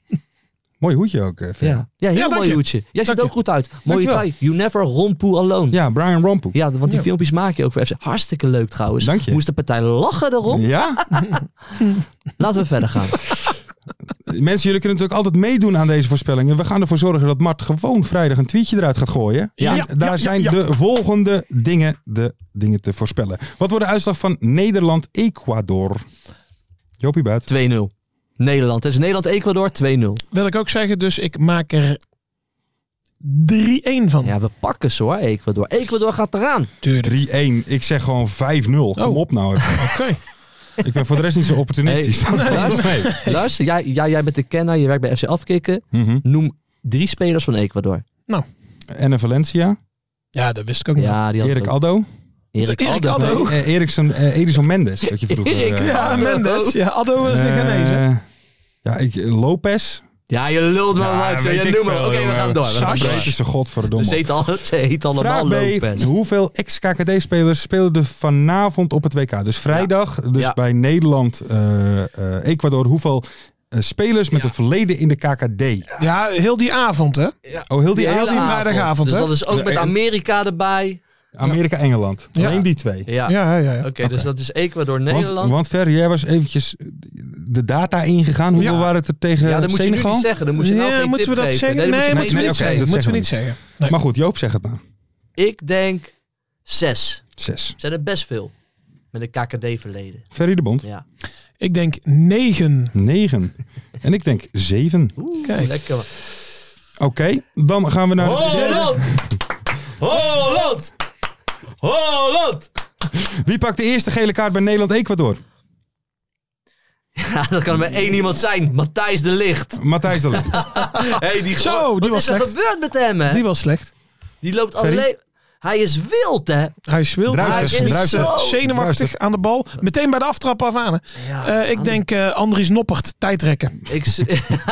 Speaker 4: Mooi hoedje ook, eh, Fer. ja.
Speaker 5: Ja, ja heel
Speaker 6: Ja, dank
Speaker 5: mooi
Speaker 6: je.
Speaker 5: hoedje. Jij ziet
Speaker 6: Dank
Speaker 5: er ook
Speaker 6: je.
Speaker 5: goed uit. Mooie
Speaker 4: Dankjewel.
Speaker 5: trui. You never rompoe alone. Ja.
Speaker 4: Brian Rompoe.
Speaker 5: want die
Speaker 6: Ja.
Speaker 5: filmpjes maak je ook voor FC. Hartstikke leuk trouwens.
Speaker 4: Dank je.
Speaker 5: Moest de partij lachen erom. [LAUGHS]
Speaker 4: Ja?
Speaker 5: Laten we verder
Speaker 6: [LAUGHS]
Speaker 5: gaan.
Speaker 4: Mensen, jullie kunnen natuurlijk altijd meedoen aan deze voorspellingen. We gaan ervoor zorgen dat Mart gewoon vrijdag een tweetje eruit gaat gooien.
Speaker 6: Ja.
Speaker 4: En
Speaker 6: Ja,
Speaker 4: daar
Speaker 6: ja,
Speaker 4: zijn
Speaker 6: ja,
Speaker 4: de volgende dingen, de dingen te voorspellen. Wat wordt de uitslag van Nederland-Ecuador? Jopie Buit.
Speaker 5: 2-0. Nederland. Het is Nederland-Ecuador 2-0.
Speaker 6: Wil ik ook zeggen, dus ik maak er 3-1 van.
Speaker 5: Ja, we pakken ze hoor, Ecuador. Ecuador gaat eraan.
Speaker 6: Tuurlijk.
Speaker 4: 3-1. Ik zeg gewoon 5-0. Kom
Speaker 6: Oh.
Speaker 4: op nou even.
Speaker 6: Oké.
Speaker 4: Ik ben voor de rest niet zo opportunistisch.
Speaker 5: Lars, Lars jij, jij, jij bent de kenner. Je werkt bij FC Afkikken.
Speaker 4: [LAUGHS] Mhm.
Speaker 5: Noem drie spelers van Ecuador.
Speaker 4: Enne Valencia.
Speaker 6: Ja, dat wist ik ook niet.
Speaker 5: Ja, die had
Speaker 4: Erik
Speaker 5: ook.
Speaker 4: Addo.
Speaker 5: Erik
Speaker 6: Erik
Speaker 5: Addo.
Speaker 6: Addo.
Speaker 4: Eh, Eriksen, eh, Edison Mendes. Wat je vroeger...
Speaker 5: Erik,
Speaker 4: eh,
Speaker 6: Ja,
Speaker 5: Addo.
Speaker 6: Mendes. Ja, Addo is een Ghanese.
Speaker 4: eh, ja, ik, Lopez.
Speaker 5: Ja, je lult me
Speaker 4: Ja,
Speaker 5: uit.
Speaker 4: weet
Speaker 5: Ja,
Speaker 4: ik
Speaker 5: noem maar. Oké,
Speaker 4: veel,
Speaker 5: we
Speaker 4: jongen.
Speaker 5: gaan door. We gaan
Speaker 4: Sascha.
Speaker 5: door.
Speaker 4: Breed is de godverdomme.
Speaker 5: Ze heet, al, ze heet
Speaker 4: Vraag
Speaker 5: allemaal
Speaker 4: B.
Speaker 5: Lopez.
Speaker 4: Hoeveel ex-KKD-spelers speelden vanavond op het WK? Dus vrijdag, dus
Speaker 5: Ja.
Speaker 4: bij Nederland, eh, eh, Ecuador. Hoeveel eh, spelers met een verleden in de KKD?
Speaker 6: Ja, heel die avond, hè?
Speaker 4: Oh, heel die
Speaker 6: Ja,
Speaker 4: uit-
Speaker 6: heel die
Speaker 5: avond.
Speaker 6: vrijdagavond,
Speaker 5: Dus
Speaker 6: hè?
Speaker 5: dat is ook met Amerika erbij.
Speaker 4: Amerika-Engeland.
Speaker 6: Ja.
Speaker 4: Alleen die twee.
Speaker 5: Ja,
Speaker 6: Ja, ja, ja.
Speaker 5: oké. dus dat is Ecuador,
Speaker 4: Want,
Speaker 5: Nederland.
Speaker 4: want Fer, jij was eventjes de data ingegaan. Hoeveel
Speaker 6: Ja.
Speaker 4: waren het er tegen
Speaker 5: ja, dat moet je nu
Speaker 4: Senegal?
Speaker 5: niet zeggen. Dan moet je nou
Speaker 6: Ja,
Speaker 5: geen
Speaker 6: moeten
Speaker 5: tip
Speaker 6: we dat
Speaker 5: geven.
Speaker 6: zeggen?
Speaker 5: dat
Speaker 6: Nee,
Speaker 5: moet je
Speaker 6: moeten we
Speaker 4: nee,
Speaker 6: niet
Speaker 4: oké,
Speaker 6: zeggen.
Speaker 4: dat
Speaker 6: Moeten we niet
Speaker 4: zeggen
Speaker 6: zeggen.
Speaker 4: Maar goed, Joop zegt het maar.
Speaker 5: niet- Ik denk zes.
Speaker 4: Zes.
Speaker 5: Zijn er best veel. Met een KKD-verleden.
Speaker 4: Ferry de Bond.
Speaker 5: Ja.
Speaker 6: Ik denk 9.
Speaker 4: Negen. En ik denk zeven.
Speaker 5: Oeh, lekker. man.
Speaker 4: Oké, dan gaan we naar...
Speaker 6: Oh.
Speaker 4: de reserve.
Speaker 5: Holland! Holland! Holland!
Speaker 4: Wie pakt de eerste gele kaart bij Nederland-Ecuador?
Speaker 5: [LAUGHS] Ja, dat kan er maar één iemand zijn. Matthijs de Licht.
Speaker 4: Matthijs de
Speaker 5: [LAUGHS]
Speaker 4: Ligt.
Speaker 5: Hey, die
Speaker 6: Ah, Zo,
Speaker 5: gozer- Wat
Speaker 6: die was
Speaker 5: is er
Speaker 6: slecht.
Speaker 5: gebeurd met hem, hè?
Speaker 6: Die
Speaker 5: Die,
Speaker 6: was slecht.
Speaker 5: loopt
Speaker 6: Ferry?
Speaker 5: alleen... Hij is wild, hè?
Speaker 6: Hij is wild.
Speaker 4: Druif
Speaker 6: Hij
Speaker 4: is-
Speaker 6: is
Speaker 4: druif is-
Speaker 6: zo
Speaker 4: druif is-
Speaker 6: zenuwachtig aan de bal. Meteen bij de aftrap af aan. hè.
Speaker 5: Ja,
Speaker 6: Eh, ik
Speaker 5: aan-
Speaker 6: denk eh, Andries Noppert, tijdrekken.
Speaker 5: Ik, z-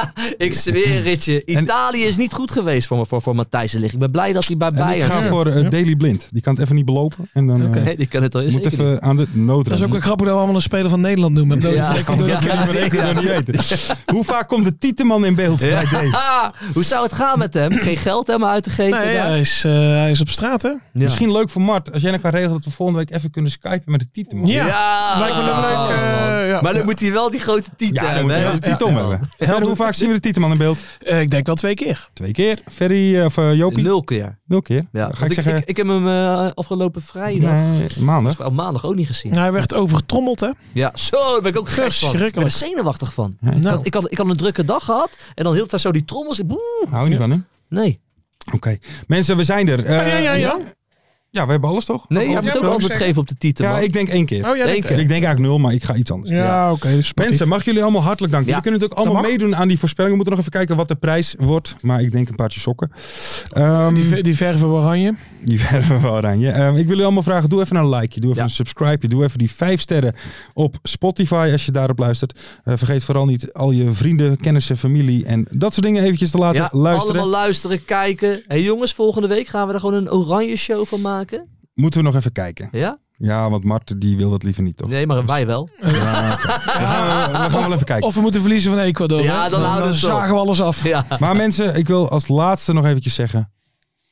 Speaker 5: [LAUGHS] ik zweer het je. Italië is niet goed geweest voor, me- voor, voor Matthijs de Ligt. Ik ben blij dat hij bij
Speaker 4: En ik
Speaker 5: Bayern
Speaker 4: ga
Speaker 5: zit.
Speaker 4: voor eh, Daily Blind. Die kan het even niet belopen. En dan
Speaker 5: [LAUGHS]
Speaker 4: eh,
Speaker 5: Nee, die kan het al eens.
Speaker 4: moet even aan de nood
Speaker 6: Dat is ook een grap hoe we allemaal een speler van Nederland noemen. Dat
Speaker 5: Ja.
Speaker 6: ja.
Speaker 4: dat
Speaker 5: Ja,
Speaker 4: jullie maar één keer
Speaker 5: ja.
Speaker 4: dan niet weten. Hoe vaak komt de Tieteman in beeld? bij Dave?
Speaker 5: [LAUGHS] Hoe zou het gaan met hem? Geen geld hem uit te geven?
Speaker 6: Nee,
Speaker 5: daar?
Speaker 6: hij, is, eh, hij is op straat, hè?
Speaker 5: Ja.
Speaker 4: Misschien leuk voor Mart. Als jij dan kan regelen dat we volgende week even kunnen skypen met de Tieteman.
Speaker 6: Ja. Lijkt me wel leuk,
Speaker 5: Oh, man.
Speaker 6: eh, ja.
Speaker 5: Maar dan
Speaker 6: Ja.
Speaker 5: moet hij wel die grote titel
Speaker 4: Ja, dan
Speaker 5: hebben.
Speaker 4: moeten we
Speaker 5: hè?
Speaker 4: wel de Tietom hebben. Verder, hoe vaak zien we de Tieteman in beeld?
Speaker 6: Eh, ik denk wel twee keer.
Speaker 4: Twee keer. Ferry eh, of eh, Jopie?
Speaker 5: Nul keer.
Speaker 4: Nul keer.
Speaker 5: Ja.
Speaker 4: Ga
Speaker 5: Want
Speaker 4: ik
Speaker 5: ik,
Speaker 4: zeggen...
Speaker 5: ik, ik heb hem eh, afgelopen vrijdag,
Speaker 4: nee, maandag.
Speaker 5: of maandag ook niet gezien.
Speaker 6: Hij werd overgetrommeld, hè?
Speaker 5: Ja, zo, daar ben ik ook gek van. Ik ben er
Speaker 6: Verschrikkelijk.
Speaker 5: zenuwachtig van.
Speaker 4: Ja.
Speaker 5: Ik,
Speaker 6: Nou.
Speaker 5: had, ik, had, ik had een drukke dag gehad en dan hield daar zo die trommels. in. Boe,
Speaker 4: Hou je niet van hem?
Speaker 5: Nee.
Speaker 4: Oké. Mensen, we zijn er. Eh,
Speaker 6: ja, ja, ja, ja.
Speaker 4: ja, we hebben alles toch?
Speaker 5: Nee, jij
Speaker 6: jij
Speaker 5: moet ook
Speaker 6: wil
Speaker 5: antwoord
Speaker 6: zeggen-
Speaker 5: geven op de titel.
Speaker 4: Ja, ik denk één keer.
Speaker 6: Oh, ja,
Speaker 5: Eén
Speaker 6: denk
Speaker 5: keer.
Speaker 4: Ik denk eigenlijk nul, maar ik ga iets anders.
Speaker 6: Ja, oké. sportief.
Speaker 4: Mensen, mag ik jullie allemaal hartelijk danken.
Speaker 5: Ja,
Speaker 4: Jullie kunnen natuurlijk allemaal meedoen aan die voorspelling. We moeten nog even kijken wat de prijs wordt. Maar ik denk een paardje sokken. Ehm,
Speaker 6: Die, ver- die verven oranje.
Speaker 4: die [LAUGHS] verven we oranje. Ehm, ik wil jullie allemaal vragen, doe even een likeje. Doe even
Speaker 5: Ja.
Speaker 4: een subscribeje. Doe even die vijf sterren op Spotify als je daarop luistert. Eh, vergeet vooral niet al je vrienden, kennissen, familie en dat soort dingen eventjes te laten
Speaker 5: Ja,
Speaker 4: luisteren.
Speaker 5: allemaal luisteren, kijken. Hé hey jongens, volgende week gaan we er gewoon een oranje show van maken.
Speaker 4: Moeten we nog even kijken.
Speaker 5: Ja?
Speaker 4: Ja, want Mart die wil dat liever niet toch?
Speaker 5: Nee, maar wij wel.
Speaker 4: Ja, oké. we, gaan, eh, we gaan wel even kijken.
Speaker 6: Of we moeten verliezen van Ecuador.
Speaker 5: Ja,
Speaker 6: hè?
Speaker 5: dan houden we het op.
Speaker 6: zagen we alles af.
Speaker 5: Ja.
Speaker 4: Maar mensen, ik wil als laatste nog eventjes zeggen.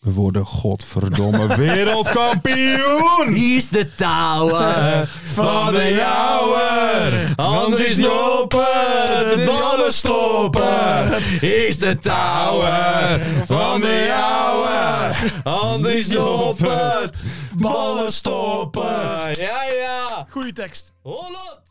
Speaker 4: We worden
Speaker 5: [LAUGHS]
Speaker 4: godverdomme wereldkampioen!
Speaker 5: Hier is de touwen van de jouwer. Andries Noppen, de ballen stoppen. Hier is de touwen van de jouwer. Andries Noppen, ballen stoppen. Ja, ja.
Speaker 6: Goeie tekst.
Speaker 5: Holland.